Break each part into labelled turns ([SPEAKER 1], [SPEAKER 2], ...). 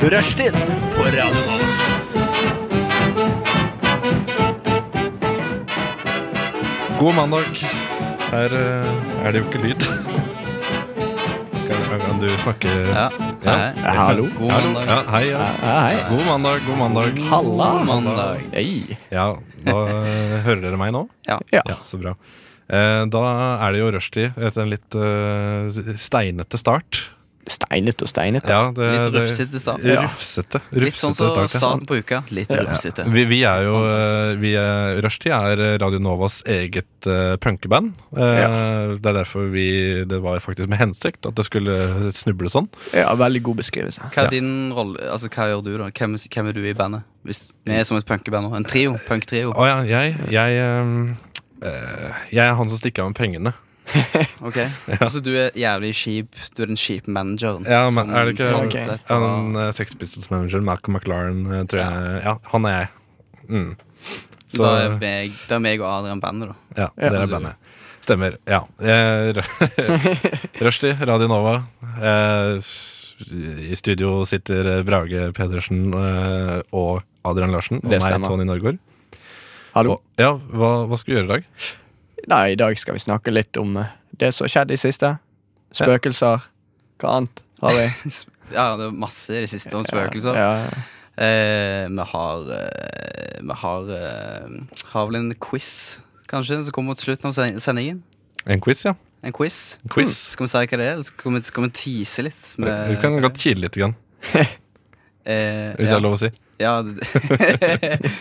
[SPEAKER 1] Rushtid på Radio Nova.
[SPEAKER 2] God mandag. Her eh, er det jo ikke lyd. Kan, kan du snakke
[SPEAKER 3] Ja.
[SPEAKER 2] Ja.
[SPEAKER 3] Hei.
[SPEAKER 1] Hallo.
[SPEAKER 3] God
[SPEAKER 2] Hallo?
[SPEAKER 3] mandag.
[SPEAKER 2] Ja, hei, ja.
[SPEAKER 1] Hei.
[SPEAKER 2] God mandag, god mandag.
[SPEAKER 3] God
[SPEAKER 1] Halla.
[SPEAKER 3] mandag.
[SPEAKER 1] Hei.
[SPEAKER 2] Ja, da eh, hører dere meg nå?
[SPEAKER 3] Ja.
[SPEAKER 1] Ja.
[SPEAKER 2] Ja, så bra. Eh, da er det jo rushtid etter en litt eh, steinete start.
[SPEAKER 1] Steinet og steinet. da.
[SPEAKER 2] Ja, det,
[SPEAKER 3] Litt
[SPEAKER 2] det-
[SPEAKER 3] rufsete start.
[SPEAKER 2] Rufsete.
[SPEAKER 3] Litt sånn som
[SPEAKER 2] Rufsete start, ja.
[SPEAKER 3] starten på uka. Litt rufsete.
[SPEAKER 2] Vi, vi er jo eh, vi er, Rushtid er Radio Novas eget eh, punkeband. Eh, Det er derfor vi Det var faktisk med hensikt at det skulle snuble sånn.
[SPEAKER 1] Ja, veldig god beskrivelse.
[SPEAKER 3] Hva er din rolle, altså hva gjør du da? Hvem, hvem er du i bandet? Hvis vi er som et punkeband nå. En trio. Punktrio.
[SPEAKER 2] Å ja, jeg jeg, eh, eh, jeg er han som stikker av med pengene.
[SPEAKER 3] Ok? Altså du er jævlig kjip. Du er den kjipe manageren.
[SPEAKER 2] Ja, men
[SPEAKER 3] som
[SPEAKER 2] er det ikke-
[SPEAKER 3] fronter
[SPEAKER 1] Ok.
[SPEAKER 3] et par-
[SPEAKER 2] Han uh, Sex Pistols-manager Malcolm McLaren, eh, tror jeg. Ja, han er jeg. Mm. Så
[SPEAKER 3] Da er meg, da er meg og Adrian bandet, da.
[SPEAKER 2] ja, dere
[SPEAKER 3] Ja.
[SPEAKER 2] er bandet. Stemmer. Ja. Eh, Ru- Rushtid, Radio Nova. Eh, s- I studio sitter Brage Pedersen eh, og Adrian Larsen. Og
[SPEAKER 1] Det
[SPEAKER 2] meg,
[SPEAKER 1] stemmer.
[SPEAKER 2] Tony Norgård.
[SPEAKER 1] Hallo.
[SPEAKER 2] Og, ja, hva, hva skal vi gjøre i dag?
[SPEAKER 1] Nei, I dag skal vi snakke litt om eh, det som har skjedd i siste. Spøkelser. Hva annet har vi?
[SPEAKER 3] Ja, det er masse i det siste om spøkelser.
[SPEAKER 1] Ja,
[SPEAKER 3] Eh, vi har eh, Vi har eh, Har vel en quiz, kanskje, som kommer mot slutten av sen- sendingen.
[SPEAKER 2] En quiz, ja.
[SPEAKER 3] En quiz. Mm.
[SPEAKER 2] En quiz.
[SPEAKER 3] Skal vi si hva det er, eller skal vi, skal vi tease litt?
[SPEAKER 2] Du kan godt kile litt, grann,
[SPEAKER 3] eh,
[SPEAKER 2] hvis det
[SPEAKER 3] ja.
[SPEAKER 2] er lov å si.
[SPEAKER 3] Ja. det-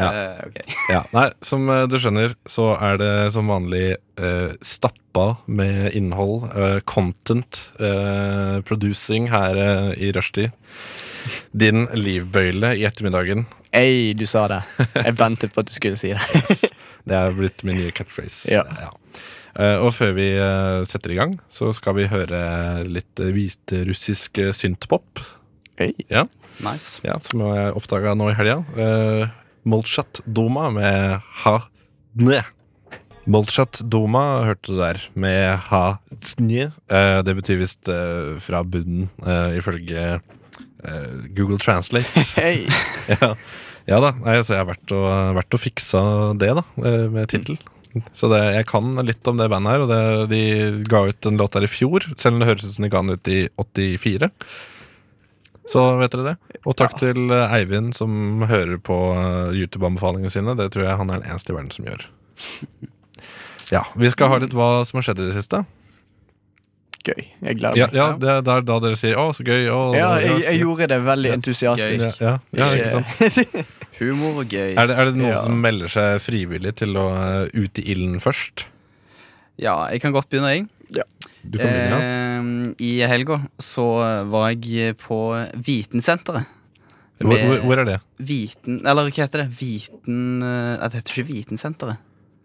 [SPEAKER 2] Ja.
[SPEAKER 3] Eh, ok.
[SPEAKER 2] Ja, nei, Som eh, du skjønner, så er det som vanlig eh, stappa med innhold. Eh, content. Eh, producing her eh, i rushtid. Din livbøyle i ettermiddagen.
[SPEAKER 1] Ei, du sa det. Jeg ventet på at du skulle si det.
[SPEAKER 2] Det er blitt min nye catchphrase.
[SPEAKER 1] Ja.
[SPEAKER 2] Eh, og før vi eh, setter i gang, så skal vi høre litt eh, hviterussisk eh, synthpop.
[SPEAKER 1] Ei.
[SPEAKER 2] Ja,
[SPEAKER 3] Nice.
[SPEAKER 2] ja, som jeg oppdaga nå i helga. Uh, Molchat Doma med Ha Dne. Molchat Doma hørte du der, med Ha Dne. Eh, det betyr visst eh, fra bunnen, eh, ifølge eh, Google Translate.
[SPEAKER 1] Hei.
[SPEAKER 2] ja. ja da, Nei, så jeg har vært og, vært og fiksa det, da, eh, med tittel. Så det, jeg kan litt om det bandet her, og det, de ga ut en låt der i fjor, selv om det høres ut som de ga den ut i 84. Så vet dere det. Og takk til eh, Eivind som hører på eh, YouTube-anbefalingene sine. Det tror jeg han er den eneste i verden som gjør. Ja, Vi skal ha litt hva som har skjedd i det siste.
[SPEAKER 1] Gøy. Jeg gleder
[SPEAKER 2] Ja,
[SPEAKER 1] meg.
[SPEAKER 2] ja Det er der- da dere sier 'å, så gøy'. Å,
[SPEAKER 1] Ja,
[SPEAKER 2] så-
[SPEAKER 1] jeg, jeg gjorde det veldig
[SPEAKER 2] ja,
[SPEAKER 1] entusiastisk.
[SPEAKER 2] ja, ja, ikke sant?
[SPEAKER 3] Humor og gøy.
[SPEAKER 2] Er det, er det noen
[SPEAKER 1] Ja.
[SPEAKER 2] som melder seg frivillig til å eh, ut i ilden først?
[SPEAKER 3] Ja, jeg kan godt begynne, jeg.
[SPEAKER 2] Du kan begynne, ja.
[SPEAKER 3] Eh, I helga så var jeg på Vitensenteret.
[SPEAKER 2] Hvor, hvor, hvor er det?
[SPEAKER 3] Viten Eller hva heter det? Viten eh, Det heter ikke Vitensenteret.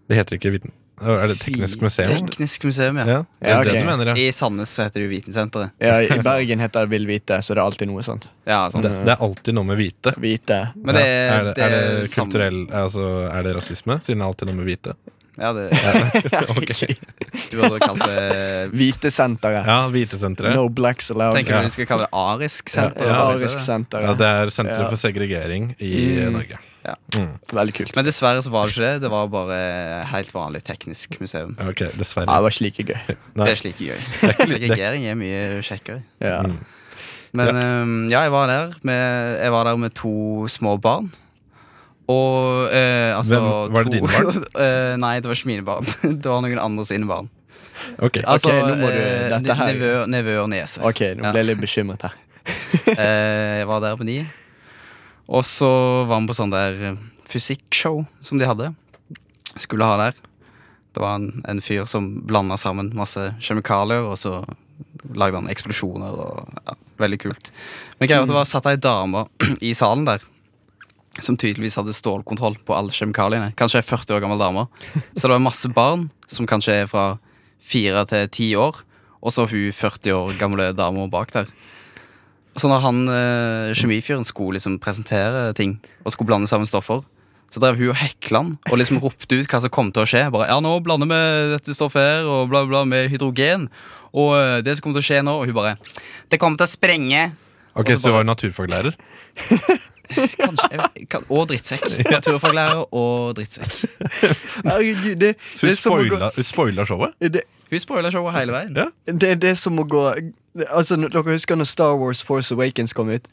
[SPEAKER 2] Det heter ikke Viten. Er det Teknisk
[SPEAKER 3] Fi-
[SPEAKER 2] museum?
[SPEAKER 3] Teknisk museum, ja.
[SPEAKER 2] Ja, det er
[SPEAKER 1] Ja,
[SPEAKER 2] det
[SPEAKER 1] ok.
[SPEAKER 2] du mener, ja.
[SPEAKER 3] I Sandnes så heter det jo Vitensenteret.
[SPEAKER 1] Ja, I Bergen heter det Vil vite, så det er alltid noe sånt.
[SPEAKER 3] Ja, sant.
[SPEAKER 2] Det, det er alltid noe med hvite.
[SPEAKER 1] Vite.
[SPEAKER 3] Men det,
[SPEAKER 2] ja. er, det, er det
[SPEAKER 3] samme-
[SPEAKER 2] kulturell Altså, er det rasisme? Siden det er alltid noe med hvite?
[SPEAKER 3] Ja, det,
[SPEAKER 2] Ok.
[SPEAKER 3] du burde kalt det
[SPEAKER 1] Vitesenteret.
[SPEAKER 2] Ja, Hvitesenteret.
[SPEAKER 1] No blacks allowed.
[SPEAKER 3] Tenker du de skal kalle det Arisk senter?
[SPEAKER 2] Ja,
[SPEAKER 3] eller hva de sier
[SPEAKER 1] Arisk
[SPEAKER 3] det?
[SPEAKER 1] senter.
[SPEAKER 2] Ja, det er senteret
[SPEAKER 1] Ja.
[SPEAKER 2] for segregering i
[SPEAKER 1] Mm.
[SPEAKER 2] Norge.
[SPEAKER 1] Veldig kult.
[SPEAKER 3] Men dessverre så var det ikke det. Det var bare helt vanlig teknisk museum.
[SPEAKER 2] Ja, Ok,
[SPEAKER 1] Ja,
[SPEAKER 2] dessverre.
[SPEAKER 1] det var ikke like gøy.
[SPEAKER 2] Nei.
[SPEAKER 3] Det er slike gøy. Segregering er mye kjekkere.
[SPEAKER 1] Ja.
[SPEAKER 3] Men øhm, ja, jeg var der med, jeg var der med to små barn. Og eh, altså
[SPEAKER 2] Hvem- var det
[SPEAKER 3] to,
[SPEAKER 2] dine barn?
[SPEAKER 3] Eh, nei, det var ikke mine barn. det var noen andre sine barn.
[SPEAKER 2] Ok.
[SPEAKER 3] Altså,
[SPEAKER 1] nå må du-
[SPEAKER 3] eh,
[SPEAKER 1] dette
[SPEAKER 3] ne-
[SPEAKER 1] her-
[SPEAKER 3] nevø- Nevø og niese.
[SPEAKER 1] Ok, nå ble jeg litt bekymret her.
[SPEAKER 3] Eh, Jeg var der på de. Og så var vi på sånn der eh, fysikkshow som de hadde. Skulle ha der. Det var en, en fyr som blanda sammen masse kjemikalier, og så lagde han eksplosjoner. Og, ja, veldig kult. Men greia var at det var satt ei dame i salen der. Som tydeligvis hadde stålkontroll på alle kjemikaliene. Kanskje ei 40 år gammel dame. Så det var masse barn, som kanskje er fra fire til ti år, og så hun 40 år gamle dama bak der. Så når han eh, kjemifyren skulle liksom presentere ting og skulle blande sammen stoffer, så drev hun og hekla han og liksom ropte ut hva som kom til å skje. Bare, ja, nå blander vi dette stoffet her og bla, bla, med hydrogen. Og eh, det som kommer til å skje nå Og hun bare Det kommer til å sprenge.
[SPEAKER 2] Ok,
[SPEAKER 3] Og så
[SPEAKER 2] Så du
[SPEAKER 3] bare-
[SPEAKER 2] var naturfaglærer?
[SPEAKER 3] Kanskje, jeg, kan, og drittsekk. Naturfaglærer og drittsekk.
[SPEAKER 1] Herregud, det,
[SPEAKER 2] Så hun
[SPEAKER 1] det er som å gå
[SPEAKER 2] spoila, hun spoila showet?
[SPEAKER 1] det,
[SPEAKER 3] Hun spoiler showet hele veien.
[SPEAKER 2] Ja.
[SPEAKER 1] det, det er som å gå Altså, n- Dere husker når Star Wars Force Awakens kom ut?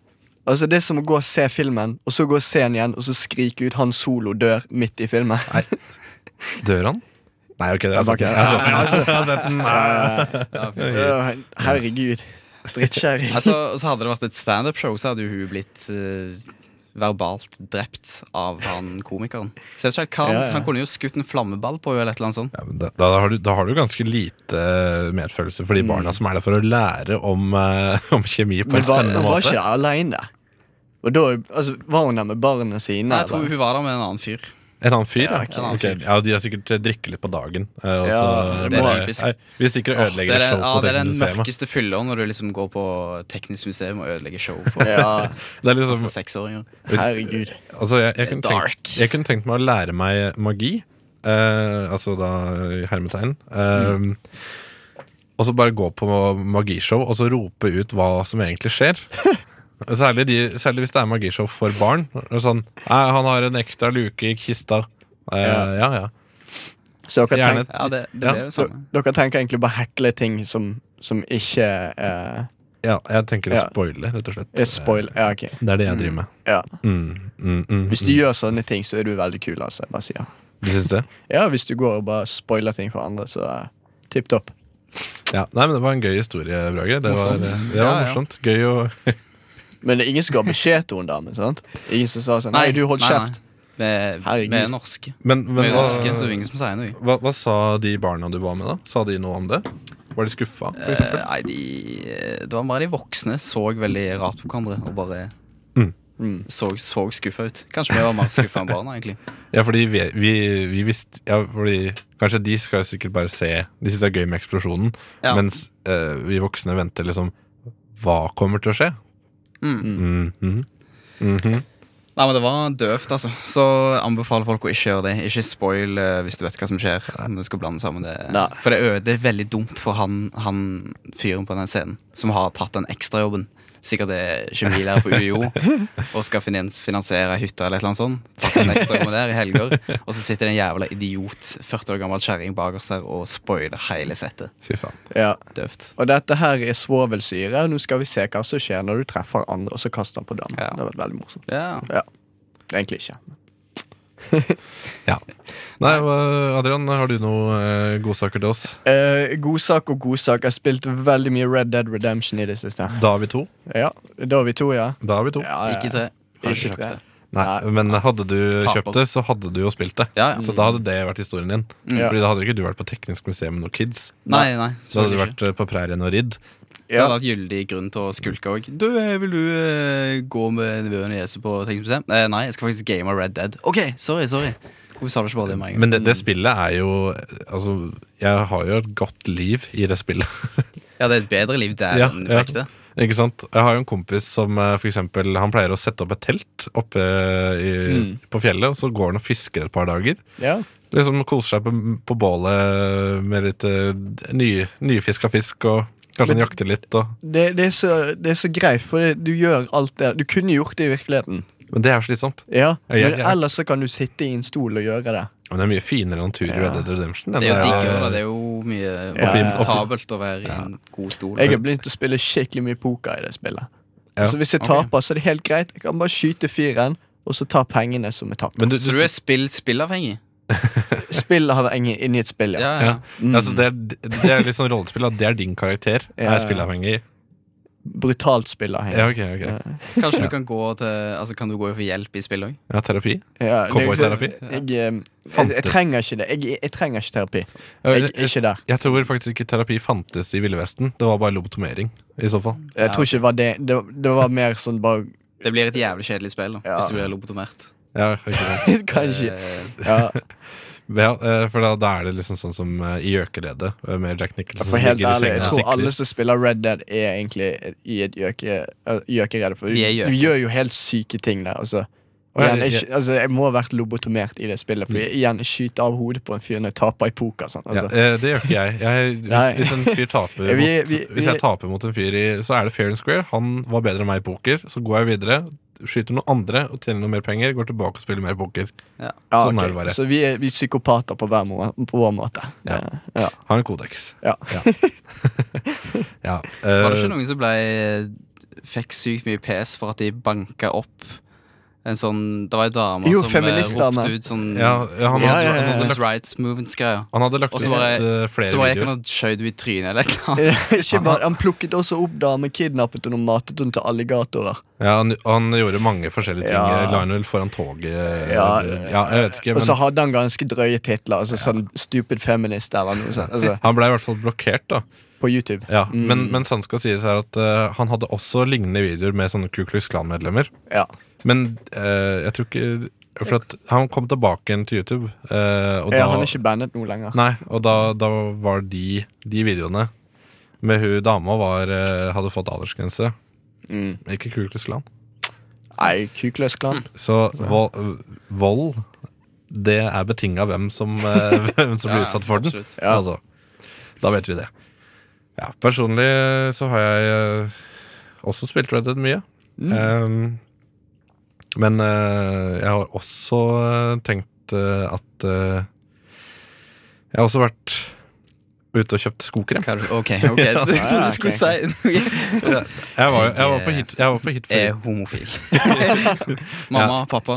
[SPEAKER 1] Altså, Det er som å gå og se filmen, og så gå og se den igjen, og så skrike ut 'Han Solo dør' midt i filmen.
[SPEAKER 2] Nei. Dør han? Nei, ok, det er
[SPEAKER 1] Jeg
[SPEAKER 2] sant.
[SPEAKER 1] bare-
[SPEAKER 2] Jeg har sett den. Jeg har sett den. Nei.
[SPEAKER 1] Ja, Herregud. Drittkjerring.
[SPEAKER 3] Altså, og så hadde det vært et standup-show, så hadde jo hun blitt eh, verbalt drept av han komikeren. Så jeg vet ikke helt hva han,
[SPEAKER 1] Ja, ja.
[SPEAKER 3] han kunne jo skutt en flammeball på henne eller et eller annet sånt.
[SPEAKER 2] Ja, men da, da, har du, da har du ganske lite eh, medfølelse for de barna som er der for å lære om, eh, om kjemi på
[SPEAKER 1] Men
[SPEAKER 2] en
[SPEAKER 1] var,
[SPEAKER 2] spennende
[SPEAKER 1] var ikke
[SPEAKER 2] måte.
[SPEAKER 1] det aleine? Og da altså, var hun der med barna sine?
[SPEAKER 3] Nei, jeg tror
[SPEAKER 1] eller?
[SPEAKER 3] hun var der med en annen fyr.
[SPEAKER 2] En annen fyr, ja.
[SPEAKER 1] Ja,
[SPEAKER 2] Ok,
[SPEAKER 1] ok.
[SPEAKER 2] Ja, de har sikkert eh, drikker litt på dagen. eh, Og så
[SPEAKER 1] Ja,
[SPEAKER 3] det er
[SPEAKER 2] bare-
[SPEAKER 3] typisk.
[SPEAKER 2] Nei, vi stikker og
[SPEAKER 3] Åh, det,
[SPEAKER 2] ødelegger
[SPEAKER 3] er,
[SPEAKER 2] et show
[SPEAKER 3] ja,
[SPEAKER 2] på
[SPEAKER 3] det
[SPEAKER 2] det
[SPEAKER 3] er den
[SPEAKER 2] museet.
[SPEAKER 3] mørkeste fylla når du liksom går på teknisk museum og ødelegger show for
[SPEAKER 1] Ja,
[SPEAKER 2] Det er
[SPEAKER 3] altså,
[SPEAKER 2] liksom,
[SPEAKER 3] seksåringer.
[SPEAKER 2] hvis-
[SPEAKER 1] herregud.
[SPEAKER 2] altså, jeg, jeg, kunne tenkt,
[SPEAKER 3] Dark.
[SPEAKER 2] jeg kunne tenkt meg å lære meg magi. eh, altså da i hermetegn. eh,
[SPEAKER 3] Mm.
[SPEAKER 2] Og så bare gå på magishow og så rope ut hva som egentlig skjer. Særlig, de, særlig hvis det er magishow for barn. Og Sånn, «Nei, 'Han har en ekstra luke i kista'. Eh,
[SPEAKER 1] Ja.
[SPEAKER 2] ja, ja.
[SPEAKER 1] Så dere,
[SPEAKER 2] Gjerne
[SPEAKER 1] tenk,
[SPEAKER 3] Ja, det, det
[SPEAKER 2] Ja,
[SPEAKER 3] ble det
[SPEAKER 1] så,
[SPEAKER 3] samme.
[SPEAKER 1] dere tenker egentlig bare hekle ting som, som ikke eh,
[SPEAKER 2] ja. Jeg tenker å
[SPEAKER 1] Ja.
[SPEAKER 2] spoile, rett og slett. Eh,
[SPEAKER 1] er spoil. Ja, ok. Mhm.
[SPEAKER 2] Det er det jeg driver med.
[SPEAKER 1] Ja.
[SPEAKER 2] Mm, mm, mm,
[SPEAKER 1] Hvis du gjør sånne ting, så er du veldig kul. altså, jeg bare sier.
[SPEAKER 2] mm. Du syns det?
[SPEAKER 1] Ja, hvis du går og bare spoiler ting for andre, så uh, tipp topp.
[SPEAKER 2] Ja. Nei, men det var en gøy historie, Brage. Det var,
[SPEAKER 3] Morsomt.
[SPEAKER 2] det var
[SPEAKER 3] Ja, ja.
[SPEAKER 2] morsomt. Gøy å
[SPEAKER 1] Men det er ingen som ga beskjed til hun damen. sant? Ingen som sa sånn Nei, du, hold
[SPEAKER 3] nei, nei.
[SPEAKER 1] kjeft.
[SPEAKER 3] Vi
[SPEAKER 1] Herregud.
[SPEAKER 3] vi er norske.
[SPEAKER 2] Men, men eh,
[SPEAKER 3] Vi er
[SPEAKER 2] hva,
[SPEAKER 3] norske, så det er ingen som sier noe.
[SPEAKER 2] hva, hva sa de barna du var med, da? Sa de noe om det? Var de skuffa? for
[SPEAKER 3] Eh,
[SPEAKER 2] eksempel?
[SPEAKER 3] Nei, de, eh, det var bare de voksne så veldig rart på hverandre og bare
[SPEAKER 2] Mm.
[SPEAKER 1] Mm.
[SPEAKER 3] så, så skuffa ut. Kanskje vi var mer skuffa enn barna, egentlig.
[SPEAKER 2] Ja, fordi vi, vi, vi visste ja, fordi Kanskje de skal jo sikkert bare se De syns det er gøy med eksplosjonen,
[SPEAKER 3] Ja.
[SPEAKER 2] mens eh, vi voksne venter liksom Hva kommer til å skje?
[SPEAKER 3] Mm.
[SPEAKER 2] Mhm. Mhm.
[SPEAKER 3] Nei, men det var døvt, altså. Så anbefaler folk å ikke gjøre det. Ikke spoil eh, hvis du vet hva som skjer. Om du skal blande sammen det
[SPEAKER 1] Nei.
[SPEAKER 3] For det øde er veldig dumt for han, han fyren på den scenen som har tatt den ekstrajobben. Sikkert er kjemilærer på UiO og skal finans finansiere ei hytte eller et eller annet sånt. Tatt den ekstrajobben der i helger Og så sitter det en jævla idiot, 40 år gammel kjerring bakerst der og spoiler hele settet.
[SPEAKER 2] Fy faen.
[SPEAKER 1] Ja.
[SPEAKER 3] Døvt.
[SPEAKER 1] Og dette her er svovelsyre. Nå skal vi se hva som skjer når du treffer andre, og så kaster han på damen.
[SPEAKER 3] Ja.
[SPEAKER 1] Det har vært veldig morsomt.
[SPEAKER 3] Ja.
[SPEAKER 1] Egentlig ikke.
[SPEAKER 2] Ja. Nei, hva- Adrian, har du noe eh, godsaker til oss?
[SPEAKER 1] Eh, godsak og godsak. Jeg har spilt veldig mye Red Dead Redemption i det siste.
[SPEAKER 2] Da er vi to.
[SPEAKER 1] Ja, Da er vi to, ja.
[SPEAKER 2] Da er vi to.
[SPEAKER 1] ja, ja.
[SPEAKER 3] Ikke tre. Har
[SPEAKER 1] Ikke
[SPEAKER 3] ikke
[SPEAKER 1] tre.
[SPEAKER 3] kjøpt det.
[SPEAKER 2] Nei, men hadde du
[SPEAKER 3] Taper.
[SPEAKER 2] kjøpt det, så hadde du jo spilt det.
[SPEAKER 3] Ja, ja.
[SPEAKER 2] Så da hadde det vært historien din.
[SPEAKER 1] Ja.
[SPEAKER 2] Fordi da hadde jo ikke du vært på teknisk museum med noen kids.
[SPEAKER 3] Nei, nei.
[SPEAKER 2] Så hadde du
[SPEAKER 3] selvfølgelig ikke.
[SPEAKER 2] vært eh, på prærien og ridd.
[SPEAKER 3] Det
[SPEAKER 1] Ja.
[SPEAKER 3] hadde vært gyldig grunn til å skulke òg. Du, eh, vil du eh, gå med nevøen og Jese på Teknisk museum? Eh, nei, jeg skal faktisk game av Red Dead. OK, sorry, sorry. Hvorfor sa du ikke bare det med en gang?
[SPEAKER 2] Men det, det spillet er jo Altså, jeg har jo et godt liv i det spillet.
[SPEAKER 3] Ja, det er et bedre liv der
[SPEAKER 2] Ja,
[SPEAKER 3] enn
[SPEAKER 2] ja.
[SPEAKER 3] vekte.
[SPEAKER 2] Ikke sant? Jeg har jo en kompis som eh, for eksempel Han pleier å sette opp et telt oppe eh, i,
[SPEAKER 1] Mm.
[SPEAKER 2] på fjellet, og så går han og fisker et par dager.
[SPEAKER 1] ja.
[SPEAKER 2] Liksom Koser seg på, på bålet med litt eh, ny, nyfiska fisk, og kanskje han jakter litt. Og,
[SPEAKER 1] Det, det, er så, det er så greit, for det, du gjør alt det Du kunne gjort det i virkeligheten.
[SPEAKER 2] men det er jo slitsomt.
[SPEAKER 1] Ja, Men
[SPEAKER 2] Ja, ja.
[SPEAKER 1] ellers så kan du sitte i en stol og gjøre det.
[SPEAKER 2] Men det er mye finere natur i
[SPEAKER 1] Ja.
[SPEAKER 2] Red Dead Redemption. enn
[SPEAKER 3] Det er jo
[SPEAKER 2] det er-
[SPEAKER 3] diggere, da. Det er jo mye
[SPEAKER 1] Ja,
[SPEAKER 3] mer
[SPEAKER 1] ja.
[SPEAKER 3] komfortabelt å være i en god stol.
[SPEAKER 1] Jeg har begynt å spille skikkelig mye poker i det spillet.
[SPEAKER 2] Ja.
[SPEAKER 1] Så hvis jeg
[SPEAKER 3] Ok.
[SPEAKER 1] taper, så er det helt greit. Jeg kan bare skyte fyren, og så ta pengene som er tapt.
[SPEAKER 2] Men du,
[SPEAKER 3] Så du er spill spillavhengig?
[SPEAKER 1] Spillet har vært inni et spill, ja.
[SPEAKER 3] Ja, ja.
[SPEAKER 2] ja. Altså, det, er, det er litt sånn rollespill, at det er din karakter.
[SPEAKER 1] Ja.
[SPEAKER 2] Er spillavhengig.
[SPEAKER 1] Mm. Brutalt spill av
[SPEAKER 2] Ja,
[SPEAKER 1] henne.
[SPEAKER 2] ok, ok.
[SPEAKER 3] Kanskje du kan gå til Altså, kan du gå for hjelp i spill òg?
[SPEAKER 2] Ja, terapi.
[SPEAKER 1] Ja, det-
[SPEAKER 2] Cowboyterapi?
[SPEAKER 1] Jeg, eh, jeg, jeg,
[SPEAKER 2] Fantes-
[SPEAKER 1] jeg trenger ikke det. Jeg, jeg trenger ikke terapi. Jeg
[SPEAKER 2] Jeg,
[SPEAKER 1] er ikke der.
[SPEAKER 2] jeg tror faktisk ikke terapi fantes i Ville Vesten. Det var bare lobotomering. i så fall
[SPEAKER 1] Jeg tror ikke det var det. Det, det var mer sånn bare
[SPEAKER 3] Det blir et jævlig kjedelig spill da,
[SPEAKER 1] Ja.
[SPEAKER 3] hvis du blir lobotomert.
[SPEAKER 2] Ja, ikke sant.
[SPEAKER 1] Kanskje.
[SPEAKER 3] Eh,
[SPEAKER 1] Ja,
[SPEAKER 2] ja eh, For da, da er det liksom sånn som eh, i Gjøkeredet, eh, med Jack Nicholson
[SPEAKER 1] for
[SPEAKER 2] som
[SPEAKER 1] helt
[SPEAKER 2] ligger i
[SPEAKER 1] ærlig, jeg
[SPEAKER 2] senga og
[SPEAKER 1] tror alle
[SPEAKER 2] sikler.
[SPEAKER 1] som spiller Red Dead, er egentlig i et gjøke- øh, gjøkerede. For du,
[SPEAKER 3] De er gjøker.
[SPEAKER 1] du gjør jo helt syke ting der. Altså.
[SPEAKER 2] Og jeg-
[SPEAKER 1] Igjen, jeg, sky- altså, jeg må ha vært lobotomert i det spillet, Fordi igjen, jeg skyter av hodet på en fyr når jeg taper i poker. Sånn,
[SPEAKER 2] Ja,
[SPEAKER 1] altså.
[SPEAKER 2] eh, det gjør ikke jeg. jeg
[SPEAKER 1] Nei.
[SPEAKER 2] hvis, hvis en fyr taper
[SPEAKER 1] Ja, vi-
[SPEAKER 2] mot,
[SPEAKER 1] vi-
[SPEAKER 2] Hvis
[SPEAKER 1] vi-
[SPEAKER 2] jeg taper mot en fyr i Så er det fair and square. Han var bedre enn meg i poker. Så går jeg videre, skyter noen andre og tjener noe mer penger. Går tilbake og spiller mer poker.
[SPEAKER 1] Ja,
[SPEAKER 2] sånn er
[SPEAKER 1] ok.
[SPEAKER 2] det bare.
[SPEAKER 1] Så vi er, vi er psykopater på hver, må på vår måte. Eh,
[SPEAKER 2] Ja.
[SPEAKER 1] Ja.
[SPEAKER 2] Har en kodeks.
[SPEAKER 1] Ja.
[SPEAKER 2] Ja,
[SPEAKER 3] Var det ikke
[SPEAKER 2] eh,
[SPEAKER 3] noen som ble, fikk sykt mye pes for at de banka opp en sånn Det var ei dame
[SPEAKER 1] Jo,
[SPEAKER 3] som eh,
[SPEAKER 1] feministdame.
[SPEAKER 3] ropte ut sånn
[SPEAKER 2] ja, ja, han, hadde-
[SPEAKER 1] Ja, ja, ja, ja.
[SPEAKER 2] Han, hadde
[SPEAKER 3] Women's
[SPEAKER 2] lagt,
[SPEAKER 3] Rights Movements-greier.
[SPEAKER 2] han hadde lagt
[SPEAKER 3] Og
[SPEAKER 2] ut
[SPEAKER 3] så var jeg-
[SPEAKER 2] eh,
[SPEAKER 3] Så
[SPEAKER 2] flere
[SPEAKER 3] var jeg ikke
[SPEAKER 2] videoer.
[SPEAKER 3] noe skjøyd i trynet eller noe. annet.
[SPEAKER 1] Ikke bare, han plukket også opp damer, kidnappet henne og matet henne til alligatorer.
[SPEAKER 2] Ja, han, han gjorde mange forskjellige ting. Eh,
[SPEAKER 1] Ja.
[SPEAKER 2] Lionel foran toget.
[SPEAKER 1] Ja.
[SPEAKER 2] eh, ja, jeg vet ikke,
[SPEAKER 1] Og så
[SPEAKER 2] men
[SPEAKER 1] hadde han ganske drøye titler. Altså Sånn Stupid Feminist eller noe sånt. Altså,
[SPEAKER 2] han ble i hvert fall blokkert, da.
[SPEAKER 1] på YouTube.
[SPEAKER 2] Ja, Men, men sant skal sies her at eh, han hadde også lignende videoer med sånne Ku Klux Klan-medlemmer.
[SPEAKER 1] Ja.
[SPEAKER 2] Men eh, jeg tror ikke For at han kom tilbake igjen til YouTube. eh, og
[SPEAKER 1] Ja,
[SPEAKER 2] da,
[SPEAKER 1] han er ikke bandet nå lenger.
[SPEAKER 2] Nei, og da, da var de, de videoene med hun dama var, eh, hadde fått aldersgrense.
[SPEAKER 1] Mm.
[SPEAKER 2] Ikke Ku Klux Klan.
[SPEAKER 1] Nei, Kukløs klan.
[SPEAKER 2] Så vold, vold det er betinga hvem som, eh, hvem som blir
[SPEAKER 3] Ja,
[SPEAKER 2] utsatt for den.
[SPEAKER 3] absolutt.
[SPEAKER 1] Ja.
[SPEAKER 2] Altså, da vet vi det. Ja, personlig eh, så har jeg eh, også spilt Red Dead mye.
[SPEAKER 1] Mm.
[SPEAKER 2] Ehm, men eh, jeg har også eh, tenkt eh, at eh, Jeg har også vært ute og kjøpt skokrem.
[SPEAKER 3] Hva er det- Ok, ok. Jeg trodde du skulle si noe.
[SPEAKER 2] Jeg var, jo- jeg var på hit, jeg var på hit
[SPEAKER 3] Er
[SPEAKER 2] fordi,
[SPEAKER 3] homofil. Mamma, pappa.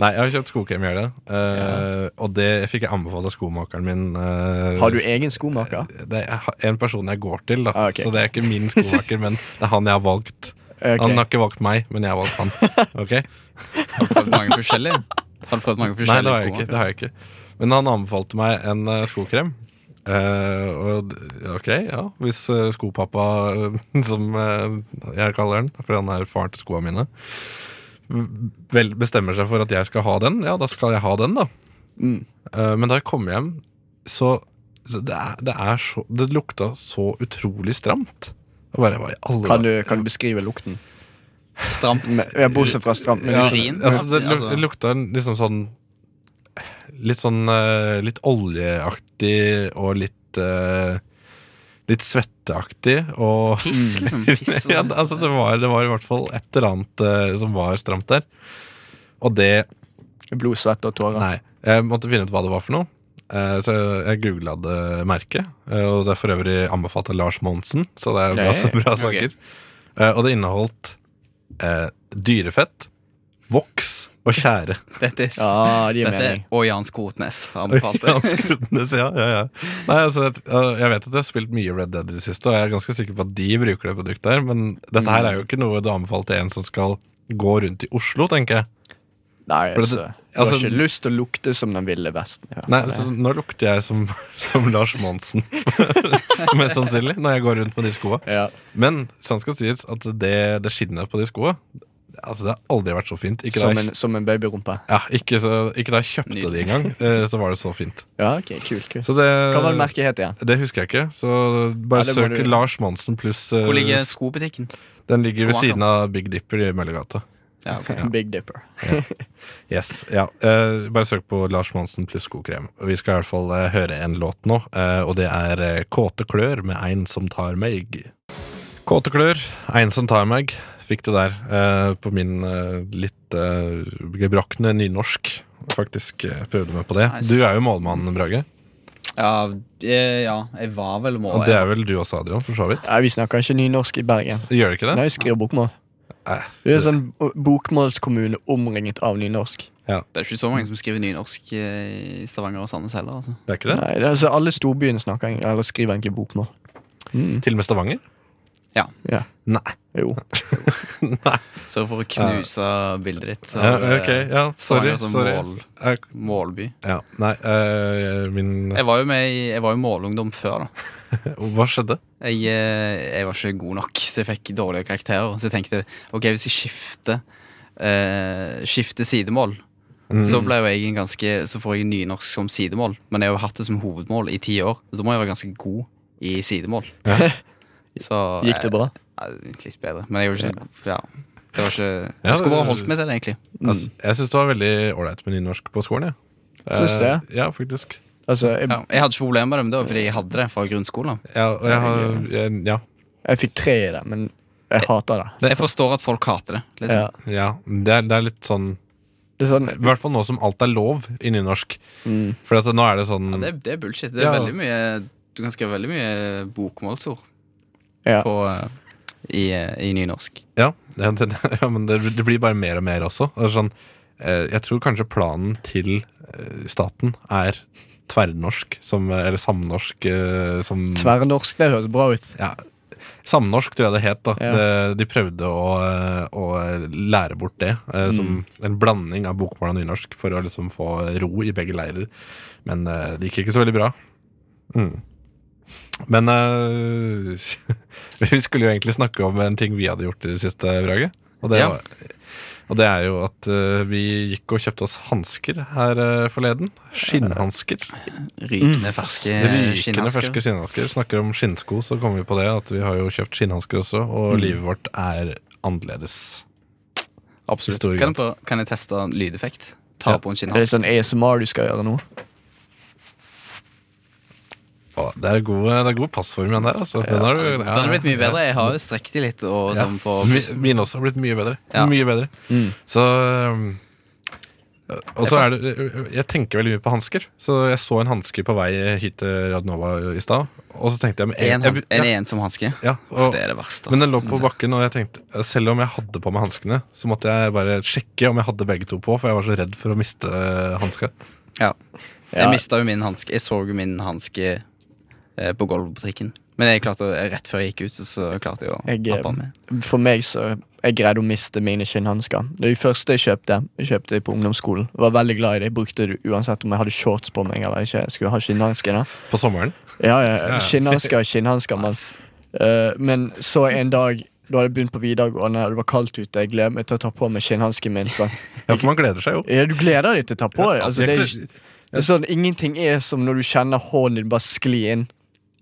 [SPEAKER 2] Nei, jeg har kjøpt skokrem i helga, eh, og det fikk jeg anbefalt av skomakeren min. eh,
[SPEAKER 1] Har du egen skomaker?
[SPEAKER 2] det er en person jeg går til, da.
[SPEAKER 1] Ah, ok.
[SPEAKER 2] Så det er ikke min skomaker, men det er han jeg har valgt.
[SPEAKER 1] Ok.
[SPEAKER 2] Han har ikke valgt meg, men jeg har valgt han. Ok?
[SPEAKER 3] Har du prøvd mange forskjellige? Har du prøvd mange
[SPEAKER 2] Nei, det
[SPEAKER 3] forskjellige
[SPEAKER 2] har, jeg ikke, det har jeg ikke. Men han anbefalte meg en eh, skokrem. Eh, og d- ok, ja. Hvis eh, skopappa, som eh, jeg kaller han, fordi han er faren til skoa mine, vel, bestemmer seg for at jeg skal ha den, ja, da skal jeg ha den, da.
[SPEAKER 1] Mm.
[SPEAKER 2] Eh, men da jeg kom hjem, så, så, det, er, det, er så det lukta så utrolig stramt. Jeg bare, hva i alle
[SPEAKER 1] Kan du, kan du beskrive lukten?
[SPEAKER 3] Stramt.
[SPEAKER 1] Men- ja, Bortsett fra stramt. men
[SPEAKER 2] Ja,
[SPEAKER 1] liksom-
[SPEAKER 3] Urin?
[SPEAKER 2] altså, det, luk,
[SPEAKER 3] Altså-
[SPEAKER 2] det lukta en liksom sånn Litt sånn eh, Litt oljeaktig og litt eh, Litt svetteaktig og
[SPEAKER 3] Piss, liksom. Piss og
[SPEAKER 2] ja,
[SPEAKER 3] sånn.
[SPEAKER 2] det- altså, det, var, det var i hvert fall et eller annet eh, som var stramt der. Og det
[SPEAKER 1] Blod, svette og tårer.
[SPEAKER 2] Nei. Jeg måtte finne ut hva det var for noe. Eh, Så jeg googla det merket, eh, og det er for øvrig anbefalt av Lars Monsen. Så det er jo
[SPEAKER 1] Nei.
[SPEAKER 2] masse bra
[SPEAKER 3] Ok.
[SPEAKER 2] saker. Eh, Og det inneholdt eh, dyrefett, voks og tjære.
[SPEAKER 3] Dette er
[SPEAKER 1] Ja, det gir
[SPEAKER 3] Dette er
[SPEAKER 1] mening.
[SPEAKER 3] og Jan Skotnes har anbefalt det.
[SPEAKER 2] Hans Grundnes, ja, ja, ja. Nei, altså, jeg- eh, jeg vet at jeg har spilt mye Red Dead i det siste, og jeg er ganske sikker på at de bruker det produktet her, men dette her er jo ikke noe du anbefaler til en som skal gå rundt i Oslo, tenker jeg.
[SPEAKER 1] Nei,
[SPEAKER 2] For
[SPEAKER 1] altså,
[SPEAKER 2] det-
[SPEAKER 1] Du har
[SPEAKER 2] altså-
[SPEAKER 1] ikke lyst til å lukte som den ville vesten. i hvert
[SPEAKER 2] Nei, altså-
[SPEAKER 1] fall.
[SPEAKER 2] så nå lukter jeg som, som Lars Monsen, mest sannsynlig, når jeg går rundt med de skoa.
[SPEAKER 1] ja.
[SPEAKER 2] Men sant skal sies at det, det skinnet på de skoa Altså Det har aldri vært så fint. Ikke da
[SPEAKER 1] som,
[SPEAKER 2] jeg,
[SPEAKER 1] en, som en babyrumpe.
[SPEAKER 2] ja, ikke, så, ikke da jeg kjøpte
[SPEAKER 3] Nydelig.
[SPEAKER 2] det engang, eh, så var det så fint.
[SPEAKER 1] Ja, ok, kult, kult.
[SPEAKER 2] Så det,
[SPEAKER 1] Hva var det merket het igjen?
[SPEAKER 2] det husker jeg ikke. Så bare
[SPEAKER 1] Ja, det må
[SPEAKER 2] søk
[SPEAKER 1] du-
[SPEAKER 2] Lars Monsen pluss eh,
[SPEAKER 3] Hvor ligger skobutikken?
[SPEAKER 2] Den ligger ved
[SPEAKER 3] skomakeren?
[SPEAKER 2] siden av Big Dipper i Møllergata.
[SPEAKER 3] Ja, ok.
[SPEAKER 1] Big Dipper.
[SPEAKER 2] Yes, ja. Eh, bare søk på Lars Monsen pluss skokrem. Og Vi skal i hvert fall eh, høre en låt nå, eh, og det er eh, Kåte klør med Ein som tar meg. Kåte klør, Ein som tar meg, fikk du der eh, på min eh, litt eh, gebrakne nynorsk. Faktisk eh, prøvde meg på det.
[SPEAKER 3] Nice.
[SPEAKER 2] Du er jo målmann, Brage.
[SPEAKER 3] Ja, eh, ja, jeg var vel må
[SPEAKER 2] Og det er vel du også, Adrian, for så vidt.
[SPEAKER 1] Nei, vi snakker ikke nynorsk i Bergen.
[SPEAKER 2] Gjør du ikke det?
[SPEAKER 1] Nei, vi skriver bokmål.
[SPEAKER 2] Nei.
[SPEAKER 1] Vi er en sånn bo- bokmålskommune omringet av nynorsk.
[SPEAKER 3] Det er ikke så mange som skriver nynorsk eh, i Stavanger og Sandnes heller. altså.
[SPEAKER 2] Det er ikke det?
[SPEAKER 1] Nei, det er, altså, alle storbyene snakker egentlig, eller skriver egentlig bokmål. Mm.
[SPEAKER 2] Til og med Stavanger?
[SPEAKER 1] Ja,
[SPEAKER 2] Nei.
[SPEAKER 1] jo.
[SPEAKER 2] Nei.
[SPEAKER 3] Så for å knuse bildet ditt så
[SPEAKER 2] Ja,
[SPEAKER 3] har det
[SPEAKER 2] ok, ja, sorry.
[SPEAKER 3] Stavanger som
[SPEAKER 2] sorry.
[SPEAKER 3] mål,
[SPEAKER 2] Jeg,
[SPEAKER 3] målby.
[SPEAKER 2] ja, nei, eh, min
[SPEAKER 3] Jeg var jo med i, jeg var jo målungdom før, da.
[SPEAKER 2] Hva skjedde?
[SPEAKER 3] Jeg, eh, jeg var ikke god nok, så jeg fikk dårlige karakterer. Så jeg tenkte ok, hvis jeg skifter, eh, skifter sidemål,
[SPEAKER 2] Mm.
[SPEAKER 3] så ble jo jeg en ganske Så får jeg nynorsk som sidemål. Men jeg har jo hatt det som hovedmål i ti år, så da må jeg være ganske god i sidemål.
[SPEAKER 2] Ja.
[SPEAKER 3] Så eh,
[SPEAKER 1] Gikk det bra?
[SPEAKER 3] Ja, litt bedre. Men jeg er jo ikke så god. Ja. Det var ikke
[SPEAKER 2] Ja,
[SPEAKER 3] Jeg skulle bare
[SPEAKER 2] det-
[SPEAKER 3] holdt meg til det, egentlig.
[SPEAKER 2] Altså, jeg syns det var veldig ålreit med nynorsk på skolen. Jeg.
[SPEAKER 1] Syns du
[SPEAKER 2] Eh,
[SPEAKER 1] det?
[SPEAKER 2] Ja, faktisk.
[SPEAKER 1] Altså, jeg,
[SPEAKER 3] Ja, jeg hadde ikke problemer med det, men det var fordi jeg hadde det fra grunnskolen.
[SPEAKER 2] Ja, og jeg har, jeg, ja,
[SPEAKER 1] jeg fikk tre i det, men jeg hater det.
[SPEAKER 3] Jeg forstår at folk hater det.
[SPEAKER 1] Ja.
[SPEAKER 3] Liksom.
[SPEAKER 2] ja det, er, det er litt sånn
[SPEAKER 1] Det er sånn
[SPEAKER 2] I hvert fall nå som alt er lov i nynorsk. For at nå er det sånn
[SPEAKER 3] Ja, det, det er bullshit. Det er
[SPEAKER 2] Ja.
[SPEAKER 3] veldig mye Du kan skrive veldig mye bokmålsord
[SPEAKER 1] Ja.
[SPEAKER 3] på, eh, i, eh, i nynorsk.
[SPEAKER 2] Ja, det, det, det- ja men det, det blir bare mer og mer også. Det er sånn, eh, jeg tror kanskje planen til eh, staten er tverrnorsk, som, eller samnorsk eh, som
[SPEAKER 1] Tverrnorsk, det høres bra ut.
[SPEAKER 2] ja, Samnorsk tror jeg det het. da
[SPEAKER 1] Ja.
[SPEAKER 2] det, De prøvde å, eh, å lære bort det. eh, Som En blanding av bokmål og nynorsk for å liksom få ro i begge leirer. Men eh, det gikk ikke så veldig bra. Mm. Men eh, vi skulle jo egentlig snakke om en ting vi hadde gjort i det siste, Brage. Og det,
[SPEAKER 3] Ja.
[SPEAKER 2] var- og det er jo at eh, vi gikk og kjøpte oss hansker her eh, forleden. Skinnhansker.
[SPEAKER 3] Rykende ferske
[SPEAKER 2] Mm. Rykende ferske
[SPEAKER 3] skinnhansker.
[SPEAKER 2] skinnhansker. Snakker om skinnsko, så kommer vi på det. At vi har jo kjøpt skinnhansker også,
[SPEAKER 3] Mm.
[SPEAKER 2] og livet vårt er annerledes.
[SPEAKER 3] Absolutt.
[SPEAKER 2] Stor
[SPEAKER 3] Kan jeg,
[SPEAKER 2] grad.
[SPEAKER 3] prøve- kan jeg teste en lydeffekt? Ta
[SPEAKER 2] Ja.
[SPEAKER 3] på en
[SPEAKER 1] Det er
[SPEAKER 3] skinnhanske.
[SPEAKER 1] sånn ASMR du skal gjøre nå.
[SPEAKER 2] Å, det, er god, det er god passform, den der. Altså. Den har du, ja,
[SPEAKER 3] Det hadde blitt mye bedre. Jeg har jo strekt de litt. Og
[SPEAKER 2] Ja.
[SPEAKER 3] sånn på
[SPEAKER 2] Mi- Mine også har blitt mye bedre.
[SPEAKER 3] Ja.
[SPEAKER 2] Mye bedre.
[SPEAKER 1] Mm.
[SPEAKER 2] Så um, og så er det, Jeg tenker veldig mye på hansker. Så jeg så en hanske på vei hit til Radnova i stad. Og så tenkte jeg med
[SPEAKER 3] en, han-
[SPEAKER 2] jeg-
[SPEAKER 3] en
[SPEAKER 2] ja,
[SPEAKER 3] ensom hanske.
[SPEAKER 2] ja,
[SPEAKER 3] Uff,
[SPEAKER 2] og,
[SPEAKER 3] det er det verste. altså.
[SPEAKER 2] Men den lå på bakken, og jeg tenkte selv om jeg hadde på meg hanskene, så måtte jeg bare sjekke om jeg hadde begge to på, for jeg var så redd for å miste eh, hanska.
[SPEAKER 3] Ja.
[SPEAKER 1] Ja.
[SPEAKER 3] Jeg mista jo min hanske. Jeg så jo min hanske eh, på gulvet på trikken. Men jeg klarte å, rett før jeg gikk ut, så, så klarte jeg å
[SPEAKER 1] Jeg, eh,
[SPEAKER 3] nappe den med.
[SPEAKER 1] For meg så Jeg greide å miste mine skinnhansker. Det første jeg kjøpte, jeg kjøpte på ungdomsskolen. Var veldig glad i det. Jeg brukte det uansett om jeg hadde shorts på meg eller ikke. Jeg skulle ha skinnhanskene.
[SPEAKER 2] På sommeren.
[SPEAKER 1] Ja, ja. Skinnhansker er skinnhansker, mann. Eh, men så en dag da hadde jeg begynt på videregående, og det var kaldt ute. Jeg gleder meg til å ta på meg skinnhansken min. Så.
[SPEAKER 2] Ja, for man gleder seg jo.
[SPEAKER 1] Ja, du gleder deg til å ta på det. Altså, det, er,
[SPEAKER 2] Jeg-
[SPEAKER 1] det er sånn, ingenting er som når du kjenner hånden din bare skli inn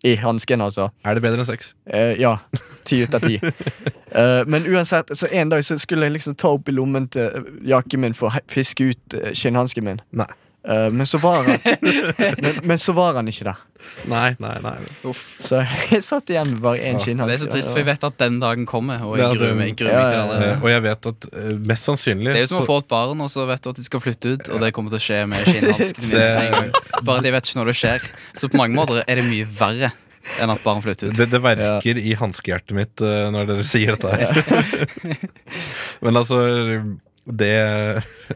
[SPEAKER 1] i hansken, altså.
[SPEAKER 2] er det bedre enn sex?
[SPEAKER 1] Eh, ja. Ti ut av ti. Eh, men uansett, så en dag så skulle jeg liksom ta opp i lommen til eh, jakken min for å he- fiske ut eh, skinnhansken min.
[SPEAKER 2] Nei.
[SPEAKER 1] Eh, men så var han men, men så var han ikke der.
[SPEAKER 2] Nei, nei, nei.
[SPEAKER 1] Så jeg satt igjen med bare én
[SPEAKER 3] Det
[SPEAKER 1] skinnhanske.
[SPEAKER 3] er så trist, for jeg vet at den dagen kommer, og
[SPEAKER 2] Ja,
[SPEAKER 3] jeg
[SPEAKER 2] det-
[SPEAKER 3] gruer meg, jeg gruer meg til
[SPEAKER 1] Ja, ja,
[SPEAKER 3] alle.
[SPEAKER 2] Eh, Og jeg vet at eh, mest sannsynlig
[SPEAKER 3] Det er jo som å
[SPEAKER 2] så-
[SPEAKER 3] få et barn, og så vet du at de skal flytte ut, og det kommer til å skje med skinnhanskene mine.
[SPEAKER 2] Det-
[SPEAKER 3] med en gang. Bare at jeg vet ikke når det skjer. Så på mange måter er det mye verre enn at barn flytter ut.
[SPEAKER 2] det, det verker i hanskehjertet mitt eh, når dere sier dette her. Men altså det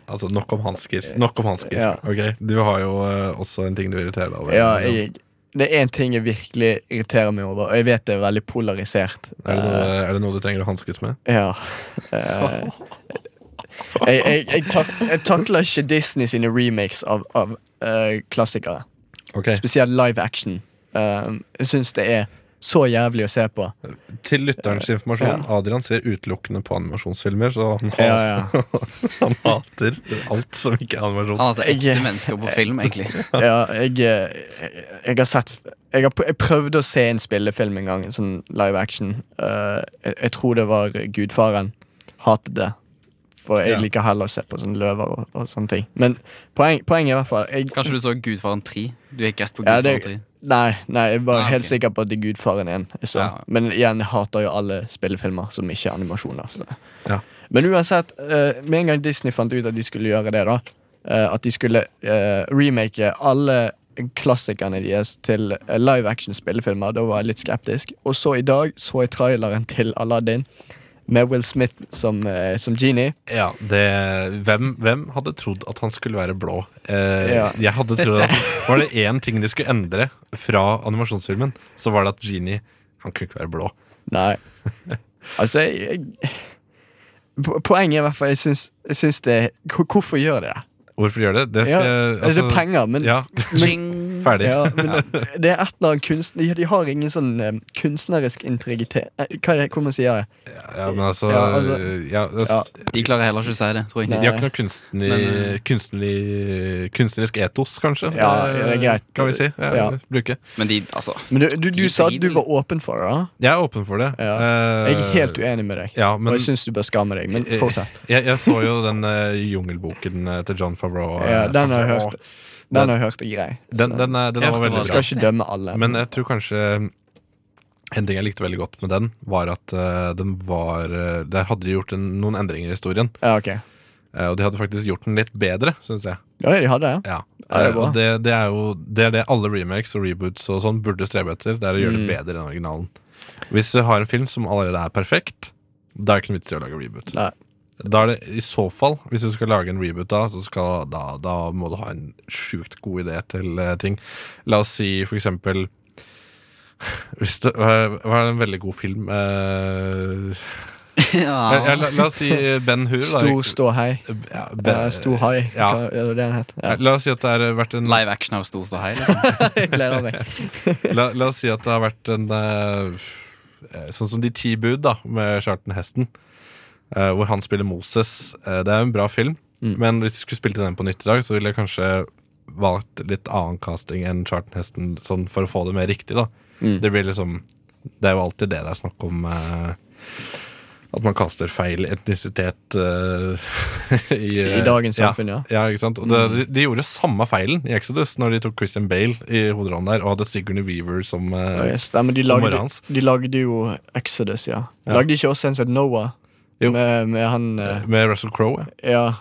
[SPEAKER 2] Altså, nok om hansker. Nok om hansker.
[SPEAKER 1] Ja.
[SPEAKER 2] Ok, Du har jo eh, også en ting du irriterer deg over.
[SPEAKER 1] Ja, jeg, det er én ting jeg virkelig irriterer meg over, og jeg vet det er veldig polarisert. Eh,
[SPEAKER 2] er, det noe, er det noe du trenger å hanskes med?
[SPEAKER 1] Ja. Eh, jeg, jeg, jeg, tak, jeg takler ikke Disney sine remakes av, av eh, klassikere.
[SPEAKER 2] Ok,
[SPEAKER 1] Spesielt live action. Eh, jeg syns det er så jævlig å se på.
[SPEAKER 2] Til lytterens informasjon, Adrian ser utelukkende på animasjonsfilmer, så han, has,
[SPEAKER 1] Ja,
[SPEAKER 2] han hater alt som ikke er animasjon.
[SPEAKER 3] Han hadde ekte
[SPEAKER 1] Jeg-
[SPEAKER 3] mennesker på film, egentlig.
[SPEAKER 1] Ja, jeg, eh, jeg, jeg har sett jeg, har, pr- jeg prøvde å se en spillefilm en gang, en sånn live action. Eh, jeg, jeg tror det var Gudfaren. Hatet det. For jeg
[SPEAKER 2] Ja.
[SPEAKER 1] liker heller å se på sånne løver og, og sånne ting. Men poeng, poenget i hvert fall jeg,
[SPEAKER 3] Kanskje du så Gudfaren 3? Du gikk rett på
[SPEAKER 1] Ja,
[SPEAKER 3] Gudfaren
[SPEAKER 1] det-
[SPEAKER 3] 3.
[SPEAKER 1] Nei, nei, jeg var
[SPEAKER 3] Ah, ok.
[SPEAKER 1] helt sikker på at det er Gudfaren 1. Jeg så.
[SPEAKER 3] Ja.
[SPEAKER 1] Men igjen, jeg hater jo alle spillefilmer som ikke er animasjoner. Så.
[SPEAKER 2] Ja.
[SPEAKER 1] Men uansett, eh, med en gang Disney fant ut at de skulle gjøre det, da eh, At de skulle eh, remake alle klassikerne deres til eh, live action spillefilmer, da var jeg litt skeptisk. Og så i dag så jeg traileren til Aladdin med Will Smith som, eh, som genie.
[SPEAKER 2] Ja, det, hvem, hvem hadde trodd at han skulle være blå? Eh,
[SPEAKER 1] Ja.
[SPEAKER 2] Jeg hadde trodd at Var det én ting de skulle endre fra animasjonsfilmen, så var det at Genie Han kunne ikke være blå.
[SPEAKER 1] Nei. Altså, jeg, jeg po- Poenget er i hvert fall Jeg syns- jeg syns det hvor- Hvorfor gjør de det?
[SPEAKER 2] Hvorfor gjør det? Det
[SPEAKER 1] Ja,
[SPEAKER 2] skal jeg- altså-
[SPEAKER 1] det er penger, men
[SPEAKER 2] ja.
[SPEAKER 1] men,
[SPEAKER 2] Ferdig.
[SPEAKER 1] Ja, men det- det er et eller annet kunst... De, de har ingen sånn eh, kunstnerisk integritet Eh, Hva er det, Hvordan sier jeg det?
[SPEAKER 2] Ja, men altså,
[SPEAKER 1] Ja, altså-
[SPEAKER 2] ja, altså
[SPEAKER 1] Ja.
[SPEAKER 3] De klarer heller ikke å si det, tror
[SPEAKER 1] Nei.
[SPEAKER 3] jeg.
[SPEAKER 2] De har ikke noe kunstneri, kunstneri, kunstnerisk etos, kanskje.
[SPEAKER 1] eh, Ja, det er greit.
[SPEAKER 2] Kan vi si. Ja,
[SPEAKER 1] Ja.
[SPEAKER 2] Bruke.
[SPEAKER 3] Men de, altså
[SPEAKER 1] Men du, du, du
[SPEAKER 3] De
[SPEAKER 1] sa at du
[SPEAKER 3] driter.
[SPEAKER 1] var åpen for det. da
[SPEAKER 2] Jeg er åpen for det.
[SPEAKER 1] Ja.
[SPEAKER 2] Eh,
[SPEAKER 1] Jeg er helt uenig med deg,
[SPEAKER 2] Ja, men
[SPEAKER 1] og jeg syns du bør skamme deg. Men
[SPEAKER 2] Eh,
[SPEAKER 1] fortsett.
[SPEAKER 2] jeg, jeg så jo den eh, jungelboken eh, til John Favreau. eh,
[SPEAKER 1] Ja, den har jeg
[SPEAKER 2] Favreau.
[SPEAKER 1] hørt. Den har jeg hørt er grei. Så
[SPEAKER 2] Den, den, er- den
[SPEAKER 3] Jeg hørte
[SPEAKER 2] var veldig
[SPEAKER 3] hva
[SPEAKER 1] jeg
[SPEAKER 2] bra.
[SPEAKER 1] skal ikke dømme alle.
[SPEAKER 2] Men eh, jeg tror kanskje eh, en ting jeg likte veldig godt med den, var at eh, den var eh, Der hadde de gjort en, noen endringer i historien.
[SPEAKER 1] ja, ok.
[SPEAKER 2] eh, og de hadde faktisk gjort den litt bedre, syns jeg.
[SPEAKER 1] Ja, de hadde det.
[SPEAKER 2] Ja.
[SPEAKER 1] Ja, det er
[SPEAKER 2] Eh,
[SPEAKER 1] bra.
[SPEAKER 2] og det, det er jo det, er det alle remakes og reboots og sånn burde strebe etter. Det er å gjøre
[SPEAKER 1] Mm.
[SPEAKER 2] det bedre enn originalen. Hvis du har en film som allerede er perfekt, da er det ikke noe vits i å lage reboot.
[SPEAKER 1] Nei.
[SPEAKER 2] Da er det i så fall, hvis du skal lage en reboot da, så skal, da, da må du ha en sjukt god idé til eh, ting. La oss si for eksempel hvis det eh, var en veldig god film eh, ja.
[SPEAKER 3] ja.
[SPEAKER 2] la, la oss si Ben Hur. da.
[SPEAKER 1] Ah. Stor ståhei.
[SPEAKER 2] Ja,
[SPEAKER 1] Eh,
[SPEAKER 2] ben,
[SPEAKER 1] Stor hai,
[SPEAKER 2] Ja.
[SPEAKER 1] hva er det den het? Ja.
[SPEAKER 2] La oss si at det har vært en
[SPEAKER 3] Live action av stor ståhei, liksom.
[SPEAKER 1] Jeg gleder meg.
[SPEAKER 2] La, la oss si at det har vært en eh, Sånn som De ti bud, da, med Charlton Heston. eh, hvor han spiller Moses. Eh, det er jo en bra film,
[SPEAKER 1] Mm.
[SPEAKER 2] men hvis jeg skulle spilt inn den på nytt i dag, så ville jeg kanskje valgt litt annen casting enn Charlton Heston sånn for å få det mer riktig. da
[SPEAKER 1] Mm.
[SPEAKER 2] Det blir liksom Det er jo alltid det det er snakk om. eh, at man kaster feil etnisitet eh, i, eh,
[SPEAKER 1] I dagens
[SPEAKER 2] ja.
[SPEAKER 1] samfunn, ja.
[SPEAKER 2] Ja, ikke sant? Og det,
[SPEAKER 1] Mm.
[SPEAKER 2] de- De gjorde samme feilen i Exodus når de tok Christian Bale i hovedrollen der og hadde Sigourney Weaver som
[SPEAKER 1] Ja,
[SPEAKER 2] eh,
[SPEAKER 1] yes, stemmer. De
[SPEAKER 2] Som var
[SPEAKER 1] lagde,
[SPEAKER 2] hans.
[SPEAKER 1] de lagde jo Exodus, ja.
[SPEAKER 2] Ja.
[SPEAKER 1] Lagde ikke også en som het Noah?
[SPEAKER 2] Jo.
[SPEAKER 1] Med, med han eh,
[SPEAKER 2] Med Russell Crowe. Ja.
[SPEAKER 1] Ja,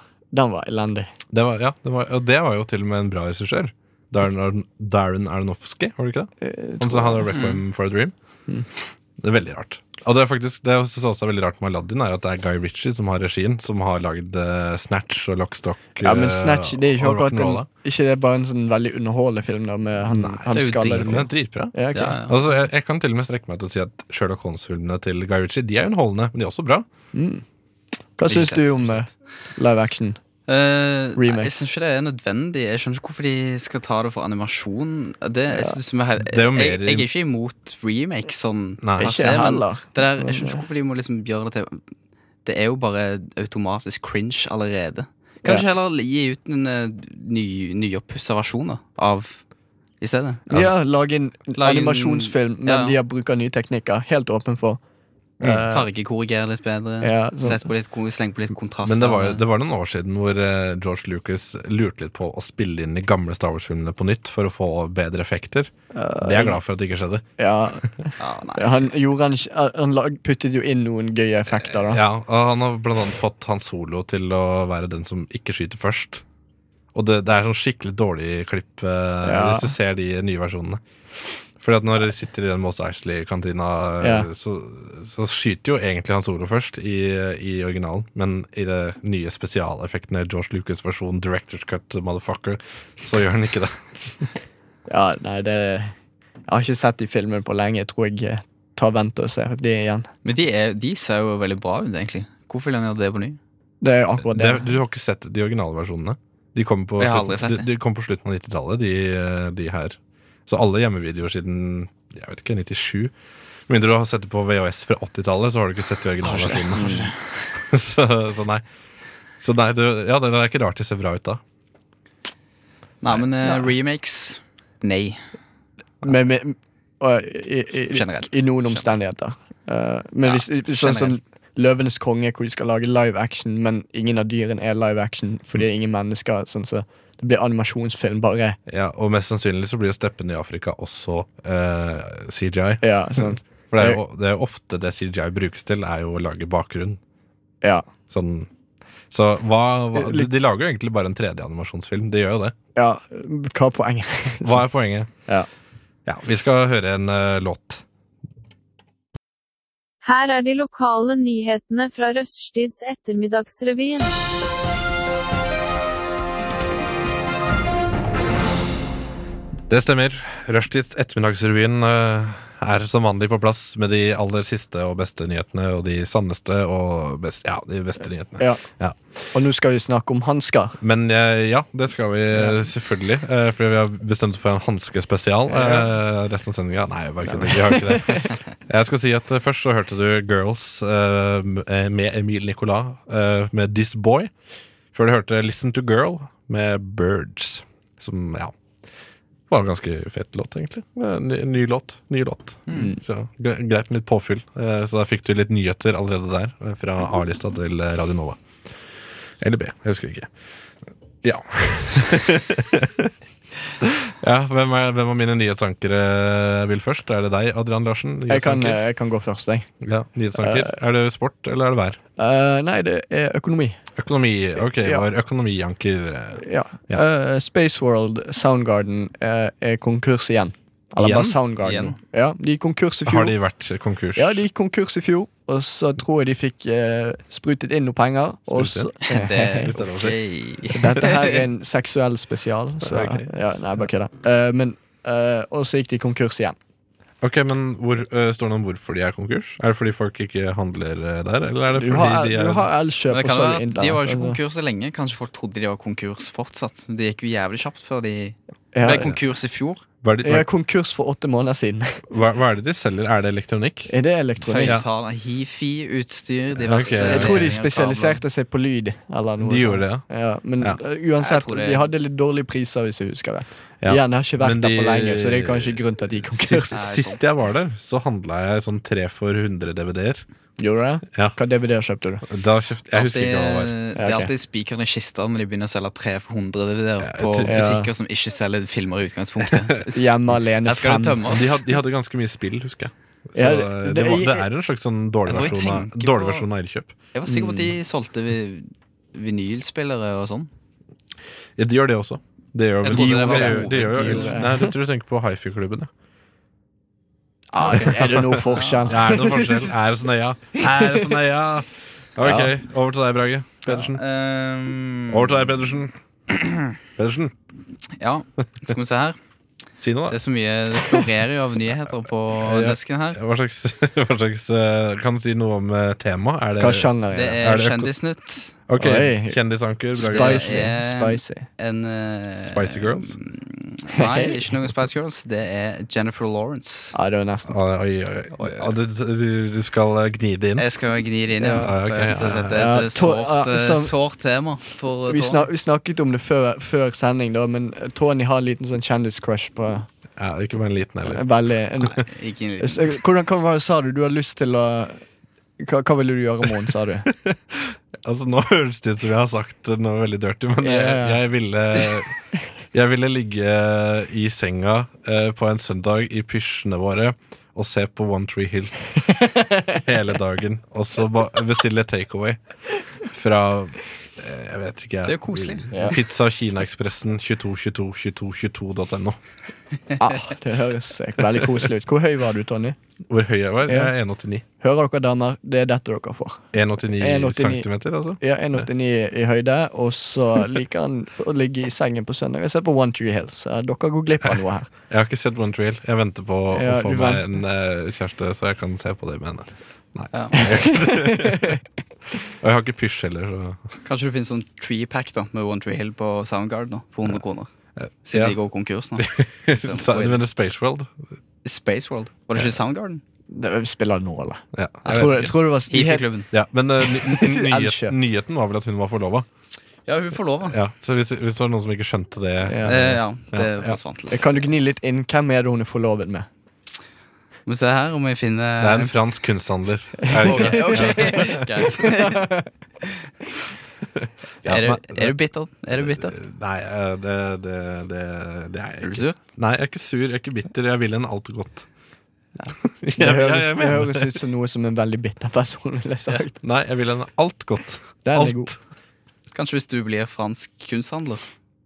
[SPEAKER 1] den var elendig.
[SPEAKER 2] Det var, ja, det var, og det var jo til og med en bra regissør. Darren, Aron- Darren Aronofsky, var det ikke det?
[SPEAKER 1] Eh,
[SPEAKER 2] Han som hadde Requiem for a Dream.
[SPEAKER 1] Mm.
[SPEAKER 2] Det er veldig rart. Og det er faktisk, det jeg synes også er veldig rart med Aladdin, er at det er Guy Ritchie som har regien, som har lagd eh, Snatch og eh, Lockstock.
[SPEAKER 1] Ja, men Snatch det er ikke akkurat en,
[SPEAKER 2] en
[SPEAKER 1] Ikke det er bare en sånn veldig underholdende film da med han, han
[SPEAKER 3] det er jo
[SPEAKER 1] skallede
[SPEAKER 3] digg,
[SPEAKER 2] Den
[SPEAKER 1] fyren?
[SPEAKER 2] er dritbra.
[SPEAKER 1] Ja, ok.
[SPEAKER 3] Ja, ja.
[SPEAKER 2] Altså, jeg, jeg kan til og med strekke meg til å si at Sherlock Holmes-filmene til Guy Ritchie De er underholdende, men de er også bra.
[SPEAKER 1] Hva syns du om eh, live action?
[SPEAKER 3] Eh, nei,
[SPEAKER 1] Remake.
[SPEAKER 3] jeg syns ikke det er nødvendig. Jeg skjønner ikke hvorfor de skal ta det for animasjon. Det, jeg, synes som er, helt-
[SPEAKER 2] Det er jo mer-
[SPEAKER 3] jeg, jeg er ikke imot remake sånn.
[SPEAKER 2] Nei.
[SPEAKER 3] per
[SPEAKER 1] Ikke
[SPEAKER 3] se,
[SPEAKER 1] jeg
[SPEAKER 3] men
[SPEAKER 1] heller.
[SPEAKER 3] Det der, jeg skjønner ikke hvorfor de må liksom gjøre det til Det er jo bare automatisk cringe allerede. Kanskje heller gi ut en eh, ny, nyoppussa versjon da, av i stedet. Altså,
[SPEAKER 1] Ja, lage en
[SPEAKER 3] Lage en-
[SPEAKER 1] animasjonsfilm, men
[SPEAKER 3] ja.
[SPEAKER 1] de har bruker nye teknikker. Helt åpen for. Eh,
[SPEAKER 3] Fargekorrigere litt bedre.
[SPEAKER 1] Ja, sant.
[SPEAKER 3] Sett på litt, ko- Sleng på litt kontrast.
[SPEAKER 2] Men det var, jo-
[SPEAKER 3] her.
[SPEAKER 2] det var noen år siden hvor eh, George Lucas lurte litt på å spille inn de gamle Star Wars-filmene på nytt for å få bedre effekter. det er jeg glad for at det ikke skjedde.
[SPEAKER 1] ja,
[SPEAKER 3] ja, nei.
[SPEAKER 1] han, gjorde han, ikke- han lag- puttet jo inn noen gøye effekter, da.
[SPEAKER 2] Ja, og Han har blant annet fått Han Solo til å være den som ikke skyter først. Og det, det er sånn skikkelig dårlig klipp eh,
[SPEAKER 1] Ja.
[SPEAKER 2] hvis du ser de nye versjonene. Fordi at når de sitter i den Mos Eisley-kantina, eh,
[SPEAKER 1] Ja.
[SPEAKER 2] så, så skyter jo egentlig Han Solo først i, i originalen. Men i det nye spesialeffektene George Lucas-versjonen, Directors Cut, motherfucker, så gjør han ikke det.
[SPEAKER 1] Ja, nei, det Jeg har ikke sett de filmene på lenge. Jeg tror jeg eh, tar vent og ser de igjen.
[SPEAKER 3] Men de, er, de ser jo veldig bra ut, egentlig. Hvorfor vil han gjøre det på ny?
[SPEAKER 1] Det er akkurat det.
[SPEAKER 2] Det, du har ikke sett de originale versjonene? De kom på,
[SPEAKER 3] Jeg har aldri sett
[SPEAKER 2] slutten-
[SPEAKER 3] det.
[SPEAKER 2] de, de kom på slutten av 90-tallet, de, eh, de her. Så alle hjemmevideoer siden jeg vet ikke, 97. Med mindre du har sett det på VHS fra 80-tallet, så har du ikke sett de originale
[SPEAKER 3] Har ikke det, har
[SPEAKER 2] versjonene. så, så nei. Så nei, du, ja, det er ikke rart de ser bra ut da.
[SPEAKER 3] Nei, men eh,
[SPEAKER 1] Nei.
[SPEAKER 3] remakes Nei.
[SPEAKER 1] Men- men- og, i, i,
[SPEAKER 3] Generelt.
[SPEAKER 1] I noen omstendigheter. Eh, men
[SPEAKER 3] Ja,
[SPEAKER 1] hvis, hvis sånn som
[SPEAKER 3] generelt.
[SPEAKER 1] Løvenes konge, hvor de skal lage live action, men ingen av dyrene er live action fordi det er ingen mennesker. Sånn, så det blir animasjonsfilm, bare.
[SPEAKER 2] Ja, og mest sannsynlig så blir jo steppene i Afrika også eh, CGI.
[SPEAKER 1] Ja, sånn. sant.
[SPEAKER 2] For det er, jo, det er jo ofte det CGI brukes til, er jo å lage bakgrunn.
[SPEAKER 1] Ja.
[SPEAKER 2] Sånn. Så hva, hva de,
[SPEAKER 1] Litt-
[SPEAKER 2] de lager jo egentlig bare en 3D-animasjonsfilm. De gjør jo det.
[SPEAKER 1] ja. Hva er poenget? Sånn.
[SPEAKER 2] Hva er poenget?
[SPEAKER 1] Ja.
[SPEAKER 2] Ja, vi skal høre en eh, låt.
[SPEAKER 4] Her er de lokale nyhetene fra Røststids ettermiddagsrevyen.
[SPEAKER 2] Det stemmer. Rushtids Ettermiddagsrevyen eh, er som vanlig på plass med de aller siste og beste nyhetene, og de sanneste og best, ja, de beste nyhetene.
[SPEAKER 1] Ja.
[SPEAKER 2] Ja.
[SPEAKER 1] Og nå skal vi snakke om hansker.
[SPEAKER 2] Men eh, ja, det skal vi eh, selvfølgelig. eh, Fordi vi har bestemt oss for en hanskespesial eh, resten av sendinga. Nei, bare kødder, vi har ikke det. Jeg skal si at eh, Først så hørte du Girls eh, med Emil Nicolas eh, med This Boy. Før du hørte Listen to Girl med Birds. Som ja var en ganske fet låt, egentlig. Eh, Ny, ny låt. ny låt
[SPEAKER 3] Mm.
[SPEAKER 2] Så gre- Greit med litt påfyll. Eh, Så da fikk du litt nyheter allerede der. eh, Fra A-lista til eh, Radio Nova. Eller B. Jeg husker ikke. Ja. ja hvem, er, hvem av mine nyhetsankere vil først? Er det deg, Adrian Larsen?
[SPEAKER 1] Jeg kan, eh,
[SPEAKER 2] Nyhetsanker?
[SPEAKER 1] jeg kan gå først, jeg.
[SPEAKER 2] ja, nyhetsanker. er det sport, eller er det vær?
[SPEAKER 1] Eh, nei, det er økonomi.
[SPEAKER 2] Økonomi. Ok,
[SPEAKER 1] eh, Ja.
[SPEAKER 2] vår økonomianker. eh,
[SPEAKER 1] Ja. Eh, Space World Soundgarden eh, er konkurs igjen. Eller
[SPEAKER 2] Igjen?
[SPEAKER 1] bare Soundgarden.
[SPEAKER 3] Igjen.
[SPEAKER 1] Ja, de gikk konkurs i fjor.
[SPEAKER 2] Har de vært konkurs?
[SPEAKER 1] Ja, de gikk konkurs i fjor, og så tror jeg de fikk eh, sprutet inn noe penger. Og så,
[SPEAKER 2] Sprutet
[SPEAKER 3] Det er
[SPEAKER 2] Hvis det er lov å
[SPEAKER 3] ok.
[SPEAKER 1] dette her er en seksuell spesial, så
[SPEAKER 2] Ok.
[SPEAKER 1] ja, Nei, bare kødda. Eh, men eh, Og så gikk de konkurs igjen.
[SPEAKER 2] Ok, men hvor, eh, Står det om hvorfor de er konkurs? Er det fordi folk ikke handler eh, der? Eller er det
[SPEAKER 1] Du
[SPEAKER 2] fordi
[SPEAKER 1] har,
[SPEAKER 2] de er
[SPEAKER 1] du har
[SPEAKER 3] Men
[SPEAKER 1] Elkjøp
[SPEAKER 3] det
[SPEAKER 1] og
[SPEAKER 3] kan
[SPEAKER 1] Sony
[SPEAKER 3] være at
[SPEAKER 1] Inter.
[SPEAKER 3] De var jo ikke
[SPEAKER 1] altså.
[SPEAKER 3] konkurs så lenge. Kanskje folk trodde de var konkurs fortsatt. Det gikk jo jævlig kjapt før de
[SPEAKER 1] Ja,
[SPEAKER 3] ble konkurs i fjor.
[SPEAKER 2] hva er, det,
[SPEAKER 1] jeg er konkurs for åtte måneder siden.
[SPEAKER 2] hva, hva er det de selger? Er det elektronikk?
[SPEAKER 1] Er det elektronikk?
[SPEAKER 2] Ja.
[SPEAKER 3] Høyttaler, hifi-utstyr, diverse
[SPEAKER 2] Ok.
[SPEAKER 1] Jeg tror de
[SPEAKER 3] ledninger,
[SPEAKER 1] spesialiserte seg på lyd. Eller noe
[SPEAKER 2] De gjorde
[SPEAKER 1] sånt.
[SPEAKER 2] det, ja.
[SPEAKER 1] Ja, men
[SPEAKER 2] Ja.
[SPEAKER 1] eh, uansett,
[SPEAKER 3] Jeg tror det-
[SPEAKER 1] de hadde litt dårlige priser, hvis jeg husker det.
[SPEAKER 2] Ja.
[SPEAKER 1] Igjen, jeg har ikke vært
[SPEAKER 2] Men
[SPEAKER 1] der
[SPEAKER 2] de-
[SPEAKER 1] for lenge, så det er kanskje grunn til at de gikk konkurs.
[SPEAKER 2] Sist,
[SPEAKER 3] Nei,
[SPEAKER 2] sist jeg var der, så handla jeg sånn tre for 100 DVD-er.
[SPEAKER 1] Gjorde det?
[SPEAKER 2] Ja.
[SPEAKER 1] Hva DVD-er kjøpte du?
[SPEAKER 2] Da kjøpte Jeg husker
[SPEAKER 3] Alltid-
[SPEAKER 2] ikke hva det var.
[SPEAKER 1] Ja,
[SPEAKER 3] Det er
[SPEAKER 1] ok.
[SPEAKER 3] alltid spikeren i kista når de begynner å selge 300 DVD-er
[SPEAKER 2] jeg
[SPEAKER 3] på
[SPEAKER 2] tror-
[SPEAKER 1] Ja.
[SPEAKER 3] butikker som ikke selger filmer i utgangspunktet.
[SPEAKER 1] Hjemme alene
[SPEAKER 3] Der skal det tømmes.
[SPEAKER 2] De hadde, de hadde ganske mye spill, husker jeg. Så eh,
[SPEAKER 1] Ja,
[SPEAKER 2] det,
[SPEAKER 1] det-
[SPEAKER 2] var, det er en slags sånn dårlig
[SPEAKER 3] Jeg tror jeg
[SPEAKER 2] versjon av,
[SPEAKER 3] tenker
[SPEAKER 2] dårlig
[SPEAKER 3] på-
[SPEAKER 2] versjon av Elkjøp.
[SPEAKER 3] Jeg var sikker på at de
[SPEAKER 2] Mm.
[SPEAKER 3] solgte vi- vinylspillere og sånn.
[SPEAKER 2] Ja, de gjør det også. Det gjør,
[SPEAKER 3] Jeg trodde
[SPEAKER 2] vel- de,
[SPEAKER 3] det var
[SPEAKER 2] gjør- de gjør,
[SPEAKER 1] hoveddeal, det.
[SPEAKER 2] Nei, du tror du tenker på hifi-klubben, ja.
[SPEAKER 1] Ah, er det noe forskjell?
[SPEAKER 2] Ja, Er det noen forskjell? Er det så
[SPEAKER 3] sånn,
[SPEAKER 2] nøya? Er det så nøya? Ok, over til deg, Brage Pedersen.
[SPEAKER 3] Ehm,
[SPEAKER 1] eh,
[SPEAKER 2] Over til deg, Pedersen. Pedersen,
[SPEAKER 3] Ja, skal vi se her.
[SPEAKER 2] si noe,
[SPEAKER 3] Det
[SPEAKER 2] da.
[SPEAKER 3] er så mye Det florerer jo av nyheter på
[SPEAKER 2] Ja.
[SPEAKER 3] desken her.
[SPEAKER 2] Hva slags, hva slags eh, Kan du si noe om eh, tema? Er
[SPEAKER 1] Hva
[SPEAKER 2] det
[SPEAKER 1] sjanger
[SPEAKER 3] Det
[SPEAKER 1] er det?
[SPEAKER 3] er
[SPEAKER 2] Er det øko-
[SPEAKER 3] Kjendisnytt.
[SPEAKER 2] Ok,
[SPEAKER 1] Oi.
[SPEAKER 2] kjendisanker, Brage.
[SPEAKER 3] Spice.
[SPEAKER 1] Spicy.
[SPEAKER 3] er-
[SPEAKER 1] Spicy.
[SPEAKER 3] En eh,
[SPEAKER 2] Spicy Girls?
[SPEAKER 3] Nei, ikke noen Spice Girls. Det er Jennifer Lawrence.
[SPEAKER 1] Ja, det var nesten
[SPEAKER 2] Oi, oi, oi.
[SPEAKER 3] Oi, oi.
[SPEAKER 2] Ja, Du, du, du skal eh, gni det inn.
[SPEAKER 3] Jeg skal gni det inn, ja.
[SPEAKER 2] Ja, ok,
[SPEAKER 3] for at
[SPEAKER 2] ja, ja.
[SPEAKER 3] Dette er
[SPEAKER 1] Ja,
[SPEAKER 3] et
[SPEAKER 1] to-
[SPEAKER 3] sårt,
[SPEAKER 1] ja,
[SPEAKER 3] eh,
[SPEAKER 1] som-
[SPEAKER 3] sårt tema for eh,
[SPEAKER 1] vi,
[SPEAKER 3] Tony.
[SPEAKER 1] snak, vi snakket om det før, før sending, da, men eh, Tony har en liten sånn kjendiscrush på
[SPEAKER 2] Ja, ikke bare en liten heller.
[SPEAKER 1] Veldig
[SPEAKER 3] Ikke en liten-
[SPEAKER 1] Så, Hvordan hva var det, sa du? Du har lyst til å Hva, hva ville du gjøre i morgen, sa du?
[SPEAKER 2] Altså, nå høres det ut som jeg har sagt noe veldig dirty, men jeg,
[SPEAKER 1] Ja, ja.
[SPEAKER 2] jeg ville Jeg ville ligge i senga eh, på en søndag i pysjene våre og se på One Tree Hill hele dagen. Og så ba- bestille takeaway fra eh, jeg vet ikke, jeg.
[SPEAKER 3] Det er jo koselig.
[SPEAKER 1] Ja.
[SPEAKER 2] Pizza Kinaekspressen 222222.no.
[SPEAKER 1] Ah, det høres eh, veldig koselig ut. Hvor høy var du, Tony?
[SPEAKER 2] Hvor høy jeg var?
[SPEAKER 1] Ja.
[SPEAKER 2] Jeg er 1,89.
[SPEAKER 1] Hører dere, damer? Det er dette dere får.
[SPEAKER 2] 1,89
[SPEAKER 1] 1,89.
[SPEAKER 2] centimeter, altså?
[SPEAKER 1] Ja, 1,89 i høyde, og så liker han å ligge i sengen på søndag. Jeg ser på One Tree Hill, så dere går glipp av noe her.
[SPEAKER 2] Jeg har ikke sett One Tree Hill. Jeg venter på
[SPEAKER 1] Ja,
[SPEAKER 2] å få
[SPEAKER 1] du
[SPEAKER 2] meg
[SPEAKER 1] vent-
[SPEAKER 2] en eh, kjæreste, så jeg kan se på det med henne. Nei.
[SPEAKER 3] Ja.
[SPEAKER 2] Og jeg har ikke pysj heller, så
[SPEAKER 3] Kanskje det finnes sånn treepack da med One Tree Hill på Soundgarden nå, for 100 kroner. Siden
[SPEAKER 2] Ja.
[SPEAKER 3] de går konkurs nå. Så-
[SPEAKER 2] Sa- Du mener Space World?
[SPEAKER 3] Space World. Var det ikke Soundgarden?
[SPEAKER 1] Det spiller nå, eller?
[SPEAKER 2] Ja,
[SPEAKER 1] Jeg
[SPEAKER 2] jeg
[SPEAKER 1] tror,
[SPEAKER 2] vet
[SPEAKER 1] jeg
[SPEAKER 2] ikke.
[SPEAKER 1] tror det var de het-
[SPEAKER 3] Hifi-klubben.
[SPEAKER 2] Ja, men eh, ny, ny- nyhet,
[SPEAKER 1] Elkjøp.
[SPEAKER 2] nyheten var vel at hun var forlova.
[SPEAKER 3] Ja, hun får lov, da.
[SPEAKER 2] Ja, så hvis, hvis det var noen som ikke skjønte det
[SPEAKER 1] Ja.
[SPEAKER 3] Eh, ja, det
[SPEAKER 2] Ja, ja.
[SPEAKER 3] forsvant litt.
[SPEAKER 1] Kan du gni litt inn? Hvem er det hun er forlovet med?
[SPEAKER 3] Må vi se her om jeg finner
[SPEAKER 2] Det er en fransk kunsthandler. Er det ikke det?
[SPEAKER 3] Greit.
[SPEAKER 2] Ja,
[SPEAKER 3] er,
[SPEAKER 2] nei,
[SPEAKER 3] du, er du bitter? Er du bitter?
[SPEAKER 2] Nei, eh, det, det, det, det er
[SPEAKER 3] Er
[SPEAKER 2] jeg
[SPEAKER 3] du
[SPEAKER 2] ikke.
[SPEAKER 3] sur?
[SPEAKER 2] Nei, jeg er ikke sur, jeg er ikke bitter. Jeg vil henne alt godt. Jeg,
[SPEAKER 1] Det
[SPEAKER 2] jeg,
[SPEAKER 1] høres,
[SPEAKER 2] jeg
[SPEAKER 1] det
[SPEAKER 2] mener
[SPEAKER 1] høres ut som noe som en veldig bitter person ville sagt.
[SPEAKER 2] Nei, jeg vil henne alt godt.
[SPEAKER 1] Den er
[SPEAKER 2] Alt.
[SPEAKER 1] god.
[SPEAKER 3] Kanskje hvis du blir fransk kunsthandler,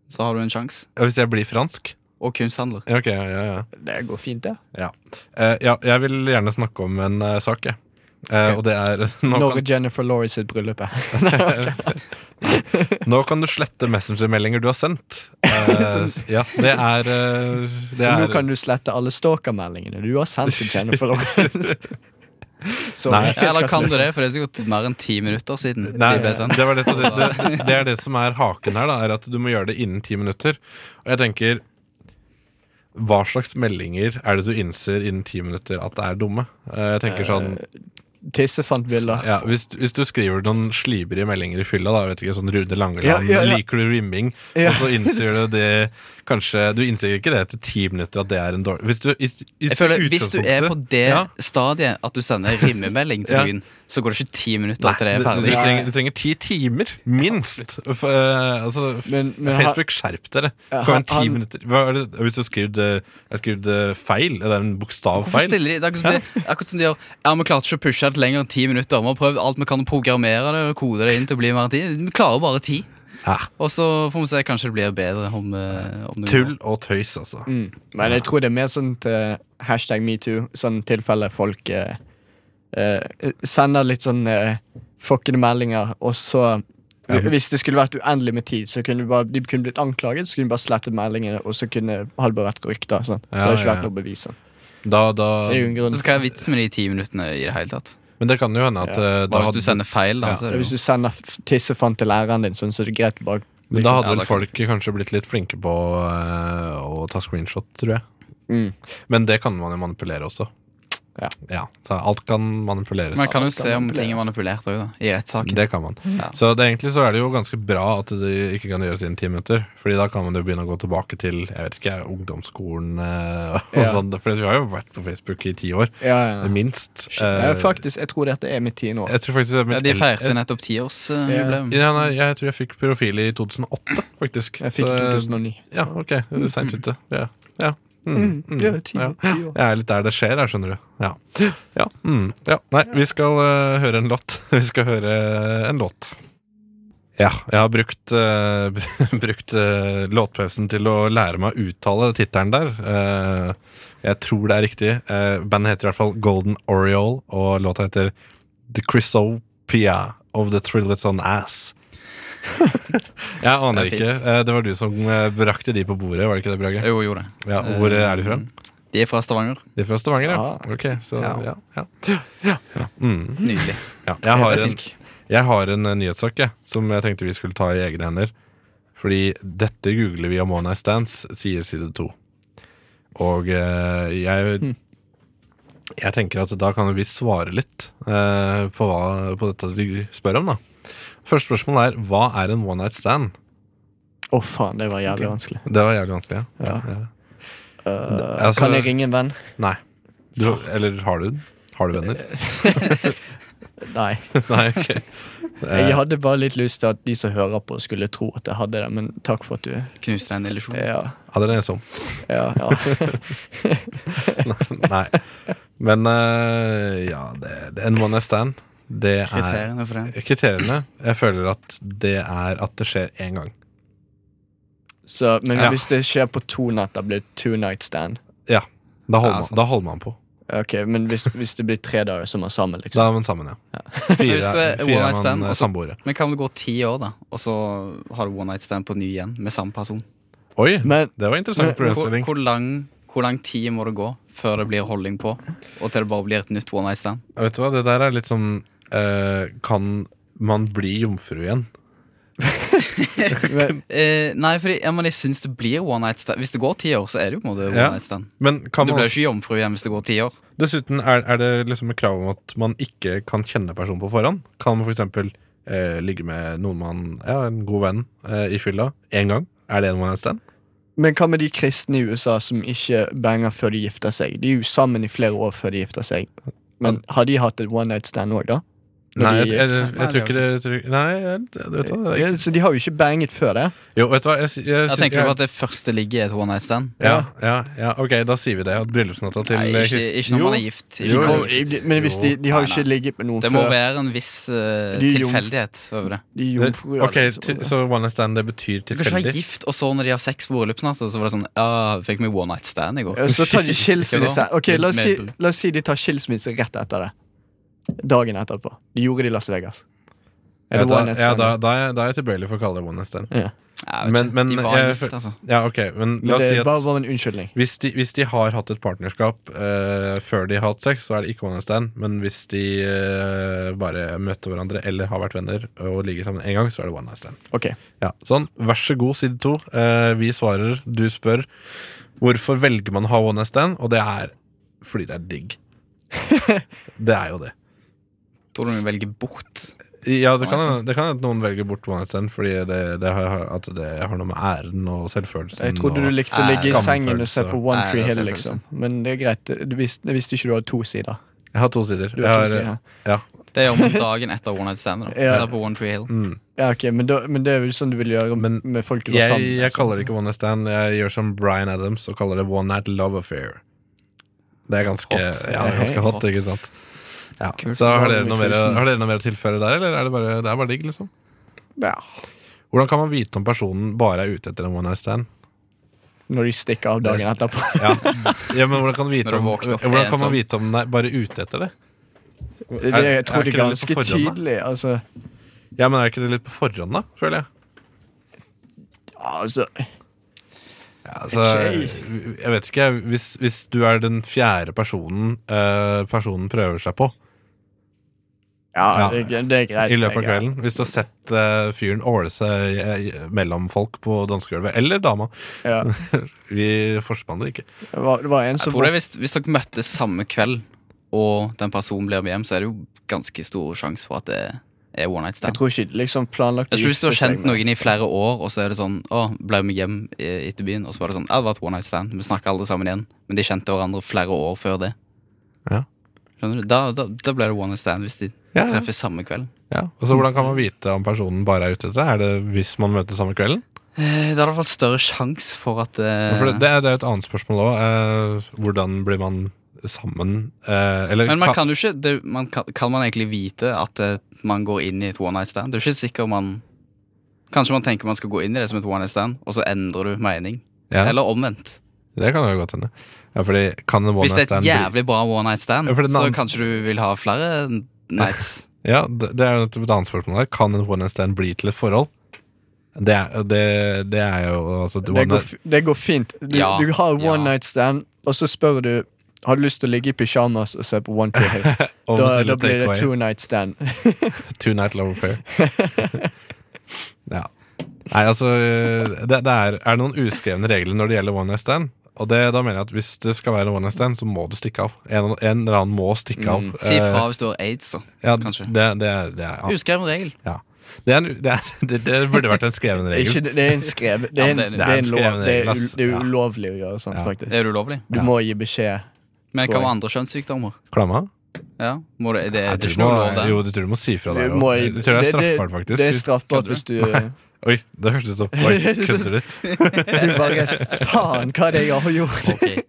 [SPEAKER 3] så har du en sjanse.
[SPEAKER 2] Ja, Hvis jeg blir fransk?
[SPEAKER 3] Og kunsthandler.
[SPEAKER 2] Ja, Ok, ja, ja, ja.
[SPEAKER 1] Det går fint, det.
[SPEAKER 2] Ja. Eh, ja, jeg vil gjerne snakke om en eh, sak, jeg. Eh, Og det er nå
[SPEAKER 1] Når
[SPEAKER 2] kan,
[SPEAKER 1] Jennifer Laurie sitt bryllup er.
[SPEAKER 2] nå kan du slette messengermeldinger du har sendt. Eh, ja, det er eh, det
[SPEAKER 1] Så nå
[SPEAKER 2] er-
[SPEAKER 1] kan du slette alle stalkermeldingene du har sendt til Jennifer Lawrence. Så
[SPEAKER 2] Nei.
[SPEAKER 1] jeg
[SPEAKER 3] Ja, eller
[SPEAKER 1] skal
[SPEAKER 3] kan
[SPEAKER 1] slutte.
[SPEAKER 3] du det? For det er sikkert mer enn ti minutter siden.
[SPEAKER 2] Nei,
[SPEAKER 3] de ble sendt.
[SPEAKER 2] det, var det, det, det, det er det som er haken her, da, er at du må gjøre det innen ti minutter. Og jeg tenker Hva slags meldinger er det du innser innen ti minutter at det er dumme? Eh, Jeg tenker sånn
[SPEAKER 1] Tissefantbilder.
[SPEAKER 2] ja, hvis, hvis du skriver noen slibrige meldinger i fylla, da, jeg vet ikke, sånn Rude Langeland,
[SPEAKER 1] Ja, ja, ja.
[SPEAKER 2] liker du rimming,
[SPEAKER 1] Ja.
[SPEAKER 2] og så innser du det kanskje Du innser ikke det etter ti minutter at det er en dårlig Hvis du, i, i
[SPEAKER 3] Jeg føler, Hvis du er på det
[SPEAKER 2] Ja.
[SPEAKER 3] stadiet at du sender rimemelding til
[SPEAKER 2] Ja.
[SPEAKER 3] noen, så går det ikke ti minutter
[SPEAKER 2] Nei,
[SPEAKER 3] til det er
[SPEAKER 2] du, du,
[SPEAKER 3] ferdig.
[SPEAKER 2] trenger, du trenger ti timer, minst. For, eh, altså,
[SPEAKER 1] Men- men har-
[SPEAKER 2] Facebook, skjerp dere.
[SPEAKER 1] Ja,
[SPEAKER 2] Det kan være ti
[SPEAKER 1] han-
[SPEAKER 2] minutter Hva er det, Hvis du har skrevet eh, jeg har skrevet, eh, feil, det er en
[SPEAKER 3] Hvorfor
[SPEAKER 2] bokstavfeil
[SPEAKER 3] stiller de? Det er akkurat som de, akkurat som de gjør Ja, vi klarte ikke å pushe det lenger enn ti minutter. Vi har prøvd alt vi kan å programmere det og kode det inn til å bli mer enn ti. Vi klarer bare ti.
[SPEAKER 2] ja,
[SPEAKER 3] Og så får vi se, kanskje det blir bedre om, eh, om noen
[SPEAKER 2] Tull
[SPEAKER 3] år.
[SPEAKER 2] og tøys, altså.
[SPEAKER 1] Mm. Men jeg tror det er mer sånn til hashtag metoo, sånn tilfelle folk eh, eh, sender litt sånn eh, fuckende meldinger, og så Hvis det skulle vært uendelig med tid, så kunne de, bare, de kunne blitt anklaget, så kunne de bare slettet meldingene, og så kunne, hadde det bare vært rykter. Sånn. Så
[SPEAKER 2] Ja,
[SPEAKER 1] hadde det ikke
[SPEAKER 2] ja,
[SPEAKER 1] vært
[SPEAKER 2] ja.
[SPEAKER 1] noe bevis. Sånn.
[SPEAKER 2] Da, da,
[SPEAKER 1] Så det er jo en grunn.
[SPEAKER 3] Så hva er vitsen med de ti minuttene i det hele tatt?
[SPEAKER 2] men det kan jo hende at eh, da
[SPEAKER 3] Bare hvis
[SPEAKER 2] hadde-
[SPEAKER 3] du sender feil, da.
[SPEAKER 2] Ja.
[SPEAKER 3] Så er det
[SPEAKER 1] Hvis
[SPEAKER 3] jo.
[SPEAKER 1] du sender f- tissefant til læreren din, sånn, så er det greit. Bare
[SPEAKER 2] Men da hadde
[SPEAKER 3] Ja,
[SPEAKER 2] vel
[SPEAKER 3] da kan-
[SPEAKER 2] folk kanskje blitt litt flinke på eh, å ta screenshot, tror jeg.
[SPEAKER 1] Mm.
[SPEAKER 2] Men det kan man jo manipulere også.
[SPEAKER 1] Ja.
[SPEAKER 2] så alt kan manipuleres.
[SPEAKER 3] Man kan jo
[SPEAKER 1] Alt
[SPEAKER 3] se
[SPEAKER 1] kan
[SPEAKER 3] om ting er manipulert òg, da. I rettssaken.
[SPEAKER 2] Det kan man.
[SPEAKER 3] Ja.
[SPEAKER 2] Så det, egentlig så er det jo ganske bra at det ikke kan gjøres innen ti minutter. Fordi da kan man jo begynne å gå tilbake til jeg vet ikke, ungdomsskolen eh, og
[SPEAKER 1] Ja.
[SPEAKER 2] sånn. For vi har jo vært på Facebook i ti år,
[SPEAKER 1] Ja, ja, ja.
[SPEAKER 2] minst.
[SPEAKER 1] Eh,
[SPEAKER 2] Eh,
[SPEAKER 1] faktisk, jeg tror dette er mitt tiende år.
[SPEAKER 2] jeg tror faktisk det er mitt
[SPEAKER 3] Ja, de
[SPEAKER 2] el-
[SPEAKER 3] feirte
[SPEAKER 2] jeg-
[SPEAKER 3] nettopp eh, tiårsjubileum.
[SPEAKER 2] ja, nei, jeg tror jeg fikk profil i 2008, faktisk.
[SPEAKER 1] Jeg
[SPEAKER 2] Så,
[SPEAKER 1] fikk i
[SPEAKER 2] eh,
[SPEAKER 1] 2009.
[SPEAKER 2] Ja, ok. Du er seint ute. Ja. ja.
[SPEAKER 1] Mm, ja, ti-
[SPEAKER 2] ja.
[SPEAKER 1] ti år.
[SPEAKER 2] Jeg er litt der det skjer her, skjønner du. Ja. ja. Mm. ja. Nei, vi skal eh, høre en låt. Vi skal høre eh, en låt. Ja, jeg har brukt, eh, brukt eh, låtpausen til å lære meg å uttale tittelen der. Eh, jeg tror det er riktig. Eh, bandet heter i hvert fall Golden Oriole, og låta heter The Chrysopia of the Trilliton Ass. jeg aner
[SPEAKER 3] Det er
[SPEAKER 2] ikke.
[SPEAKER 3] fint.
[SPEAKER 2] Eh, det var du som eh, brakte de på bordet, var det ikke det, Brage?
[SPEAKER 3] Jo, gjorde det. Mm.
[SPEAKER 2] Ja, og hvor er de fra?
[SPEAKER 3] De er fra Stavanger.
[SPEAKER 2] De er fra Stavanger, ja.
[SPEAKER 1] Ah.
[SPEAKER 2] Ok, så ja.
[SPEAKER 3] Ja.
[SPEAKER 2] ja, ja. Mm,
[SPEAKER 3] Nydelig.
[SPEAKER 2] ja. Jeg, har en,
[SPEAKER 3] Fisk.
[SPEAKER 2] jeg har en eh, nyhetssak jeg, som jeg tenkte vi skulle ta i egne hender. Fordi dette googler vi om One Night Stands, sier side to. Og eh, jeg Jeg tenker at da kan vi svare litt eh, på, hva, på dette de spør om, da. Første spørsmål er hva er en one night stand?
[SPEAKER 1] Å, faen, det var jævlig vanskelig.
[SPEAKER 2] Det var jævlig vanskelig. Ja.
[SPEAKER 1] Ja.
[SPEAKER 2] Ja.
[SPEAKER 1] Eh,
[SPEAKER 2] altså-
[SPEAKER 1] kan jeg ringe en venn?
[SPEAKER 2] Nei. Du, eller har du den? Har du venner?
[SPEAKER 1] Nei.
[SPEAKER 2] Nei, ok. Eh.
[SPEAKER 1] Jeg hadde bare litt lyst til at de som hører på, skulle tro at jeg hadde det, men takk for at du
[SPEAKER 3] Knuste en illusjon.
[SPEAKER 1] Ja.
[SPEAKER 2] Ja, den er jeg som.
[SPEAKER 1] ja, ja.
[SPEAKER 2] Nei. Men eh, ja, det, det, en one night stand, det er
[SPEAKER 3] Kriteriene for det.
[SPEAKER 2] Kriteriene. Jeg føler at det er at det skjer én gang.
[SPEAKER 1] Så, men
[SPEAKER 3] Ja.
[SPEAKER 1] hvis det skjer på to netter, blir det two night stand.
[SPEAKER 2] Ja. Da holder,
[SPEAKER 3] Ja,
[SPEAKER 2] man,
[SPEAKER 3] sant.
[SPEAKER 2] da holder man på.
[SPEAKER 1] Ok, Men hvis, hvis det blir tre dager som er sammen, liksom.
[SPEAKER 2] Da er man sammen, ja. Fire,
[SPEAKER 3] Hvis det er
[SPEAKER 2] fire
[SPEAKER 3] one night
[SPEAKER 2] er
[SPEAKER 3] stand,
[SPEAKER 2] man eh,
[SPEAKER 3] altså-
[SPEAKER 2] samboere.
[SPEAKER 3] Men hva om det går ti år, da, og så har du one night stand på ny igjen med samme person?
[SPEAKER 2] Oi,
[SPEAKER 1] Men-
[SPEAKER 2] det var en interessant
[SPEAKER 1] men-
[SPEAKER 3] Hvor,
[SPEAKER 2] problemstilling.
[SPEAKER 3] hvor, lang, hvor lang tid må det gå før det blir holding på, og til det bare blir et nytt one night stand?
[SPEAKER 2] Vet du hva, det der er litt sånn eh, Kan man bli jomfru igjen?
[SPEAKER 1] Men,
[SPEAKER 3] Eh, nei, fordi, ja, men jeg syns det blir one night stand. Hvis det går ti år, så er det jo på en måte one
[SPEAKER 2] Ja.
[SPEAKER 3] night stand.
[SPEAKER 2] Men kan
[SPEAKER 3] Du
[SPEAKER 2] man
[SPEAKER 3] blir jo
[SPEAKER 2] også,
[SPEAKER 3] ikke jomfru igjen hvis det går ti år.
[SPEAKER 2] dessuten er, er det liksom et krav om at man ikke kan kjenne personen på forhånd? Kan man f.eks. Eh, ligge med noen man Ja, en god venn eh, i fylla én gang? Er det en one night stand?
[SPEAKER 1] men hva med de kristne i USA som ikke banger før de gifter seg? De er jo sammen i flere år før de gifter seg. Men har de hatt et one night stand òg, da? Når
[SPEAKER 2] Nei, jeg,
[SPEAKER 1] de er
[SPEAKER 2] jeg,
[SPEAKER 1] gift.
[SPEAKER 2] jeg,
[SPEAKER 3] Nei,
[SPEAKER 2] tror
[SPEAKER 3] det
[SPEAKER 2] ikke det jeg tror, Nei, jeg, det- vet du hva det er
[SPEAKER 1] Ja, så de har jo ikke banget før det.
[SPEAKER 2] ikke- Jo, vet du hva Jeg, jeg, jeg,
[SPEAKER 3] Jeg tenker du på at det første ligget er et one night stand?
[SPEAKER 2] ja, ja, ja, ok, da sier vi det. At bryllupsnatta til eh,
[SPEAKER 3] Nei, ikke,
[SPEAKER 2] Krist-
[SPEAKER 3] ikke når man
[SPEAKER 2] Jo,
[SPEAKER 3] er gift. Ikke
[SPEAKER 2] Jo,
[SPEAKER 3] når man
[SPEAKER 2] jo,
[SPEAKER 3] er gift.
[SPEAKER 1] Men hvis de, de har jo
[SPEAKER 3] Nei,
[SPEAKER 1] ikke ligget med noen
[SPEAKER 3] Det må
[SPEAKER 1] før.
[SPEAKER 3] være en viss eh,
[SPEAKER 1] De er jomfru.
[SPEAKER 3] tilfeldighet over det.
[SPEAKER 1] De er
[SPEAKER 2] det-
[SPEAKER 1] jomfruer.
[SPEAKER 2] Ok,
[SPEAKER 1] liksom.
[SPEAKER 2] til, Så one night stand, det betyr
[SPEAKER 3] Du kan ikke være
[SPEAKER 2] tilfeldig?
[SPEAKER 3] gift, og så når de har sex på bryllupsnatta, så var det sånn Ja, fikk meg one night stand i går.
[SPEAKER 1] Ja, Så tar de
[SPEAKER 3] Ikke
[SPEAKER 1] skilsmisse.
[SPEAKER 3] da.
[SPEAKER 1] Ok, la oss, si,
[SPEAKER 3] Med-
[SPEAKER 1] la oss si de tar skilsmisse rett etter det. dagen etterpå. De gjorde det i Las Vegas.
[SPEAKER 2] Ja,
[SPEAKER 1] Er det
[SPEAKER 2] da,
[SPEAKER 1] One Night
[SPEAKER 2] ja,
[SPEAKER 1] Stand?
[SPEAKER 2] da, da, er jeg, da er jeg tilbøyelig for å kalle det one night stand.
[SPEAKER 1] Ja.
[SPEAKER 3] Jeg vet
[SPEAKER 2] Men-
[SPEAKER 3] ikke.
[SPEAKER 2] men eh,
[SPEAKER 3] de var
[SPEAKER 2] jeg
[SPEAKER 3] gift,
[SPEAKER 2] føl-
[SPEAKER 3] altså.
[SPEAKER 2] Ja, ok, men
[SPEAKER 1] Men
[SPEAKER 2] la oss
[SPEAKER 1] det
[SPEAKER 2] si
[SPEAKER 1] er bare
[SPEAKER 2] at
[SPEAKER 1] var en unnskyldning.
[SPEAKER 2] hvis de, hvis de har hatt et partnerskap eh, før de har hatt sex, så er det ikke one night stand. Men hvis de eh, bare møter hverandre eller har vært venner og ligger sammen én gang, så er det one night stand.
[SPEAKER 1] Ok.
[SPEAKER 2] Ja, sånn. Vær så god, side to. Eh, vi svarer, du spør. Hvorfor velger man å ha one night stand? Og det er fordi det er digg. det er jo det.
[SPEAKER 3] Tror du hun velger bort?
[SPEAKER 2] Ja, det
[SPEAKER 3] One
[SPEAKER 2] kan
[SPEAKER 3] night
[SPEAKER 2] hende det kan hende at noen velger bort one night stand fordi det, det, har, at det har noe med æren og selvfølelsen
[SPEAKER 1] Jeg trodde du
[SPEAKER 2] og,
[SPEAKER 1] likte å ligge i
[SPEAKER 2] Skamfølelse.
[SPEAKER 1] sengen og se på One
[SPEAKER 3] Nei,
[SPEAKER 1] Tree
[SPEAKER 3] det er
[SPEAKER 1] Hill, liksom. Men det er greit. Du visste, jeg visste ikke du hadde to sider.
[SPEAKER 2] Jeg har to sider.
[SPEAKER 1] Du har to
[SPEAKER 2] Jeg har-
[SPEAKER 1] sider.
[SPEAKER 2] Ja.
[SPEAKER 3] Det gjør man dagen etter One Night Stand. da
[SPEAKER 1] Ja.
[SPEAKER 3] Se på One Tree Hill.
[SPEAKER 2] Mm.
[SPEAKER 1] Ja, ok, men, da, men det er jo sånn du vil gjøre
[SPEAKER 2] Men
[SPEAKER 1] med folk du var
[SPEAKER 2] Jeg,
[SPEAKER 1] sammen med. liksom.
[SPEAKER 2] jeg
[SPEAKER 1] så.
[SPEAKER 2] kaller det ikke one night stand. Jeg gjør som Bryan Adams og kaller det one night love affair. Det er ganske hot,
[SPEAKER 3] Hot.
[SPEAKER 2] ja, det er ganske hot,
[SPEAKER 3] Hot.
[SPEAKER 2] ikke sant? Ja.
[SPEAKER 3] Kult.
[SPEAKER 2] Så har dere,
[SPEAKER 1] Sånn,
[SPEAKER 2] noe mer,
[SPEAKER 1] tusen.
[SPEAKER 2] har dere noe mer å tilføre der, eller er det bare, det er bare digg? liksom?
[SPEAKER 1] ja.
[SPEAKER 2] Hvordan kan man vite om personen bare er ute etter en one night stand?
[SPEAKER 1] Når de stikker av dagen etterpå.
[SPEAKER 2] Ja, ja men hvordan kan, man
[SPEAKER 3] Når
[SPEAKER 2] vite
[SPEAKER 3] du
[SPEAKER 2] om,
[SPEAKER 3] våkner opp
[SPEAKER 2] hvordan kan
[SPEAKER 3] ensom.
[SPEAKER 2] man vite om den er bare ute etter det?
[SPEAKER 1] Det, det, jeg tror
[SPEAKER 2] ikke
[SPEAKER 1] det er ganske
[SPEAKER 2] litt på forhånd, da?
[SPEAKER 1] tydelig. Altså,
[SPEAKER 2] Ja, men er ikke det litt på forhånd, da? Føler jeg.
[SPEAKER 1] altså
[SPEAKER 2] Ja, altså,
[SPEAKER 1] Ikke
[SPEAKER 2] jeg vet ikke. Hvis, hvis du er den fjerde personen eh, personen prøver seg på Ja.
[SPEAKER 1] Ja, det, det er greit.
[SPEAKER 2] i løpet av
[SPEAKER 1] det er greit.
[SPEAKER 2] kvelden Hvis du har sett eh, fyren åle seg eh, mellom folk på dansegulvet, eller dama
[SPEAKER 1] Ja.
[SPEAKER 2] Vi forspandler ikke.
[SPEAKER 1] Det, var, det var en
[SPEAKER 3] Jeg
[SPEAKER 1] som
[SPEAKER 3] tror det er hvis, hvis dere møttes samme kveld, og den personen blir med hjem, så er det jo ganske stor sjanse for at det er one night
[SPEAKER 1] Jeg
[SPEAKER 3] stand.
[SPEAKER 1] tror ikke de liksom planlagt
[SPEAKER 3] Jeg tror Hvis du har
[SPEAKER 1] gifte seg
[SPEAKER 3] kjent
[SPEAKER 1] med-
[SPEAKER 3] noen i flere år, og så er det sånn Å, ble med hjem i- etter byen, og så var det sånn Ja, det var et one night stand. Vi snakka aldri sammen igjen. Men de kjente hverandre flere år før det.
[SPEAKER 2] Ja.
[SPEAKER 3] Skjønner du? Da, da, da ble det one night stand hvis de
[SPEAKER 2] Ja, ja.
[SPEAKER 3] treffes samme kveld.
[SPEAKER 2] ja. Og så Hvordan kan man vite om personen bare er ute etter det? Er det hvis man møtes samme kvelden?
[SPEAKER 3] Eh, Da er det i hvert fall større sjanse for at eh,
[SPEAKER 2] For det, det er- det er jo et annet spørsmål òg. hvordan blir man sammen? Eh, eller
[SPEAKER 3] Men man
[SPEAKER 2] kan-
[SPEAKER 3] kan jo ikke det, man kan, kan man egentlig vite at eh, man går inn i et one night stand? Det er jo ikke sikkert man Kanskje man tenker man skal gå inn i det som et one night stand, og så endrer du mening.
[SPEAKER 2] ja.
[SPEAKER 3] Eller omvendt.
[SPEAKER 2] Det kan jo godt hende. Ja, fordi kan en one
[SPEAKER 3] Hvis det er
[SPEAKER 2] night
[SPEAKER 3] et
[SPEAKER 2] stand bli-
[SPEAKER 3] jævlig bra one night stand,
[SPEAKER 2] Ja, for den
[SPEAKER 3] så
[SPEAKER 2] andre-
[SPEAKER 3] kanskje du vil ha flere nights.
[SPEAKER 2] Ja, det det er jo et et annet spørsmål her. Kan en one night stand bli til et forhold? Det er, det, det er jo altså,
[SPEAKER 1] det går,
[SPEAKER 2] one,
[SPEAKER 1] f- det går fint. Du,
[SPEAKER 3] Ja,
[SPEAKER 1] du har one
[SPEAKER 3] ja.
[SPEAKER 1] night stand, og så spør du Har du lyst til å ligge i pysjamas og se på One Tree Hill?
[SPEAKER 2] og
[SPEAKER 1] da,
[SPEAKER 2] bestille
[SPEAKER 1] da blir det
[SPEAKER 2] takeaway.
[SPEAKER 1] two night stand.
[SPEAKER 2] Two night love affair. ja. Nei, altså det, det er, er noen uskrevne regler når det gjelder one night stand. Og det, da mener jeg at Hvis det skal være en one night stand, så må du stikke av. En, en eller annen må stikke av.
[SPEAKER 1] Mm.
[SPEAKER 3] Si
[SPEAKER 2] Eh,
[SPEAKER 3] fra hvis du har aids, da.
[SPEAKER 2] ja,
[SPEAKER 3] kanskje.
[SPEAKER 2] Det, det, er- det, er-
[SPEAKER 3] Uskreven regel.
[SPEAKER 2] ja. det, er en- det, er- det, det burde vært en skreven
[SPEAKER 1] Det er
[SPEAKER 2] regel.
[SPEAKER 1] Ikke, det er en skrev Det er
[SPEAKER 3] Ja,
[SPEAKER 1] en,
[SPEAKER 3] men
[SPEAKER 1] det
[SPEAKER 3] det
[SPEAKER 1] er
[SPEAKER 3] er-
[SPEAKER 1] en,
[SPEAKER 2] det er en skreven
[SPEAKER 1] lov. Det er,
[SPEAKER 2] regel,
[SPEAKER 1] u-
[SPEAKER 2] ass.
[SPEAKER 1] det er
[SPEAKER 2] Ja.
[SPEAKER 1] ulovlig å gjøre sånt,
[SPEAKER 2] Ja.
[SPEAKER 1] faktisk.
[SPEAKER 3] Det er ulovlig.
[SPEAKER 1] Du
[SPEAKER 2] Ja.
[SPEAKER 1] må gi beskjed.
[SPEAKER 3] Men hva
[SPEAKER 1] Poeng.
[SPEAKER 3] med andre kjønnssykdommer?
[SPEAKER 2] Klamma?
[SPEAKER 3] Ja, må det, det,
[SPEAKER 2] Ja,
[SPEAKER 3] det er
[SPEAKER 2] du
[SPEAKER 3] ikke noe
[SPEAKER 2] må-
[SPEAKER 3] lov der.
[SPEAKER 2] Jo, du tror du må si fra der
[SPEAKER 1] Du
[SPEAKER 2] også.
[SPEAKER 1] må gi-
[SPEAKER 2] Jeg tror det er straffbart, faktisk.
[SPEAKER 1] Det er straffbart
[SPEAKER 3] Kødder
[SPEAKER 1] hvis du
[SPEAKER 2] Oi, det hørtes ut som Oi, kødder du?
[SPEAKER 1] Du bare Faen, hva er det jeg har gjort?
[SPEAKER 3] Ok.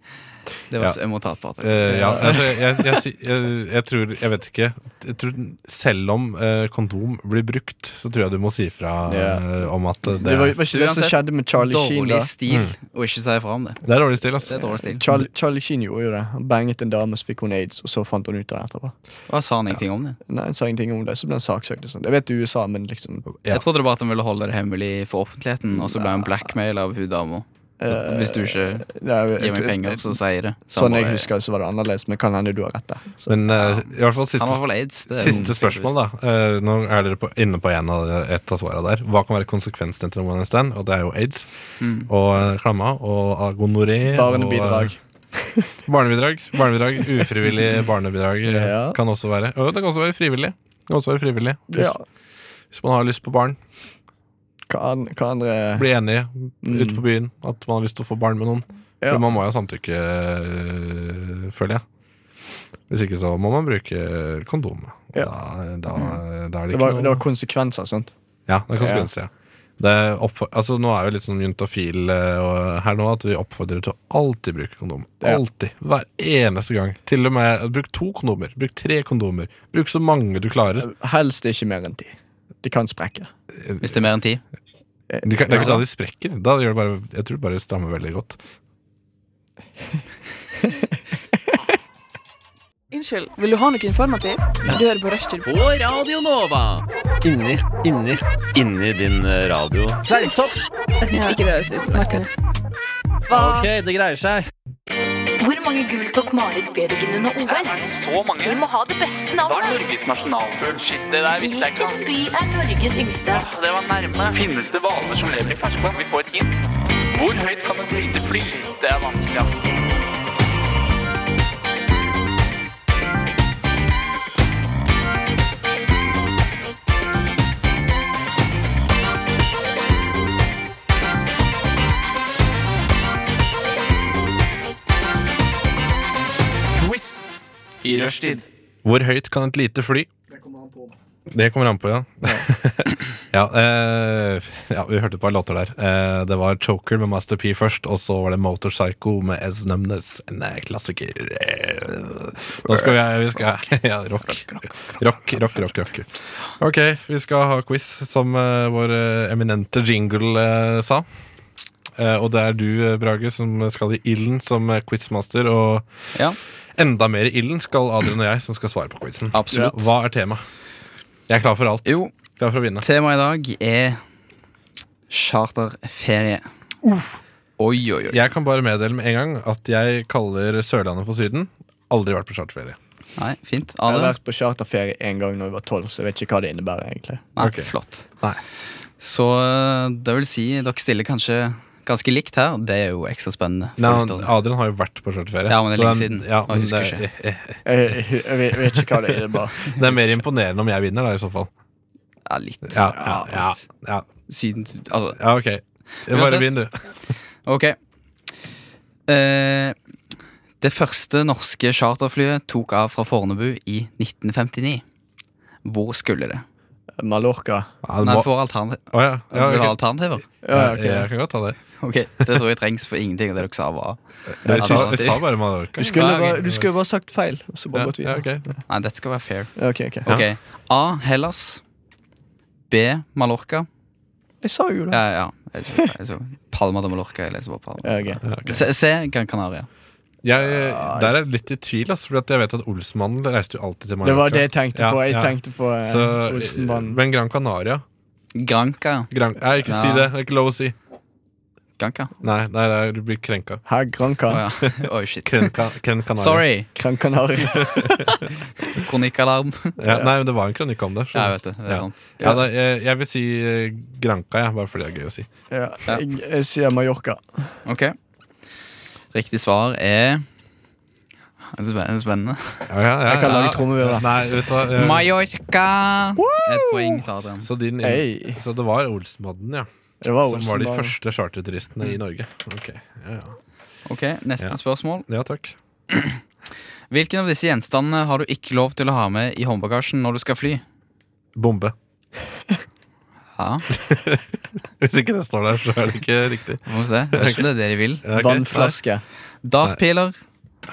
[SPEAKER 3] Det var
[SPEAKER 2] Ja.
[SPEAKER 3] så, jeg må ta et par til.
[SPEAKER 2] Eh, ja, altså, jeg, jeg, si- jeg, jeg tror Jeg vet ikke. Jeg tror, selv om eh, kondom blir brukt, så tror jeg du må si fra
[SPEAKER 1] Ja.
[SPEAKER 2] eh, om at det,
[SPEAKER 1] Det var var ikke det som
[SPEAKER 3] Uansett,
[SPEAKER 1] skjedde med Charlie Sheen. da
[SPEAKER 3] Dårlig stil
[SPEAKER 2] Mm.
[SPEAKER 3] å ikke si fra om det.
[SPEAKER 2] det er dårlig stil, altså. ass.
[SPEAKER 3] Det er dårlig stil.
[SPEAKER 1] Charlie, Charlie Sheen gjorde jo det. Han banget en dame, så fikk hun aids, og så fant hun ut av det etterpå.
[SPEAKER 3] Hva sa han ingenting om det?
[SPEAKER 1] Nei, hun sa ingenting om det, så ble han saksøkt. og sånt. Jeg vet det er USA, men liksom
[SPEAKER 2] Ja.
[SPEAKER 3] Jeg trodde det bare at han ville holde det hemmelig for offentligheten, og så ble han blackmaila av hun dama.
[SPEAKER 1] eh,
[SPEAKER 3] Hvis du ikke
[SPEAKER 1] det er jo-
[SPEAKER 3] gir meg penger, så sier jeg det. Så han
[SPEAKER 1] Sånn jeg
[SPEAKER 3] bare-
[SPEAKER 1] husker, det, så var det annerledes, men kan hende du har rett der. Så-
[SPEAKER 2] Men eh, i hvert fall
[SPEAKER 3] Han har i
[SPEAKER 2] siste,
[SPEAKER 3] hvert fall aids. det er
[SPEAKER 2] siste
[SPEAKER 3] noe
[SPEAKER 2] spørsmål, da. Eh, nå er dere på, inne på en av, et av svarene der. Hva kan være konsekvensen etter en one night stand? Og det er jo aids.
[SPEAKER 3] Mm.
[SPEAKER 2] Og eh, klamma og agonoré.
[SPEAKER 1] Barnebidrag.
[SPEAKER 2] Og, eh, barnebidrag. barnebidrag Ufrivillig barnebidrag eh,
[SPEAKER 1] Ja.
[SPEAKER 2] kan også være. Og det kan også være frivillig. Det kan også være frivillig hvis,
[SPEAKER 1] Ja.
[SPEAKER 2] hvis man har lyst på barn.
[SPEAKER 1] Hva, an- hva andre
[SPEAKER 2] bli enige
[SPEAKER 1] Mm.
[SPEAKER 2] ute på byen at man har lyst til å få barn med noen.
[SPEAKER 1] Ja.
[SPEAKER 2] For man må jo ha samtykke, øh, føler jeg. Hvis ikke så må man bruke kondom. Og Da,
[SPEAKER 1] Ja.
[SPEAKER 2] da, da er det
[SPEAKER 1] Det
[SPEAKER 2] ikke
[SPEAKER 1] var, det var
[SPEAKER 2] noe
[SPEAKER 1] konsekvenser og sånt.
[SPEAKER 2] Ja, det er konsekvenser, ja. Det er oppfor- altså, nå er vi litt sånn juntafil øh, og- her nå at vi oppfordrer til å alltid bruke kondom.
[SPEAKER 1] Ja.
[SPEAKER 2] Alltid. Hver eneste gang. Til og med bruk to kondomer. Bruk tre kondomer. Bruk så mange du klarer.
[SPEAKER 1] Helst ikke mer enn ti. De kan sprekke.
[SPEAKER 3] Hvis det er mer enn ti.
[SPEAKER 2] Du kan, det er ikke
[SPEAKER 1] Ja.
[SPEAKER 2] sånn at de sprekker. Da gjør det bare, jeg tror det bare strammer veldig godt.
[SPEAKER 5] Unnskyld, vil du ha noe informativt? Du hører på Rushtid.
[SPEAKER 6] På Radio Nova.
[SPEAKER 7] Inni, inni, eh,
[SPEAKER 6] Inni din radio.
[SPEAKER 7] fleinsopp.
[SPEAKER 5] Hvis ikke det høres ut.
[SPEAKER 7] Ok, det greier seg.
[SPEAKER 8] Hvor mange gull tok Marit Bjørgen under OL?
[SPEAKER 6] Så mange.
[SPEAKER 8] Vi må ha det beste navnet.
[SPEAKER 6] Norges nasjonalfugl? Shit, det der
[SPEAKER 8] Hvilken by er Norges yngste?
[SPEAKER 6] Det var nærme. Finnes det hvaler som lever i ferskvann? Vi får et hint. Hvor høyt kan et lite fly? Det er vanskelig, ass. Quiz i rushtid.
[SPEAKER 2] Hvor høyt kan et lite fly? Det kommer an på, ja. ja, eh, ja, vi hørte et par låter der. Eh, det var Choker med Master P først, og så var det Motorpsycho med Ez Numnes, en eh, klassiker. Eh, Nå skal jeg, vi skal, ja, rock. Rock, rock, rock, rock. Ok, vi skal ha quiz, som eh, vår eh, eminente jingle eh, sa. Eh, og det er du, eh, Brage, som skal i ilden som eh, quizmaster, og
[SPEAKER 3] Ja,
[SPEAKER 2] Enda mer i ilden skal Adrian og jeg, som skal svare på quizen.
[SPEAKER 3] absolutt.
[SPEAKER 2] Hva er temaet? Jeg er klar for alt.
[SPEAKER 3] Jo,
[SPEAKER 2] Klar for å vinne.
[SPEAKER 3] temaet i dag er charterferie. Oi, oi, oi.
[SPEAKER 2] Jeg kan bare meddele med en gang at jeg kaller Sørlandet for Syden. Aldri vært på charterferie.
[SPEAKER 3] Nei, fint.
[SPEAKER 1] Jeg har
[SPEAKER 3] Adrian?
[SPEAKER 1] vært på charterferie én gang da jeg var tolv, så jeg vet ikke hva det innebærer. egentlig
[SPEAKER 3] Nei,
[SPEAKER 2] Ok.
[SPEAKER 3] flott.
[SPEAKER 2] Nei.
[SPEAKER 3] Så eh, det vil si, dere stiller kanskje ganske likt her. Det er jo ekstra spennende. for
[SPEAKER 2] Nei,
[SPEAKER 3] lytterne.
[SPEAKER 2] Adrian har jo vært på charterferie.
[SPEAKER 3] Ja, men det er
[SPEAKER 2] så
[SPEAKER 3] lenge siden.
[SPEAKER 2] Ja,
[SPEAKER 3] Og
[SPEAKER 2] men
[SPEAKER 3] husker
[SPEAKER 2] det, eh, eh,
[SPEAKER 1] Jeg, jeg, jeg vet ikke hva det innebærer.
[SPEAKER 2] det er mer imponerende om jeg vinner, da, i så fall.
[SPEAKER 3] Ja, litt.
[SPEAKER 2] Ja, ja, ja, ja,
[SPEAKER 3] Syden Altså,
[SPEAKER 2] ja ok. Bare
[SPEAKER 3] Uansett.
[SPEAKER 2] begynn, du.
[SPEAKER 3] ok. Eh, det første norske charterflyet tok av fra Fornebu i 1959. Hvor skulle det?
[SPEAKER 1] Mallorca.
[SPEAKER 2] Ja, du
[SPEAKER 3] Nei,
[SPEAKER 2] må,
[SPEAKER 3] du får alternativ.
[SPEAKER 2] Å, ja.
[SPEAKER 3] Du vil ha
[SPEAKER 2] Ja, ok.
[SPEAKER 3] alternativer?
[SPEAKER 1] Ja, ok.
[SPEAKER 2] Ja, Jeg kan godt ta det.
[SPEAKER 3] Ok, Det tror jeg trengs for ingenting av det dere sa. var
[SPEAKER 2] Dere sa,
[SPEAKER 3] alternativ.
[SPEAKER 2] jeg sa bare Mallorca.
[SPEAKER 1] Du skulle,
[SPEAKER 3] Ja, ok.
[SPEAKER 1] bare, du skulle bare sagt feil, og så bare
[SPEAKER 2] Ja,
[SPEAKER 1] gått
[SPEAKER 2] ja,
[SPEAKER 1] videre.
[SPEAKER 2] ok.
[SPEAKER 3] Nei, dette skal være fair.
[SPEAKER 1] Ja, ok, ok.
[SPEAKER 3] Ok, A. Hellas. B. Mallorca.
[SPEAKER 1] Jeg sa jo det.
[SPEAKER 3] Ja, ja. Jeg så, jeg så. Palma de Mallorca. Jeg leser bare Palma.
[SPEAKER 1] Ja, ok.
[SPEAKER 2] Ja, ok.
[SPEAKER 3] Se, se Gran Canaria.
[SPEAKER 2] Jeg, der er jeg litt i tvil, altså, for at jeg vet at Olsmannen reiste jo alltid til
[SPEAKER 1] Det
[SPEAKER 2] Mallorca.
[SPEAKER 1] var det jeg tenkte
[SPEAKER 2] Ja,
[SPEAKER 1] på. Jeg
[SPEAKER 2] ja.
[SPEAKER 1] tenkte på eh,
[SPEAKER 2] Så,
[SPEAKER 1] Olsenbanen.
[SPEAKER 2] men Gran Canaria
[SPEAKER 3] Granca.
[SPEAKER 2] Gran, Nei, ikke si
[SPEAKER 3] Ja.
[SPEAKER 2] det. Det er ikke lov å si.
[SPEAKER 3] Granca.
[SPEAKER 2] Nei, nei, nei du blir krenka.
[SPEAKER 1] Her, Granca.
[SPEAKER 3] Å ja. Oi, shit.
[SPEAKER 2] Krenka, Kren Canaria.
[SPEAKER 3] Sorry.
[SPEAKER 1] Gran Canaria.
[SPEAKER 3] Kronikkalarm.
[SPEAKER 2] Ja, nei, men det var en kronikk om det.
[SPEAKER 3] Ja, jeg vet
[SPEAKER 2] skjønner du.
[SPEAKER 3] det. Det er
[SPEAKER 2] Ja.
[SPEAKER 3] sant.
[SPEAKER 2] Ja, da, jeg, jeg vil si eh, Granca, ja, bare fordi det er gøy å si.
[SPEAKER 1] Ja,
[SPEAKER 3] Ja.
[SPEAKER 1] jeg, jeg sier Mallorca.
[SPEAKER 3] Ok. Riktig svar er Det er spen- det er Spennende.
[SPEAKER 2] Ja, ja, ja,
[SPEAKER 1] Jeg kan
[SPEAKER 2] ja.
[SPEAKER 1] lage trommevirvel.
[SPEAKER 2] Nei, vet du hva eh,
[SPEAKER 3] Mallorca! Et poeng til Adrian.
[SPEAKER 2] så, din,
[SPEAKER 1] Hey.
[SPEAKER 2] så det var Olsmadden, ja.
[SPEAKER 1] Det var
[SPEAKER 2] Som var de
[SPEAKER 1] Olsenbanen.
[SPEAKER 2] første charterturistene
[SPEAKER 1] Mm.
[SPEAKER 2] i Norge. Ok, ja, ja.
[SPEAKER 3] Ok, Neste
[SPEAKER 2] Ja.
[SPEAKER 3] spørsmål.
[SPEAKER 2] ja takk.
[SPEAKER 3] Hvilken av disse gjenstandene har du ikke lov til å ha med i håndbagasjen når du skal fly?
[SPEAKER 2] Bombe.
[SPEAKER 3] Ja,
[SPEAKER 2] Hvis ikke det står der, så er det ikke riktig.
[SPEAKER 3] vi får se. Jeg vet ikke om det er det de vil.
[SPEAKER 2] Ja, ok.
[SPEAKER 1] Vannflaske.
[SPEAKER 3] Dartpiler,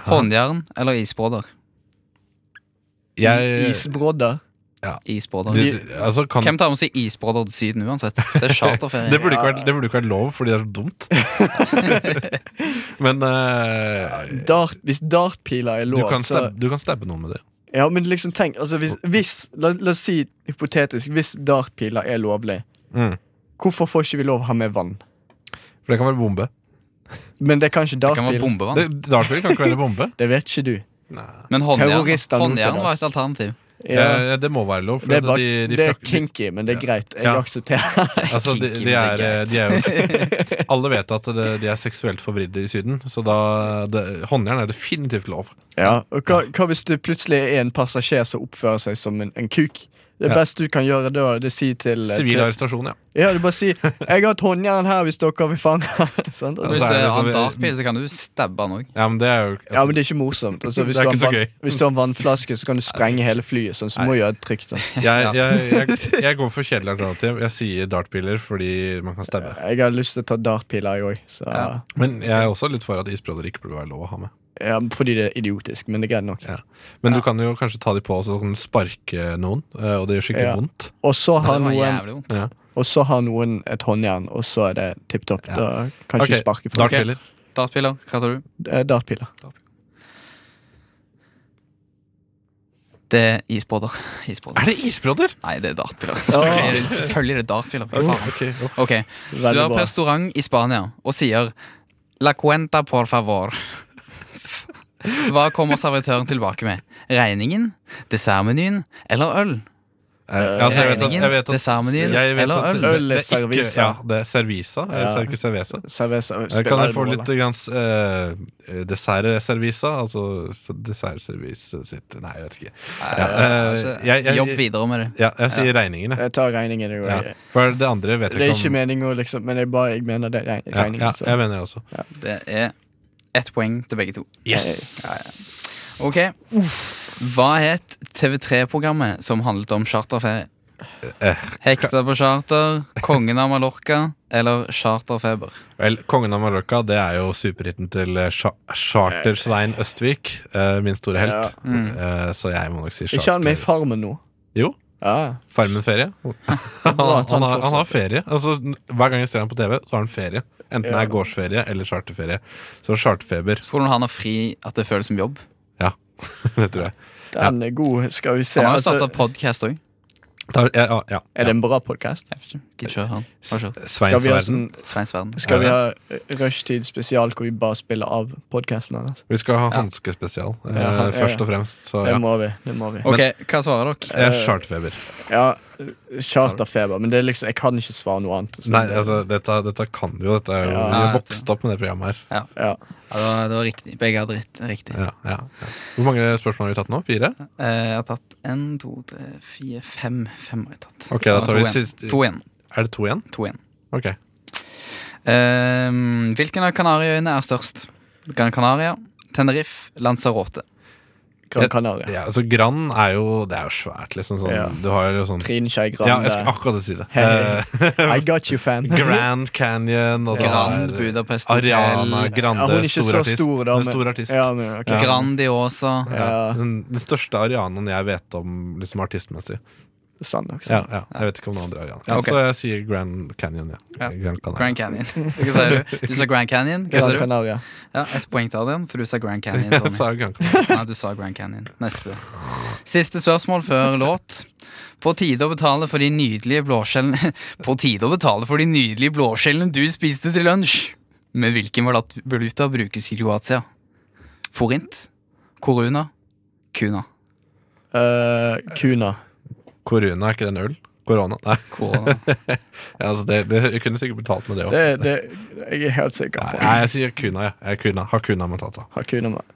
[SPEAKER 3] håndjern eller isbrodder?
[SPEAKER 2] Jeg,
[SPEAKER 1] Isbrodder.
[SPEAKER 3] Isbrodder.
[SPEAKER 2] du, du, altså, kan,
[SPEAKER 3] Hvem tar med seg isbrodder til Syden uansett? Det er charterferie.
[SPEAKER 2] Det burde, ikke vært, det burde ikke vært lov, fordi det er så dumt. men eh,
[SPEAKER 1] Dart, hvis dartpiler er
[SPEAKER 2] du,
[SPEAKER 1] lov,
[SPEAKER 2] kan
[SPEAKER 1] så
[SPEAKER 2] stabbe, du kan stabbe noen med det.
[SPEAKER 1] Ja, men liksom tenk altså hvis, hvis, la, la oss si hypotetisk, hvis dartpiler er lovlig,
[SPEAKER 2] Mm.
[SPEAKER 1] hvorfor får ikke vi lov å ha med vann?
[SPEAKER 2] For det kan være bombe.
[SPEAKER 1] Men det kan ikke
[SPEAKER 3] Det kan være
[SPEAKER 1] dartpiler.
[SPEAKER 2] Det,
[SPEAKER 3] bombevann.
[SPEAKER 2] dartpil kan ikke være bombe.
[SPEAKER 1] Det vet ikke du.
[SPEAKER 3] Men håndjern,
[SPEAKER 1] Terrorister nå til
[SPEAKER 3] håndjern var
[SPEAKER 1] dags.
[SPEAKER 3] et alternativ.
[SPEAKER 1] Ja,
[SPEAKER 2] Eh, det må være lov. For
[SPEAKER 1] det, er
[SPEAKER 2] at
[SPEAKER 1] bare,
[SPEAKER 2] de, de
[SPEAKER 1] det er
[SPEAKER 2] frak-
[SPEAKER 1] kinky, men det er greit. Jeg
[SPEAKER 2] Ja.
[SPEAKER 1] aksepterer.
[SPEAKER 2] Altså, de,
[SPEAKER 3] Kinky,
[SPEAKER 2] de,
[SPEAKER 3] men
[SPEAKER 2] er,
[SPEAKER 3] det er
[SPEAKER 2] de er jo Alle vet at det, de er seksuelt forvridde i Syden, så da det, Håndjern er definitivt lov.
[SPEAKER 1] Ja, og hva, hva hvis du plutselig er en passasjer som oppfører seg som en, en kuk? Det
[SPEAKER 2] Ja.
[SPEAKER 1] beste du kan gjøre da, det er å si til
[SPEAKER 2] Sivil
[SPEAKER 1] til-
[SPEAKER 2] arrestasjon, ja.
[SPEAKER 1] Ja, du bare si 'Jeg har et håndjern her hvis dere vil fange'. Sant?
[SPEAKER 3] Hvis
[SPEAKER 1] Altså,
[SPEAKER 2] så er
[SPEAKER 3] du
[SPEAKER 2] det
[SPEAKER 3] har
[SPEAKER 2] sånn-
[SPEAKER 3] en dartpil, så kan du stabbe han òg.
[SPEAKER 2] Ja, men det er jo altså,
[SPEAKER 1] ja, men det er ikke morsomt. Altså, hvis,
[SPEAKER 2] Det er
[SPEAKER 1] du
[SPEAKER 2] ikke
[SPEAKER 1] har en
[SPEAKER 2] så
[SPEAKER 1] vann-
[SPEAKER 2] gøy.
[SPEAKER 1] hvis du har en vannflaske, så kan du sprenge hele flyet. Sånn, så du må gjøre et trykk. Sånn.
[SPEAKER 2] jeg, jeg, jeg, jeg går for kjedelig alternativ. Jeg sier dartpiler fordi man kan stabbe.
[SPEAKER 1] Jeg har lyst til å ta dartpiler, jeg òg. så-
[SPEAKER 3] Ja.
[SPEAKER 2] Men jeg er også litt for at isbrodder ikke burde være lov å ha med.
[SPEAKER 1] Ja, fordi det er idiotisk, men det er greit nok.
[SPEAKER 2] Ja. Men du kan jo kanskje ta de på og så kan du sparke noen, eh, og det gjør skikkelig
[SPEAKER 1] Ja.
[SPEAKER 2] vondt.
[SPEAKER 1] Og så har
[SPEAKER 3] Det var
[SPEAKER 1] noen,
[SPEAKER 3] jævlig vondt.
[SPEAKER 2] Ja.
[SPEAKER 1] og så har noen et håndjern, og så er det tipp topp. Da kan
[SPEAKER 2] Ok,
[SPEAKER 1] ikke du sparke folk.
[SPEAKER 2] dartpiler.
[SPEAKER 3] Dartpiler, hva tar du?
[SPEAKER 1] Eh, Dartpiler.
[SPEAKER 3] Det er isbåter. isbåter.
[SPEAKER 2] Er det isbrodder?
[SPEAKER 3] Nei, det er dartpiller. Selvfølgelig, er det- selvfølgelig er det dartpiller. Hva faen?
[SPEAKER 2] Ok, jo.
[SPEAKER 3] Ok, så du
[SPEAKER 1] Veldig
[SPEAKER 3] er på
[SPEAKER 1] bra.
[SPEAKER 3] restaurant i Spania og sier La cuenta por favor. Hva kommer servitøren tilbake med? Regningen? Dessertmenyen? Eller øl?
[SPEAKER 2] Eh, altså, jeg vet at, jeg vet at,
[SPEAKER 3] Dessertmenyen
[SPEAKER 2] jeg vet
[SPEAKER 3] eller
[SPEAKER 2] at
[SPEAKER 3] øl?
[SPEAKER 2] det-
[SPEAKER 1] Øl er
[SPEAKER 2] det ikke-
[SPEAKER 1] servisa.
[SPEAKER 2] Ja, det er servisa. eh,
[SPEAKER 1] Ja.
[SPEAKER 2] Sercu Cerveza.
[SPEAKER 1] Cerveza
[SPEAKER 2] Eh, Kan jeg få
[SPEAKER 1] spiller
[SPEAKER 2] litt grann, eh, dessertservisa? Altså s- dessertservis sitt Nei, jeg vet ikke. Ja, eh,
[SPEAKER 3] Altså,
[SPEAKER 2] jeg- jeg-
[SPEAKER 3] Jobb videre med det.
[SPEAKER 2] Ja, jeg sier regningen, jeg.
[SPEAKER 1] Jeg tar regningen. Det, går
[SPEAKER 2] eh, Ja.
[SPEAKER 1] jeg.
[SPEAKER 2] For det andre vet
[SPEAKER 1] det er
[SPEAKER 2] jeg ikke
[SPEAKER 1] ikke
[SPEAKER 2] om.
[SPEAKER 1] meningen, liksom, men jeg, bare, jeg mener det er reg-
[SPEAKER 2] Ja,
[SPEAKER 1] regningen.
[SPEAKER 2] ja,
[SPEAKER 1] så.
[SPEAKER 2] jeg mener det også.
[SPEAKER 3] Det er ett poeng til begge to.
[SPEAKER 2] Yes!
[SPEAKER 3] Ok, Hva het TV3-programmet som handlet om charterferie?
[SPEAKER 2] Eh,
[SPEAKER 3] Hekta på charter, Kongen av Mallorca eller Charterfeber?
[SPEAKER 2] Vel, Kongen av Mallorca det er jo superhiten til eh, Cha- Charter-Svein Østvik. eh, min store helt.
[SPEAKER 1] Ja.
[SPEAKER 2] Eh, så jeg må nok si
[SPEAKER 1] Er ikke han med i
[SPEAKER 2] Charter.
[SPEAKER 1] Farmen nå?
[SPEAKER 2] Jo.
[SPEAKER 1] Ja.
[SPEAKER 2] Farmen ferie. Han,
[SPEAKER 1] Bra at han
[SPEAKER 2] han, har, han har
[SPEAKER 1] fortsetter.
[SPEAKER 2] ferie. Altså, n- hver gang jeg ser ham på TV, så har han ferie. Enten det
[SPEAKER 1] Ja.
[SPEAKER 2] er gårdsferie eller charterferie. Så charterfeber.
[SPEAKER 3] Tror du han har fri at det føles som jobb?
[SPEAKER 2] Ja, det tror jeg.
[SPEAKER 1] Den er god, skal vi se.
[SPEAKER 3] Han har jo
[SPEAKER 1] Altså,
[SPEAKER 3] starta podkast òg.
[SPEAKER 2] Da- ja, ja, ja.
[SPEAKER 1] er det en bra podkast? Skal
[SPEAKER 2] Sveins
[SPEAKER 1] vi ha
[SPEAKER 2] verden.
[SPEAKER 1] sånn
[SPEAKER 3] Sveins verden.
[SPEAKER 1] Skal vi
[SPEAKER 2] Ja.
[SPEAKER 1] ha rushtid spesial hvor vi bare spiller av podkasten hans?
[SPEAKER 2] Vi skal ha hanskespesial, eh,
[SPEAKER 1] Ja, ja, ja.
[SPEAKER 2] først og fremst. Så
[SPEAKER 1] Det
[SPEAKER 2] ja.
[SPEAKER 1] må vi. det må vi
[SPEAKER 3] Ok, Hva svarer dere?
[SPEAKER 2] Eh, charterfeber.
[SPEAKER 1] Ja, Charterfeber. Men det er liksom, jeg kan ikke svare noe annet. så
[SPEAKER 2] Nei,
[SPEAKER 1] det-
[SPEAKER 2] altså, dette, dette kan du jo. Dette er jo,
[SPEAKER 1] Ja.
[SPEAKER 2] vi har vokst opp med det programmet her.
[SPEAKER 1] ja.
[SPEAKER 3] Ja, det, var, det var riktig. Begge hadde rett, riktig.
[SPEAKER 2] Ja, ja, ja. Hvor mange spørsmål har vi tatt nå? Fire?
[SPEAKER 3] Eh, jeg har tatt én, to, tre, fire, fem. Fem har jeg tatt.
[SPEAKER 2] Ok, da
[SPEAKER 3] Det var
[SPEAKER 2] tar vi
[SPEAKER 3] to igjen.
[SPEAKER 2] siste-
[SPEAKER 3] To igjen.
[SPEAKER 2] Er det to igjen?
[SPEAKER 3] To igjen.
[SPEAKER 2] Ok.
[SPEAKER 3] Eh, hvilken av Kanariøyene er størst? Gran Canaria, Tenerife, Lanzarote.
[SPEAKER 1] Gran Canaria.
[SPEAKER 2] Ja, altså, Gran er jo Det er jo svært, liksom. Sånn,
[SPEAKER 1] Ja.
[SPEAKER 2] Du har jo sånn
[SPEAKER 1] Trine Skei Grande.
[SPEAKER 2] Ja, jeg skulle akkurat si det.
[SPEAKER 1] Hey.
[SPEAKER 2] Eh,
[SPEAKER 1] I got you, fam.
[SPEAKER 2] Grand Canyon og
[SPEAKER 3] Grand
[SPEAKER 2] det er
[SPEAKER 3] Budapest Hotel.
[SPEAKER 2] Ariana Grande,
[SPEAKER 1] Ja, hun er ikke
[SPEAKER 2] stor
[SPEAKER 1] så
[SPEAKER 2] artist.
[SPEAKER 1] stor, da.
[SPEAKER 2] Hun er
[SPEAKER 1] men-
[SPEAKER 2] stor artist.
[SPEAKER 1] Ja, men, ok.
[SPEAKER 2] Ja.
[SPEAKER 3] Grandiosa.
[SPEAKER 1] Ja.
[SPEAKER 2] Den, den største Arianaen jeg vet om liksom artistmessig.
[SPEAKER 1] Sann også.
[SPEAKER 2] Ja, ja. Jeg vet ikke om noen andre Ariana. Ja,
[SPEAKER 3] Ok.
[SPEAKER 2] Så jeg sier Grand Canyon, ja.
[SPEAKER 3] Ja.
[SPEAKER 2] Grand Canyon.
[SPEAKER 3] Grand Canyon. Hva sa du? Du sa Grand Canyon. Hva sa
[SPEAKER 1] Gran
[SPEAKER 3] du?
[SPEAKER 1] Canaria.
[SPEAKER 3] Ja, Ett poeng til Adrian, for du sa Grand Canyon.
[SPEAKER 2] Jeg
[SPEAKER 3] Tommy.
[SPEAKER 2] sa Grand Canyon.
[SPEAKER 3] Nei, du sa Grand Canyon. Neste. Siste spørsmål før låt. På tide å betale for de nydelige blåskjellene På tide å betale for de nydelige blåskjellene du spiste til lunsj! Men hvilken valut- valuta brukes i Kroatia? Forint? Koruna? Kuna?
[SPEAKER 1] Eh, Kuna.
[SPEAKER 2] Korona, er ikke den øl? Korona? Nei.
[SPEAKER 3] Korona.
[SPEAKER 2] Ja, altså, det, det, jeg kunne sikkert betalt med det òg.
[SPEAKER 1] Det, det jeg er helt sikker på.
[SPEAKER 2] Nei, jeg sier Kuna, ja. jeg. er Kuna. Hakuna Matata.
[SPEAKER 1] Hakuna Ma-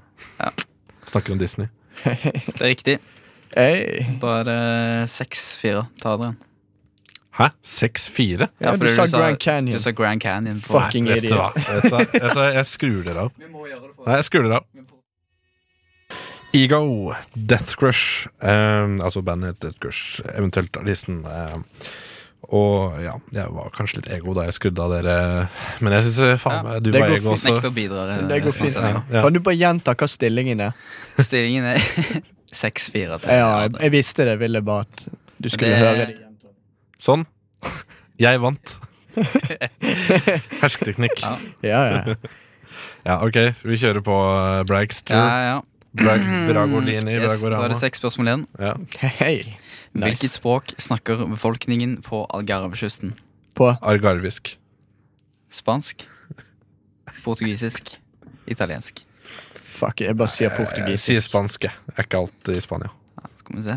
[SPEAKER 2] Snakker om Disney.
[SPEAKER 3] Det er riktig.
[SPEAKER 1] Hey.
[SPEAKER 3] Da er det seks-fire til Adrian.
[SPEAKER 2] Hæ? 6-4?
[SPEAKER 1] Ja,
[SPEAKER 3] fordi
[SPEAKER 1] du sa Grand Canyon.
[SPEAKER 3] Du sa Grand Canyon. på-
[SPEAKER 1] Fuck. Fucking
[SPEAKER 2] Vet du hva?
[SPEAKER 1] idiot.
[SPEAKER 2] Vet du hva? Vet du hva? Jeg skrur dere av. Nei, jeg skrur dere av. Ego, Death Crush. eh, altså bandet Death Crush, eventuelt artisten. eh, og ja, jeg var kanskje litt ego da jeg skrudde av dere, men jeg syns faen meg du
[SPEAKER 1] det
[SPEAKER 2] var
[SPEAKER 1] går
[SPEAKER 2] ego
[SPEAKER 1] fint.
[SPEAKER 2] også.
[SPEAKER 3] Nekter å bidra. eh,
[SPEAKER 1] Det går
[SPEAKER 3] resten av
[SPEAKER 1] fint.
[SPEAKER 3] sendingen.
[SPEAKER 2] Ja.
[SPEAKER 1] Kan du bare gjenta hva stillingen er?
[SPEAKER 3] Stillingen er seks-fire til
[SPEAKER 1] Ja, jeg,
[SPEAKER 3] Adrian.
[SPEAKER 1] jeg visste det. Ville bare at du skulle
[SPEAKER 3] Det-
[SPEAKER 1] høre det.
[SPEAKER 2] Sånn. Jeg vant. Hersketeknikk.
[SPEAKER 3] Ja.
[SPEAKER 1] Ja, ja.
[SPEAKER 2] Ja, ok, vi kjører på eh, Bragster.
[SPEAKER 3] Ja, ja.
[SPEAKER 2] Bra Bragolini,
[SPEAKER 3] Yes, da er det
[SPEAKER 2] Bragorama.
[SPEAKER 3] seks spørsmål igjen.
[SPEAKER 2] Ja.
[SPEAKER 1] Hei. Nice.
[SPEAKER 3] Hvilket språk snakker befolkningen på Algarvekysten?
[SPEAKER 1] På
[SPEAKER 2] Argarvisk.
[SPEAKER 3] Spansk? Portugisisk? Italiensk?
[SPEAKER 1] Fuck, jeg bare
[SPEAKER 3] Eh,
[SPEAKER 1] sier
[SPEAKER 2] Jeg sier
[SPEAKER 1] portugisisk.
[SPEAKER 2] spansk, jeg. Jeg er ikke alt i Spania.
[SPEAKER 3] Ja, skal vi se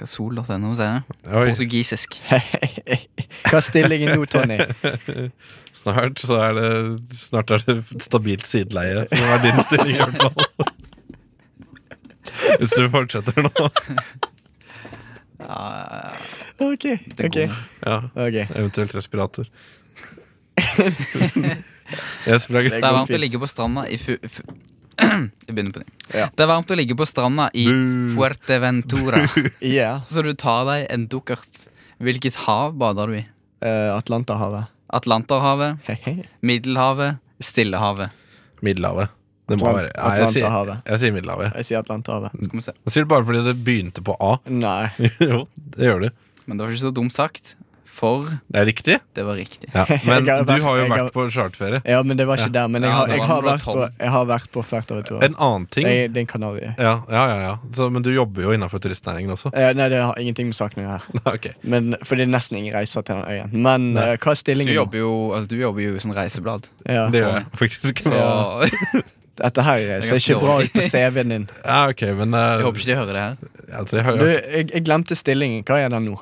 [SPEAKER 3] Hva sol.no sier.
[SPEAKER 2] Oi.
[SPEAKER 3] Portugisisk.
[SPEAKER 1] Hva er stillingen nå, Tony?
[SPEAKER 2] Snart, så er det, snart er det stabilt sideleie, som er din stilling i hvert fall. Hvis du fortsetter nå.
[SPEAKER 3] Ja,
[SPEAKER 1] Ok, ok.
[SPEAKER 2] Ja,
[SPEAKER 1] ok
[SPEAKER 2] eventuelt respirator. Yes, bra
[SPEAKER 3] det er
[SPEAKER 2] gutt.
[SPEAKER 3] varmt å
[SPEAKER 1] fint.
[SPEAKER 3] ligge på stranda i fu... fu jeg begynner på ny.
[SPEAKER 1] Ja.
[SPEAKER 3] Det er varmt å ligge på stranda i Fuerteventura.
[SPEAKER 1] Ja,
[SPEAKER 3] Så du tar deg en dukkert. Hvilket hav bader du i?
[SPEAKER 1] eh, Atlanterhavet.
[SPEAKER 3] Atlanterhavet?
[SPEAKER 1] Hehe.
[SPEAKER 3] Middelhavet? Stillehavet?
[SPEAKER 2] Middelhavet. Det må være Nei, jeg sier,
[SPEAKER 1] Atlanterhavet.
[SPEAKER 2] jeg sier Middelhavet.
[SPEAKER 1] Jeg sier Atlanterhavet.
[SPEAKER 3] Skal vi se.
[SPEAKER 2] Jeg sier det bare fordi det begynte på A.
[SPEAKER 1] Nei.
[SPEAKER 2] Jo, det gjør du.
[SPEAKER 3] Men det var ikke så dumt sagt. for
[SPEAKER 2] Det er riktig?
[SPEAKER 3] det var riktig.
[SPEAKER 2] Ja. Men
[SPEAKER 1] Jeg har
[SPEAKER 2] du
[SPEAKER 1] vært-
[SPEAKER 2] har jo
[SPEAKER 1] jeg har-
[SPEAKER 2] vært på charterferie.
[SPEAKER 1] Ja, men det var ikke der. Men jeg
[SPEAKER 3] Ja,
[SPEAKER 1] har,
[SPEAKER 3] det
[SPEAKER 1] jeg
[SPEAKER 3] var
[SPEAKER 1] har,
[SPEAKER 3] den blå
[SPEAKER 1] vært, på,
[SPEAKER 3] tom.
[SPEAKER 1] jeg har vært på Flertovertur.
[SPEAKER 2] En annen ting
[SPEAKER 1] Det
[SPEAKER 2] Ja,
[SPEAKER 1] er det er en kanarie.
[SPEAKER 2] ja, ja, ja. Så, Men du jobber jo innafor turistnæringen også.
[SPEAKER 1] Eh, nei, det har ingenting med saken å gjøre.
[SPEAKER 2] Ok.
[SPEAKER 1] Men- For det er nesten ingen reiser til den øyen. Men
[SPEAKER 2] Nei.
[SPEAKER 1] eh, hva er
[SPEAKER 3] Du
[SPEAKER 1] stillingen? nå?
[SPEAKER 3] jobber jo altså, du jobber jo som reiseblad,
[SPEAKER 1] Ja.
[SPEAKER 2] Det gjør jeg faktisk.
[SPEAKER 3] så
[SPEAKER 1] Ja. Dette her ser ikke bra ut på CV-en din.
[SPEAKER 2] Ja, ok, men eh,
[SPEAKER 3] jeg håper ikke de hører det her.
[SPEAKER 2] altså, jeg har
[SPEAKER 1] Du,
[SPEAKER 2] jo
[SPEAKER 1] jeg, jeg glemte stillingen. Hva er den nå?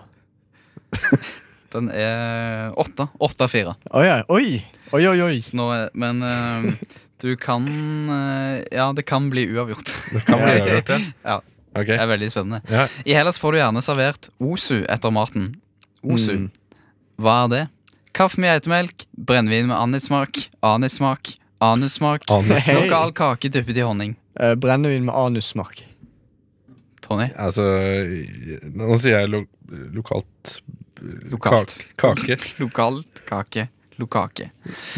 [SPEAKER 3] Den er åtte. Åtte av fire.
[SPEAKER 1] Å ja. Oi! Oi, oi, oi.
[SPEAKER 3] Så nå er- Men eh, du kan eh, Ja, det kan bli uavgjort.
[SPEAKER 2] Det kan bli
[SPEAKER 1] Ja, ok.
[SPEAKER 2] uavgjort,
[SPEAKER 3] Ja.
[SPEAKER 2] Ok.
[SPEAKER 3] Det er veldig spennende.
[SPEAKER 2] Ja.
[SPEAKER 3] I Hellas får du gjerne servert osu etter maten. Osu.
[SPEAKER 1] Mm.
[SPEAKER 3] Hva er det? Kaffe med geitemelk, brennevin med anissmak, anissmak, anussmak,
[SPEAKER 2] Anus.
[SPEAKER 1] Hei.
[SPEAKER 3] lokal kake dyppet i honning.
[SPEAKER 1] Eh, brennevin med anussmak.
[SPEAKER 3] Tony?
[SPEAKER 2] Altså Nå sier jeg lo lokalt
[SPEAKER 3] Lokalt.
[SPEAKER 2] Kak, kake.
[SPEAKER 3] Lokalt kake. Lokake.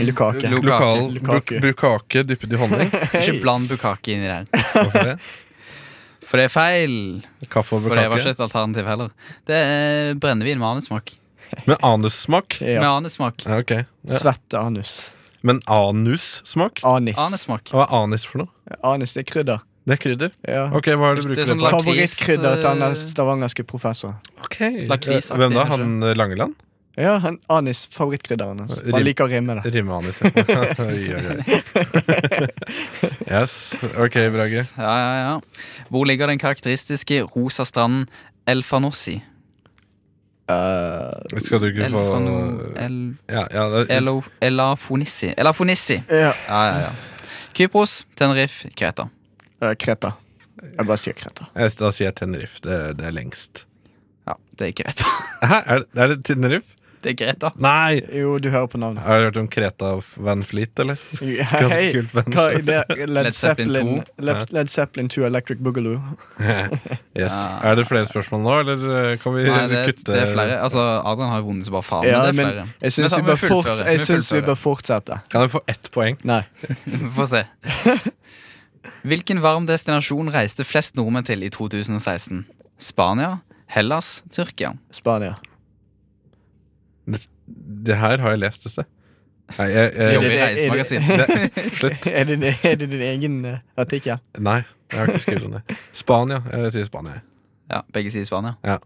[SPEAKER 1] Lukake.
[SPEAKER 3] Lu-
[SPEAKER 2] Lokal
[SPEAKER 1] Lukake.
[SPEAKER 2] bu- Bukake dyppet i honning.
[SPEAKER 3] Ikke bland bukake inni der.
[SPEAKER 2] Hvorfor det?
[SPEAKER 3] For det er feil.
[SPEAKER 2] Kaffe og
[SPEAKER 3] For det var
[SPEAKER 2] bukake.
[SPEAKER 3] ikke et alternativ heller. Det er brennevin med anussmak.
[SPEAKER 2] Men anussmak?
[SPEAKER 3] Med
[SPEAKER 1] Ja.
[SPEAKER 3] anussmak.
[SPEAKER 2] Ja, ok. Ja.
[SPEAKER 1] Svett anus.
[SPEAKER 2] Men anussmak?
[SPEAKER 1] Anis. Anis,
[SPEAKER 3] Anussmak.
[SPEAKER 2] Hva er anis for noe?
[SPEAKER 1] det er krydder.
[SPEAKER 2] Det er krydder.
[SPEAKER 1] Ja.
[SPEAKER 2] Ok, Hva er det du
[SPEAKER 3] Det
[SPEAKER 2] bruker
[SPEAKER 3] er
[SPEAKER 2] det
[SPEAKER 3] sånn
[SPEAKER 2] på?
[SPEAKER 3] lakris,
[SPEAKER 1] Favorittkrydder til
[SPEAKER 3] eh,
[SPEAKER 1] han stavangerske professor.
[SPEAKER 2] Ok.
[SPEAKER 3] lakrisaktig,
[SPEAKER 2] Hvem da?
[SPEAKER 3] kanskje?
[SPEAKER 2] Han eh, Langeland?
[SPEAKER 1] Ja, han, anis. Favorittkrydderen hans.
[SPEAKER 2] Rim-
[SPEAKER 1] Han liker å rimme det.
[SPEAKER 2] Rimme-anis. ja. Oi, oi, oi. Yes. Ok, Brage.
[SPEAKER 3] Ja, ja, ja. Hvor ligger den karakteristiske rosa stranden Elfanossi?
[SPEAKER 1] Eh,
[SPEAKER 2] Skal du ikke få
[SPEAKER 3] Elfano... El...
[SPEAKER 2] ja, ja, det er-
[SPEAKER 3] Elo- Elafonissi. Elafonissi.
[SPEAKER 1] ja.
[SPEAKER 3] Ja, ja, ja. Kypros, Tenerife, Kreta.
[SPEAKER 1] Eh, Kreta. Jeg bare sier Kreta.
[SPEAKER 2] jeg- Da sier jeg Tenerife. Det, er- det er lengst.
[SPEAKER 3] Ja, det er Kreta.
[SPEAKER 2] Hæ? Er, det- er det Tenerife?
[SPEAKER 3] Det er Kreta.
[SPEAKER 2] Nei!
[SPEAKER 1] Jo, du hører på navnet.
[SPEAKER 2] Har du hørt om Kreta Van Fleet, eller? Ganske
[SPEAKER 1] Hei,
[SPEAKER 2] kult band.
[SPEAKER 1] hva er det? Led
[SPEAKER 3] Led Zeppelin
[SPEAKER 1] Zeppelin
[SPEAKER 3] 2.
[SPEAKER 1] Led Led Zeppelin 2 Electric Boogaloo.
[SPEAKER 2] Yes.
[SPEAKER 3] Ja.
[SPEAKER 2] Er det flere spørsmål nå, eller eh, kan vi
[SPEAKER 3] Nei, det,
[SPEAKER 2] kutte?
[SPEAKER 3] det er flere. Altså, Adrian har jo vunnet så bare faen,
[SPEAKER 1] Ja,
[SPEAKER 3] men det er flere.
[SPEAKER 1] men jeg syns
[SPEAKER 3] Men
[SPEAKER 1] vi,
[SPEAKER 3] da må
[SPEAKER 1] bør
[SPEAKER 3] vi fullføre.
[SPEAKER 1] forts-
[SPEAKER 3] Vi
[SPEAKER 1] jeg synes vi
[SPEAKER 3] fullfører.
[SPEAKER 1] bør fortsette.
[SPEAKER 2] Kan jeg få ett poeng?
[SPEAKER 1] Nei.
[SPEAKER 3] Vi får se. Hvilken varm destinasjon reiste flest nordmenn til i 2016? Spania, Hellas, Tyrkia.
[SPEAKER 1] Spania.
[SPEAKER 2] Det, det her har jeg lest et sted. Nei, jeg,
[SPEAKER 3] Du
[SPEAKER 2] jeg,
[SPEAKER 3] jobber i
[SPEAKER 1] det-
[SPEAKER 3] reisemagasin.
[SPEAKER 2] det, slutt.
[SPEAKER 1] Er det, er det din egen eh, artikkel?
[SPEAKER 2] Nei, jeg har ikke skrevet om det. Spania. Jeg sier Spania. jeg.
[SPEAKER 3] Ja, begge sier Spania.
[SPEAKER 2] Ja.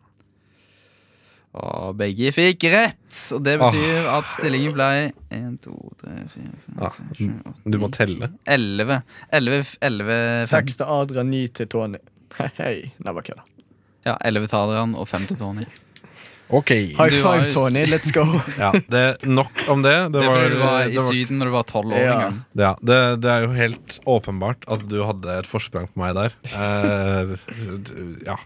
[SPEAKER 3] Og begge fikk rett! Og det betyr at stillingen ble 1, 2, 3, 4, 5,
[SPEAKER 2] Ja,
[SPEAKER 3] 6, 7, 8,
[SPEAKER 2] Du må telle.
[SPEAKER 3] 11. 11, 11, 5.
[SPEAKER 1] Seks til Adrian, ni til Tony. Hei. Nei, bare kødda.
[SPEAKER 3] Ja, 11 til Adrian og 5 til Tony.
[SPEAKER 2] Ok.
[SPEAKER 1] High
[SPEAKER 3] Du var
[SPEAKER 1] five,
[SPEAKER 3] jo s-
[SPEAKER 1] Tony. Let's go.
[SPEAKER 2] Ja, det, nok om det. Det
[SPEAKER 3] Det
[SPEAKER 2] var,
[SPEAKER 3] var, du var
[SPEAKER 2] det
[SPEAKER 3] i
[SPEAKER 2] var-
[SPEAKER 3] Syden når du var 12 år
[SPEAKER 1] Ja.
[SPEAKER 3] en gang.
[SPEAKER 2] ja, det, det er jo helt åpenbart at du hadde et forsprang på meg der. Eh, ja.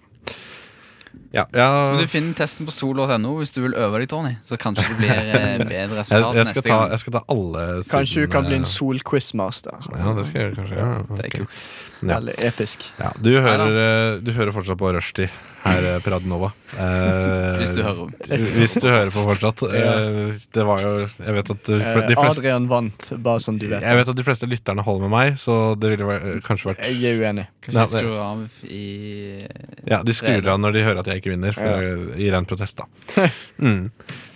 [SPEAKER 2] Ja,
[SPEAKER 3] Men
[SPEAKER 2] ja.
[SPEAKER 3] du finner testen på sol.no hvis du vil øve deg, Tony. Så kanskje det blir eh, bedre
[SPEAKER 2] Jeg,
[SPEAKER 3] resultat
[SPEAKER 2] jeg, skal
[SPEAKER 3] neste
[SPEAKER 2] ta,
[SPEAKER 3] gang.
[SPEAKER 2] jeg skal ta alle
[SPEAKER 1] Kanskje du kan bli en
[SPEAKER 2] sidene.
[SPEAKER 1] sol-quizmaster.
[SPEAKER 2] Ja, det skal jeg gjøre, kanskje. Ja,
[SPEAKER 3] Det er
[SPEAKER 2] ok.
[SPEAKER 3] kult.
[SPEAKER 2] Ja.
[SPEAKER 1] Veldig episk.
[SPEAKER 2] Ja, du, hører, eh, du hører fortsatt på Rushdie her eh, på Radio Nova. Eh,
[SPEAKER 3] Hvis du hører.
[SPEAKER 2] Hvis du hører på fortsatt. Eh, det var jo Jeg vet at de,
[SPEAKER 1] Eh,
[SPEAKER 2] de fleste
[SPEAKER 1] Adrian vant, bare som du vet.
[SPEAKER 2] Jeg vet at de fleste lytterne holder med meg, så det ville vært- kanskje vært
[SPEAKER 1] Jeg er uenig.
[SPEAKER 2] Nei,
[SPEAKER 3] Kanskje
[SPEAKER 2] det-
[SPEAKER 3] vi skrur av i
[SPEAKER 2] Ja, De skrur av når de hører at jeg ikke vinner, for, i ren protest, da. Mm.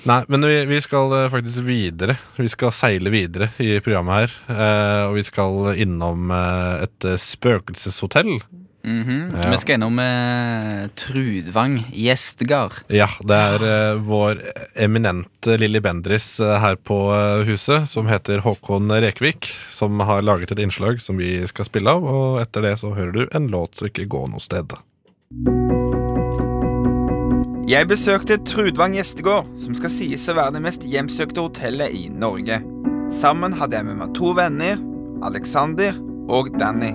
[SPEAKER 2] Nei, men vi, vi skal eh, faktisk videre. Vi skal seile videre i programmet her. eh, og vi skal innom eh, et eh, spøkelseshotell.
[SPEAKER 3] Mhm.
[SPEAKER 2] Ja.
[SPEAKER 3] Vi skal innom eh, Trudvang gjestegard.
[SPEAKER 2] Ja, det er eh, vår eminente Lilly Bendris eh, her på eh, huset, som heter Håkon Rekvik, som har laget et innslag som vi skal spille av, og etter det så hører du en låt som ikke går noe sted.
[SPEAKER 9] Jeg besøkte Trudvang gjestegård, som skal sies å være det mest hjemsøkte hotellet i Norge. Sammen hadde jeg med meg to venner, Alexander og Danny.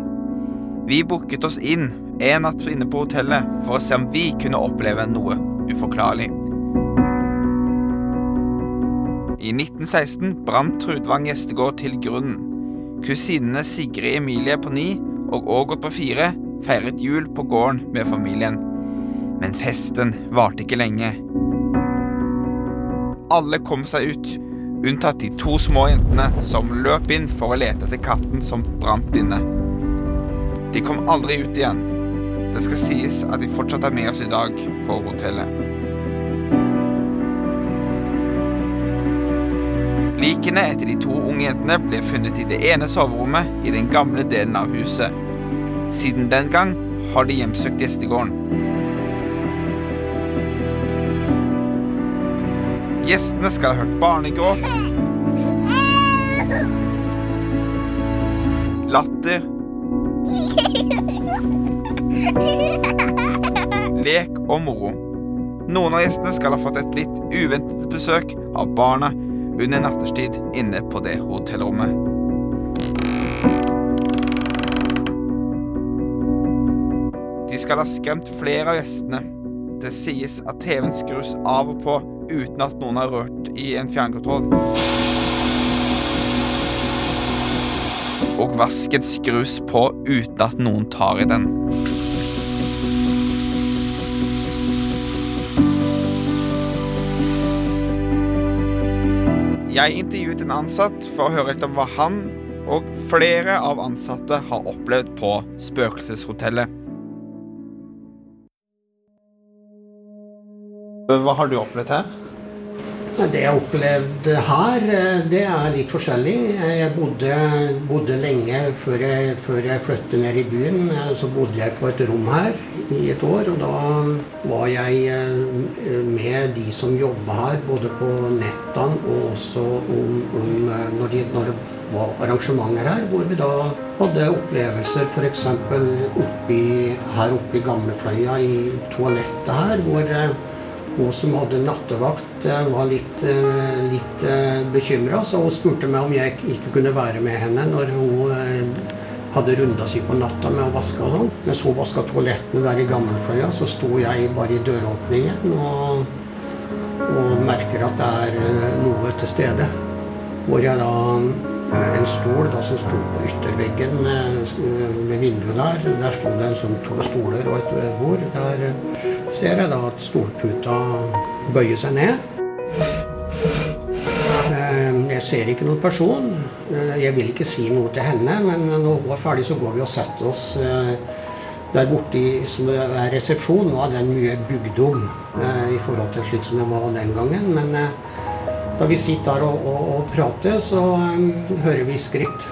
[SPEAKER 9] Vi booket oss inn en natt inne på hotellet for å se om vi kunne oppleve noe uforklarlig. I 1916 brant Trudvang gjestegård til grunnen. Kusinene Sigrid Emilie på ni og Ågot på fire feiret jul på gården med familien. Men festen varte ikke lenge. Alle kom seg ut, unntatt de to små jentene som løp inn for å lete etter katten som brant inne. De kom aldri ut igjen. Det skal sies at de fortsatt er med oss i dag på hotellet. Likene etter de to unge jentene ble funnet i det ene soverommet i den gamle delen av huset. Siden den gang har de hjemsøkt gjestegården. Gjestene skal ha hørt barnegråt, latter, lek og moro. Noen av gjestene skal ha fått et litt uventet besøk av barna under nattestid inne på det hotellrommet. De skal ha skremt flere av gjestene. Det sies at TV-en skrus av og på uten at noen har rørt i en fjernkontroll. Og vasken skrus på uten at noen tar i den. Jeg intervjuet en ansatt for å høre litt om hva han og flere av ansatte har opplevd på spøkelseshotellet. Hva har du opplevd her?
[SPEAKER 10] Men Det jeg opplevde her, eh, det er litt forskjellig. Eh, Jeg bodde, bodde lenge før jeg, før jeg flyttet ned i byen. Eh, Så bodde jeg på et rom her i et år, og da var jeg eh, med de som jobba her, både på nettene og også om, om eh, når, de, når det var arrangementer her, hvor vi da hadde opplevelser f.eks. Oppi, her oppe i Gamlefløya, i toalettet her, hvor eh, hun som hadde nattevakt, eh, var litt, eh, litt bekymra, så hun spurte meg om jeg ikke kunne være med henne når hun eh, hadde runda si på natta med å vaske og sånn. Mens hun vaska toalettene der i Gammelfløya, så sto jeg bare i døråpningen og, og merker at det er eh, noe til stede. Hvor jeg da med en stol da, som sto på ytterveggen eh, s- ved vinduet der. Der sto det en sånn to stoler og et eh, bord. Der eh, ser jeg da at stolputa bøyer seg ned. Eh, Jeg ser ikke noen person. Eh, Jeg vil ikke si noe til henne, men når hun er ferdig, så går vi og setter oss eh, der borte i- som er resepsjon. Nå er den mye bygd om eh, i forhold til slik som det var den gangen. men... eh, da vi sitter der og, og, og prater, så um, hører vi skritt.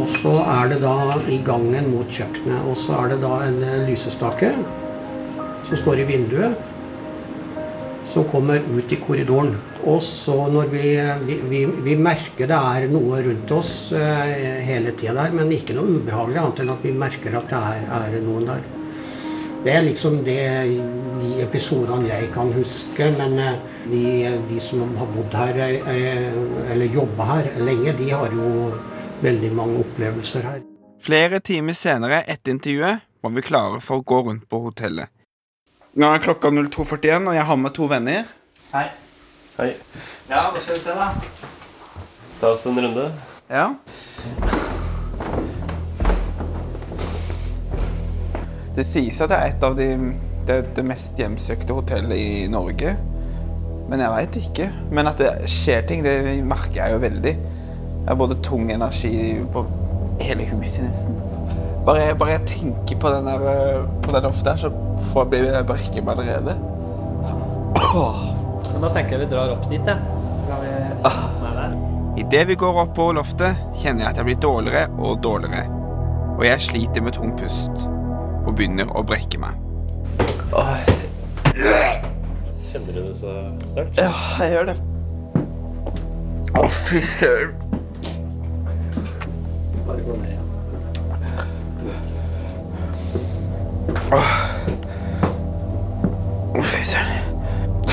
[SPEAKER 10] Og så er det da i gangen mot kjøkkenet, og så er det da en eh, lysestake som står i vinduet, som kommer ut i korridoren. Og så når vi, vi, vi, vi merker det er noe rundt oss eh, hele tida der, men ikke noe ubehagelig annet enn at vi merker at det er, er noen der. Det er liksom det, de episodene jeg kan huske. Men eh, de, de som har bodd her, eh, eller jobba her lenge, de har jo veldig mange opplevelser her.
[SPEAKER 9] Flere timer senere etter intervjuet var vi klare for å gå rundt på hotellet. Nå er klokka 02.41, og jeg har med to venner.
[SPEAKER 11] Hei. Hei. Ja, hva skal vi se, da? Ta oss en runde.
[SPEAKER 9] Ja. Det sies at det er et av de det, det mest hjemsøkte hotellet i Norge. Men jeg veit ikke. Men at det skjer ting, det merker jeg jo veldig. Det er både tung energi på hele huset, nesten. Bare, jeg- bare jeg tenker på den der eh, På den ofte her, så får jeg bli jeg berker meg allerede.
[SPEAKER 11] Men da tenker jeg vi drar opp dit, ja. Så kan vi se hva som er der.
[SPEAKER 9] Idet vi går opp på loftet, kjenner jeg at jeg blir dårligere og dårligere. Og jeg sliter med tung pust og begynner å brekke meg.
[SPEAKER 11] Kjenner du det så sterkt?
[SPEAKER 9] Ja, jeg gjør det. Å, fy søren.
[SPEAKER 11] Bare gå ned igjen.
[SPEAKER 9] Å, fy søren.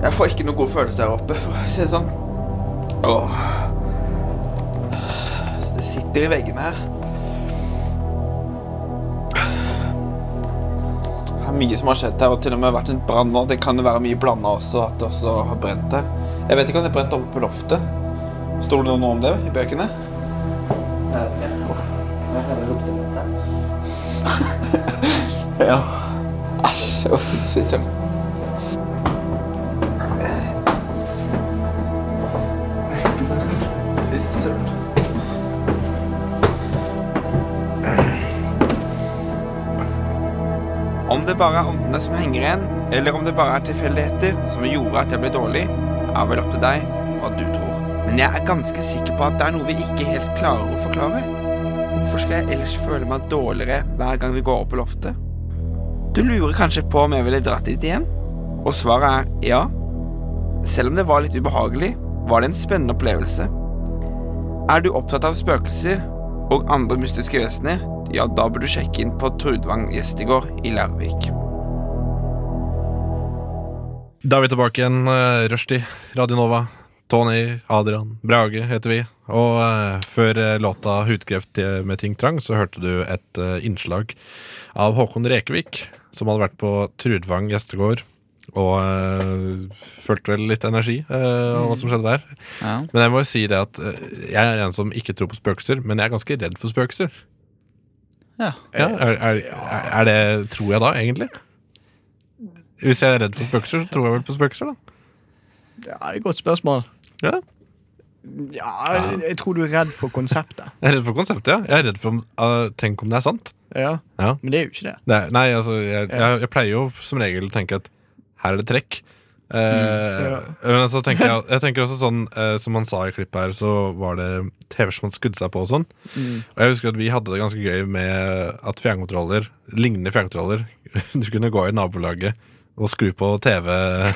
[SPEAKER 9] Jeg får ikke noen god følelse her oppe, for å si det sånn. Åh. Det sitter i veggene her. Det er mye som har skjedd her, og til og med vært en brann nå. Det kan jo være mye blanda også, at det også har brent her. Jeg vet ikke om det brent oppe på loftet. Står det noe om det i bøkene?
[SPEAKER 11] Jeg vet ikke. Jeg kjenner det lukter litt der.
[SPEAKER 9] Ja. Æsj. Uff, fy søren. Fy søren. Om det bare er åndene som henger igjen, eller om det bare er tilfeldigheter som gjorde at jeg ble dårlig, er vel opp til deg og hva du tror. Men jeg er ganske sikker på at det er noe vi ikke helt klarer å forklare. Hvorfor skal jeg ellers føle meg dårligere hver gang vi går opp på loftet? Du lurer kanskje på om jeg ville dratt dit igjen? Og svaret er ja. Selv om det var litt ubehagelig, var det en spennende opplevelse. Er du opptatt av spøkelser og andre mystiske vesener, ja, da bør du sjekke inn på Trudvang gjestegård i Lærvik.
[SPEAKER 2] Da er vi tilbake igjen. eh, Rushdie, Radio Nova, Tony, Adrian, Brage heter vi. Og eh, før eh, låta 'Hudkreft til- med Ting Trang' så hørte du et eh, innslag av Håkon Rekevik, som hadde vært på Trudvang gjestegård. Og eh, følte vel litt energi eh, av hva som skjedde der.
[SPEAKER 3] Ja.
[SPEAKER 2] Men jeg må jo si det at eh, jeg er en som ikke tror på spøkelser, men jeg er ganske redd for spøkelser.
[SPEAKER 3] Ja.
[SPEAKER 2] er, er, er det Tror jeg da, egentlig? Hvis jeg er redd for spøkelser, så tror jeg vel på spøkelser, da.
[SPEAKER 1] Ja, det er et godt spørsmål.
[SPEAKER 2] Ja.
[SPEAKER 1] Ja, jeg- jeg tror du er redd for konseptet.
[SPEAKER 2] Jeg er redd for konseptet, ja. Jeg er redd for om, ah, Tenk om det er sant.
[SPEAKER 1] Ja,
[SPEAKER 2] Ja.
[SPEAKER 1] Men det er jo ikke det.
[SPEAKER 2] Det er- nei, altså, jeg, jeg, jeg pleier jo som regel å tenke at her er det trekk. Eh, Men så tenker jeg, jeg tenker også sånn eh, Som han sa i klippet her, så var det TV-er som hadde skudd seg på og sånn.
[SPEAKER 12] Mm.
[SPEAKER 2] Og jeg husker at vi hadde det ganske gøy med at fjernkontroller, lignende fjernkontroller Du kunne gå i nabolaget og skru på TV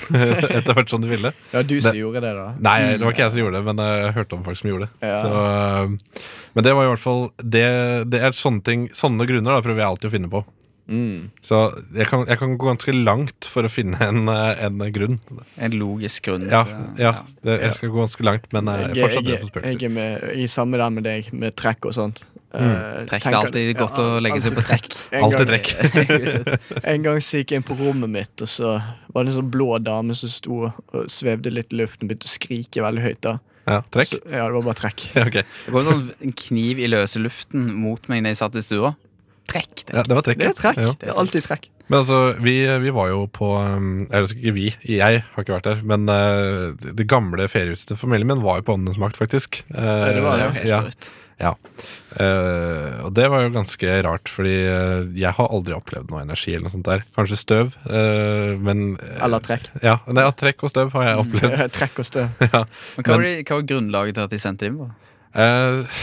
[SPEAKER 2] etter hvert som du ville.
[SPEAKER 1] Ja, du som gjorde det da.
[SPEAKER 2] Nei, det var ikke jeg som gjorde det, men eh, jeg hørte om folk som gjorde det.
[SPEAKER 1] Mm. Ja.
[SPEAKER 2] Så, eh, men det var i hvert fall Det, det er sånne ting Sånne grunner da prøver jeg alltid å finne på.
[SPEAKER 1] Mm.
[SPEAKER 2] Så jeg kan, jeg kan gå ganske langt for å finne en, eh, en grunn.
[SPEAKER 3] En logisk grunn.
[SPEAKER 2] Ja,
[SPEAKER 1] til-
[SPEAKER 2] ja,
[SPEAKER 1] ja.
[SPEAKER 2] det, jeg skal gå ganske langt, men eh, jeg er
[SPEAKER 1] Jeg-
[SPEAKER 2] fortsatt
[SPEAKER 1] jeg-
[SPEAKER 2] redd for spøkelser.
[SPEAKER 1] Jeg er med, i samme der med deg, med trekk og sånt. Eh,
[SPEAKER 2] Mm.
[SPEAKER 3] Trekk, det er
[SPEAKER 1] tenker-
[SPEAKER 3] alltid godt å legge seg på
[SPEAKER 1] alltid
[SPEAKER 3] trekk.
[SPEAKER 1] En
[SPEAKER 2] Alltid
[SPEAKER 1] gang-
[SPEAKER 2] trekk.
[SPEAKER 1] en gang så gikk jeg inn på rommet mitt, og så var det en sånn blå dame som sto og svevde litt i luften og begynte å skrike veldig høyt. da.
[SPEAKER 2] Ja, trekk?
[SPEAKER 1] Så, ja, det var bare trekk.
[SPEAKER 3] Det går sånn en kniv i løse luften mot meg når jeg satt i stua. Trekk!
[SPEAKER 2] Ja, det var trekk.
[SPEAKER 1] Det er trekk.
[SPEAKER 2] Ja.
[SPEAKER 1] Det er alltid trekk.
[SPEAKER 2] Men altså, vi, vi var jo på um, Eller ikke vi, jeg har ikke vært der. Men uh, det gamle feriehuset til familien min var jo på Åndenes makt, faktisk. Uh,
[SPEAKER 1] Ja, det var det. Det er jo helt
[SPEAKER 2] Ja. Uh, og det var jo ganske rart, fordi uh, jeg har aldri opplevd noe energi eller noe sånt der. Kanskje støv, uh, men
[SPEAKER 1] Eller trekk. Mm.
[SPEAKER 2] Ja, nei, ja, trekk og støv har jeg opplevd.
[SPEAKER 1] trekk og støv.
[SPEAKER 2] ja.
[SPEAKER 3] Men hva, var de, hva var grunnlaget til at de sendte dem? på?
[SPEAKER 2] Eh,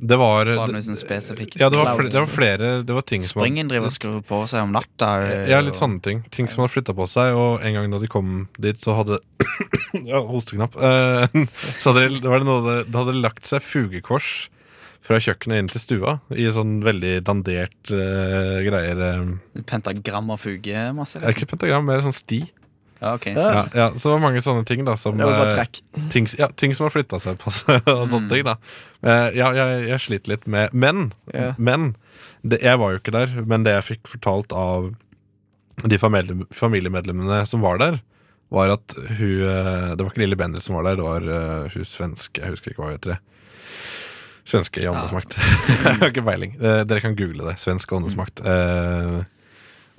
[SPEAKER 2] det var
[SPEAKER 3] Var det noe sånn spesifikt?
[SPEAKER 2] Ja, det var, flere, det var flere Det var ting som
[SPEAKER 3] Springen driver og skrur på seg om natta. eh,
[SPEAKER 2] Ja, litt sånn. sånne ting. Ting som hadde flytta på seg, og en gang da de kom dit, så hadde Ja, hosteknapp. Eh, så hadde det, var det, noe, det hadde lagt seg fugekors fra kjøkkenet inn til stua i sånn veldig dandert eh, greier. eh.
[SPEAKER 3] Pentagram og fugemasse? liksom.
[SPEAKER 2] Det er ikke pentagram, mer sånn sti.
[SPEAKER 3] Ja, ok. Så.
[SPEAKER 2] Ja, ja, så det var mange sånne ting da som,
[SPEAKER 3] Det var bare Mm.
[SPEAKER 2] eh, ting, ja, ting som har flytta seg på seg og sånne ting da Eh, Ja, jeg, jeg sliter litt med Men,
[SPEAKER 1] Ja.
[SPEAKER 2] men det, Jeg var jo ikke der, men det jeg fikk fortalt av De familie, familiemedlemmene som var der Var at hun eh, Det var ikke Lille Bendel som var der Det var eh, hun svenske, jeg husker ikke hva hun heter det Svenske i åndesmakt Jeg har ikke peiling, Eh, dere kan google det Svensk åndesmakt Eh,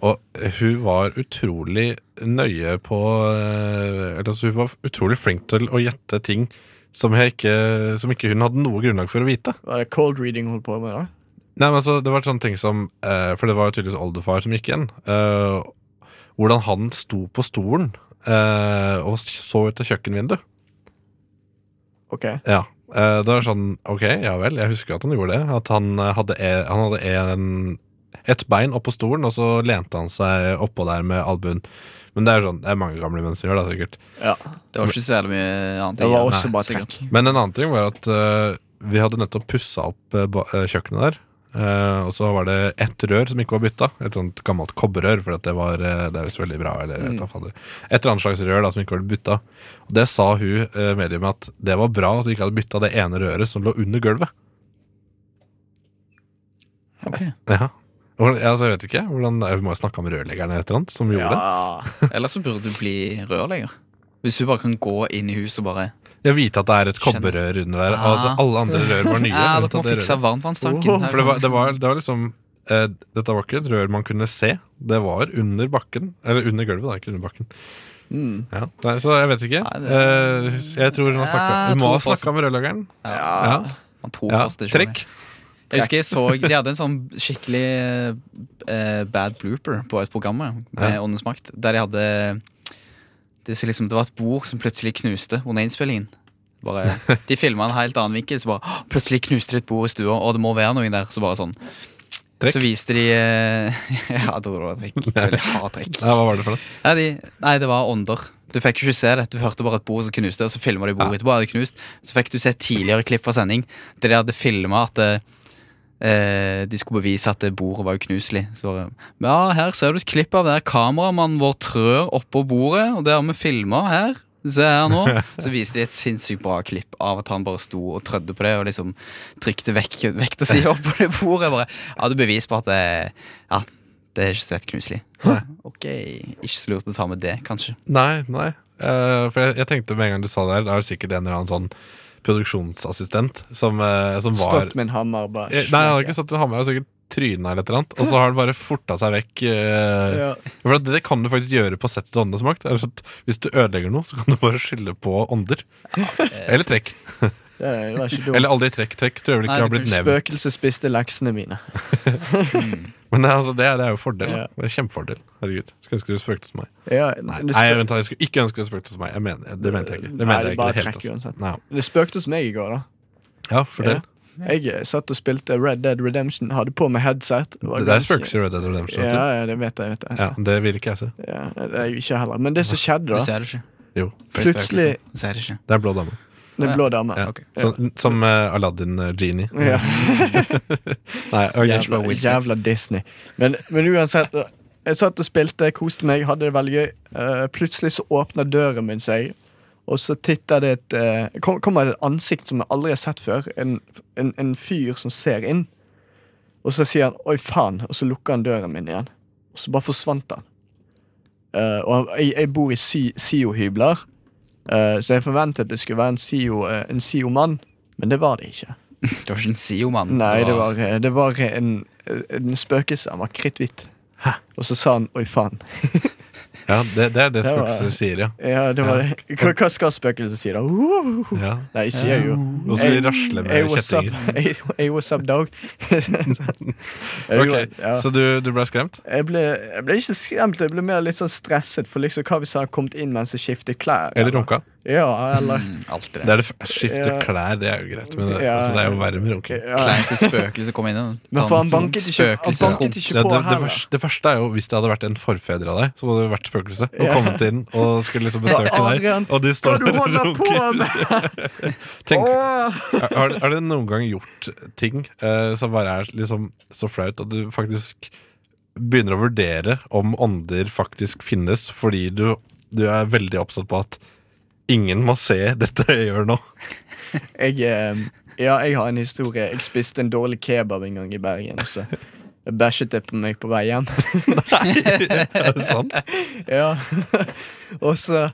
[SPEAKER 2] og hun var utrolig nøye på eh, eller, altså, Hun var utrolig flink til å gjette ting som, jeg ikke, som ikke hun hadde noe grunnlag for å vite.
[SPEAKER 1] Var det cold reading hun holdt på med da?
[SPEAKER 2] Nei, men altså, det var sånne ting som eh, For det var jo tydeligvis oldefar som gikk igjen. eh, hvordan han sto på stolen eh, og så ut av kjøkkenvinduet.
[SPEAKER 1] Ok.
[SPEAKER 2] Ja. eh, det var sånn Ok, ja vel, jeg husker at han gjorde det. At han eh, hadde, e, han hadde en, et bein oppå stolen, og så lente han seg oppå der med albuen. Men det er sånn, det er mange gamle menn som gjør det, sikkert.
[SPEAKER 1] Ja.
[SPEAKER 3] Det var ikke så jævlig mye annet.
[SPEAKER 2] Det
[SPEAKER 3] å
[SPEAKER 2] var
[SPEAKER 3] gjøre.
[SPEAKER 2] også
[SPEAKER 3] Nei,
[SPEAKER 2] bare
[SPEAKER 3] sikkert.
[SPEAKER 2] Men en annen ting var at eh, vi hadde nettopp pussa opp eh, ba- eh, kjøkkenet der. Eh, og så var det ett rør som ikke var bytta. Et sånt gammelt kobberrør. For at det, var, eh, det er visst veldig bra. Eller
[SPEAKER 1] Mm.
[SPEAKER 2] et eller annet Et eller annet slags rør da som ikke var bytta. Og det sa hun uh, mediumet at det var bra at vi ikke hadde bytta det ene røret som lå under gulvet. Ja. Hvordan- ja, altså, jeg vet ikke hvordan, Vi må jo snakke om rørleggeren eller et eller annet som gjorde
[SPEAKER 3] Ja. Ellers så burde du bli rørlegger. Hvis du bare kan gå inn i huset og bare
[SPEAKER 2] det. Jeg vite at det er et kobberrør under der. Altså, alle andre rør var nye.
[SPEAKER 3] Ah. Ja,
[SPEAKER 2] unntatt
[SPEAKER 3] "Ah, dere må
[SPEAKER 2] det
[SPEAKER 3] fikse
[SPEAKER 2] røret.
[SPEAKER 3] varmtvannstanken.
[SPEAKER 2] Åh, For det var, det var, det var liksom eh, Dette var ikke et rør man kunne se. Det var under bakken. Eller under gulvet, da, ikke under bakken.
[SPEAKER 1] Mm.
[SPEAKER 2] Ja, nei, så jeg vet ikke. Eh, jeg tror hun har snakka
[SPEAKER 3] Ja,
[SPEAKER 2] Hun må
[SPEAKER 3] tror
[SPEAKER 2] ha snakka
[SPEAKER 3] fortsatt.
[SPEAKER 2] med rørleggeren.
[SPEAKER 3] Ja. Man tror fortsatt ikke på
[SPEAKER 2] Trekk.
[SPEAKER 3] Jeg husker jeg så De hadde en sånn skikkelig eh, bad blooper på et program med
[SPEAKER 2] Ja.
[SPEAKER 3] Åndens makt, der de hadde det, så liksom, det var et bord som plutselig knuste under innspillingen. Bare, de filma en helt annen vinkel, så bare «Åh, plutselig knuste det et bord i stua, og det må være noen der. Så bare sånn
[SPEAKER 2] Trekk?
[SPEAKER 3] Så viste de eh, Ja, jeg tror det var trekk. Jeg vil ha trekk.
[SPEAKER 2] Ja, hva var det for noe?
[SPEAKER 3] Nei, de, nei, det var ånder. Du fikk ikke se det. Du hørte bare et bord som knuste, og så filma de bordet etterpå. hadde det knust. Så fikk du se et tidligere klipp fra sending der de hadde filma at eh, eh, de skulle bevise at eh, bordet var uknuselig. Så bare, ja, her ser du et klipp av der kameramannen vår trør oppå bordet, og det har vi filma her. Se her nå. Så viste de et sinnssykt bra klipp av at han bare sto og trødde på det og liksom trykte vekk vekta si opp på det bordet. Bare, ja, det er bevis på at det, ja, det er ikke så lett knuselig. Ok, ikke så lurt å ta med det, kanskje.
[SPEAKER 2] Nei, nei. Eh, for jeg, jeg tenkte med en gang du sa det her, da er det sikkert en eller annen sånn produksjonsassistent som, eh, som var
[SPEAKER 1] Stått med en hammer og bare
[SPEAKER 2] Eh, Nei, han hadde ikke stått med hammer, han hadde sikkert tryna eller et eller annet. Og så har han bare forta seg vekk. eh,
[SPEAKER 1] Ja.
[SPEAKER 2] For det, det kan du faktisk gjøre på settet til Åndenes makt. er at Hvis du ødelegger noe, så kan du bare skylde på ånder. eller trekk.
[SPEAKER 1] Det er- det var ikke dumt.
[SPEAKER 2] eller aldri trekk. Trekk tror jeg vel ikke har blitt nevnt.
[SPEAKER 1] Spøkelset spiste leksene mine.
[SPEAKER 3] Hmm.
[SPEAKER 2] Men det, er altså, det, er- det er jo fordel. da.
[SPEAKER 1] Ja.
[SPEAKER 2] Det er Kjempefordel. Herregud. Skulle ønske du spøkte hos meg.
[SPEAKER 1] Ja,
[SPEAKER 2] nei,
[SPEAKER 1] det
[SPEAKER 2] nei,
[SPEAKER 1] spø-
[SPEAKER 2] vent, da, jeg skulle ikke ønske du spøkte hos meg. Jeg mener, det mente jeg ikke. Det
[SPEAKER 1] Nei,
[SPEAKER 2] mente jeg ikke
[SPEAKER 1] bare
[SPEAKER 2] i det hele
[SPEAKER 1] trekk
[SPEAKER 2] tatt.
[SPEAKER 1] uansett.
[SPEAKER 2] Nei.
[SPEAKER 1] Det spøkte hos meg i går, da.
[SPEAKER 2] Ja, fortell.
[SPEAKER 1] Ja. Jeg eh, satt og spilte Red Dead Redemption, hadde på meg headset. var
[SPEAKER 2] Det der
[SPEAKER 1] ganske-
[SPEAKER 2] spøkes i Red Dead Redemption.
[SPEAKER 1] Ja,
[SPEAKER 2] vet
[SPEAKER 1] ja, det vet jeg. vet jeg
[SPEAKER 2] du. Ja, det vil ikke jeg se.
[SPEAKER 1] Ja, det er jo ikke heller. Men det som skjedde, da
[SPEAKER 3] Du ser liksom. det ikke.
[SPEAKER 2] Jo.
[SPEAKER 1] Plutselig
[SPEAKER 3] Du ser det ikke.
[SPEAKER 2] Det er blå dame.
[SPEAKER 1] Den blå dame.
[SPEAKER 2] Ja.
[SPEAKER 1] Ok.
[SPEAKER 2] Som, som eh, Aladdin eh, Genie.
[SPEAKER 1] Ja.
[SPEAKER 2] Nei, ok.
[SPEAKER 1] jævla, jævla Disney. Men, men uansett, jeg satt og spilte, koste meg, hadde det veldig gøy. Eh, plutselig så åpner døren min seg, og så titter det et eh, kom- kommer det et ansikt som jeg aldri har sett før. En, en, en fyr som ser inn. Og så sier han 'oi, faen', og så lukker han døren min igjen. Og så bare forsvant han. Eh, og han- jeg, jeg bor i Si- SIO-hybler, eh, så jeg forventet det skulle være en SIO, eh, en SIO-mann, men det var det ikke.
[SPEAKER 3] Det var ikke en SIO-mann.
[SPEAKER 1] Nei, det var, det var en, en spøkelse. Han var kritthvit. Og så sa han 'oi, faen'.
[SPEAKER 2] Ja, det, det er det,
[SPEAKER 1] Det var-
[SPEAKER 2] spøkelser sier, ja.
[SPEAKER 1] Ja, det var,
[SPEAKER 2] Ja.
[SPEAKER 1] Hva, hva skal spøkelset si, da? Uhuhu.
[SPEAKER 2] Ja.
[SPEAKER 1] Nei, de sier jo
[SPEAKER 2] Nå skal de rasle med
[SPEAKER 1] hey, what's up?
[SPEAKER 2] kjettinger.
[SPEAKER 1] Hey, hey, what's up, dog?
[SPEAKER 2] Ok, Så du, du ble skremt?
[SPEAKER 1] jeg ble, jeg ble ikke skremt, jeg ble mer litt sånn stresset. For liksom, hva hvis han hadde kommet inn mens jeg skiftet klær?
[SPEAKER 2] Eller runka?
[SPEAKER 1] Ja, eller
[SPEAKER 3] Alltid
[SPEAKER 2] Det er det f- skifte
[SPEAKER 1] Ja.
[SPEAKER 2] klær, det er jo greit, men det,
[SPEAKER 1] Ja.
[SPEAKER 2] altså, det er jo verre med runking.
[SPEAKER 1] Ja. Kleint
[SPEAKER 3] hvis spøkelset kom inn og
[SPEAKER 1] Men for han banket ikke- han
[SPEAKER 3] Spøkelset kom.
[SPEAKER 1] banket ikke
[SPEAKER 2] Ja,
[SPEAKER 1] på
[SPEAKER 2] det, det,
[SPEAKER 1] heller.
[SPEAKER 2] verste, det verste er jo hvis det hadde vært en forfeder av deg, som hadde det vært spøkelse, og
[SPEAKER 1] Ja.
[SPEAKER 2] kommet inn og skulle liksom besøke
[SPEAKER 1] Adrian,
[SPEAKER 2] deg, og de står
[SPEAKER 1] hva du
[SPEAKER 2] der og
[SPEAKER 1] holder på
[SPEAKER 2] runker. Tenk,
[SPEAKER 1] Åh!
[SPEAKER 2] har, har- har du noen gang gjort ting eh, som bare er liksom så flaut at du faktisk begynner å vurdere om ånder faktisk finnes, fordi du, du er veldig oppsatt på at ingen må se dette jeg gjør nå?
[SPEAKER 1] Jeg, eh, ja, jeg har en historie. Jeg spiste en dårlig kebab en gang i Bergen. og Så bæsjet det på meg på vei hjem.
[SPEAKER 2] Er det sant?
[SPEAKER 1] Ja. Og så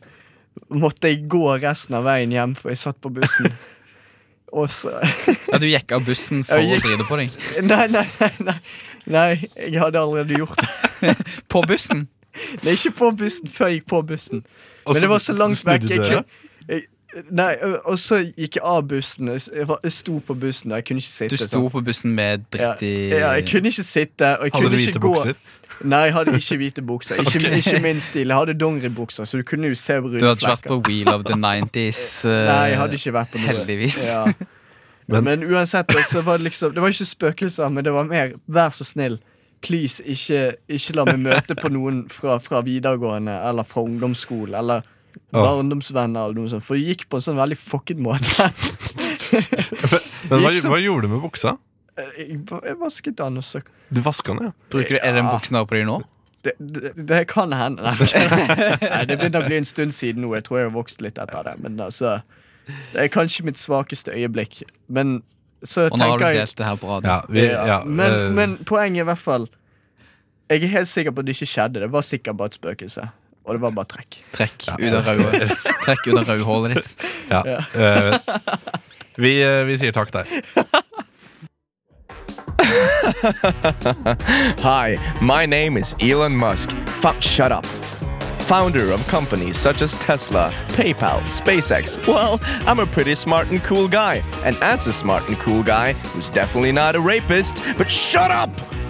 [SPEAKER 1] måtte jeg gå resten av veien hjem, for jeg satt på bussen. Og så
[SPEAKER 3] Ja, du gikk av bussen for
[SPEAKER 1] Jeg
[SPEAKER 3] å
[SPEAKER 1] gikk-
[SPEAKER 3] drite på deg.
[SPEAKER 1] Nei, nei, nei. Nei, nei jeg hadde allerede gjort det.
[SPEAKER 3] På bussen?
[SPEAKER 1] Nei, ikke på bussen før jeg gikk på bussen.
[SPEAKER 2] Og så
[SPEAKER 1] Men det var så langt
[SPEAKER 2] snudde
[SPEAKER 1] vekk. Jeg
[SPEAKER 2] døra?
[SPEAKER 1] kunne, jeg, nei, og- og så gikk jeg av bussen. Jeg s- Jeg, var- jeg sto på bussen, og jeg kunne ikke sitte
[SPEAKER 3] Du sto
[SPEAKER 1] sånn.
[SPEAKER 3] på bussen med dritt i
[SPEAKER 1] Ja, jeg kunne ikke sitte, og
[SPEAKER 2] Hadde
[SPEAKER 1] jeg kunne
[SPEAKER 2] du
[SPEAKER 1] ikke
[SPEAKER 2] hvite
[SPEAKER 1] gå.
[SPEAKER 2] bukser?
[SPEAKER 1] Nei, jeg hadde ikke hvite bukser. Ikke, ikke min stil. Jeg hadde dongeribukser, så du kunne jo se
[SPEAKER 3] Du hadde ikke vært på
[SPEAKER 1] brunflekker.
[SPEAKER 3] Wheel of the 90s. eh,
[SPEAKER 1] Nei, jeg hadde ikke vært på noe.
[SPEAKER 3] Heldigvis.
[SPEAKER 1] Ja.
[SPEAKER 2] Men-
[SPEAKER 1] Men, uansett, da, så var det liksom Det var ikke spøkelser, men det var mer vær så snill. Please, ikke, ikke la meg møte på noen fra, fra videregående eller fra ungdomsskole eller
[SPEAKER 2] Åh.
[SPEAKER 1] barndomsvenner. eller noe sånt For det gikk på en sånn veldig fucket måte.
[SPEAKER 2] Men hva,
[SPEAKER 1] Gikk som-
[SPEAKER 2] hva gjorde du med buksa?
[SPEAKER 1] Jeg, ba- jeg vasket den, og så
[SPEAKER 2] Du vaska den, ja.
[SPEAKER 3] Bruker du, er den buksen der på deg nå?
[SPEAKER 1] det, det, det kan hende. Nei, Nei, det begynner å bli en stund siden nå. Jeg tror jeg har vokst litt etter det. Men altså, Det er kanskje mitt svakeste øyeblikk. Men så
[SPEAKER 3] Og nå har
[SPEAKER 1] tenker
[SPEAKER 3] du
[SPEAKER 1] jeg
[SPEAKER 3] delt det her på radio.
[SPEAKER 2] ja, vi, ja,
[SPEAKER 1] men,
[SPEAKER 2] eh,
[SPEAKER 1] men poenget er i hvert fall Jeg er helt sikker på at det ikke skjedde. Det var sikkert bare et spøkelse. Og det var bare trekk.
[SPEAKER 3] Trekk ut av røde- Trekk ut av rødhålet ditt.
[SPEAKER 2] ja. eh, vi, eh, vi sier takk der.
[SPEAKER 12] Hi, my name is Elon Musk. Fuck, shut up. Founder of companies such as Tesla, PayPal, SpaceX. Well, I'm a pretty smart and cool guy. And as a smart and cool guy, who's definitely not a rapist, but shut up!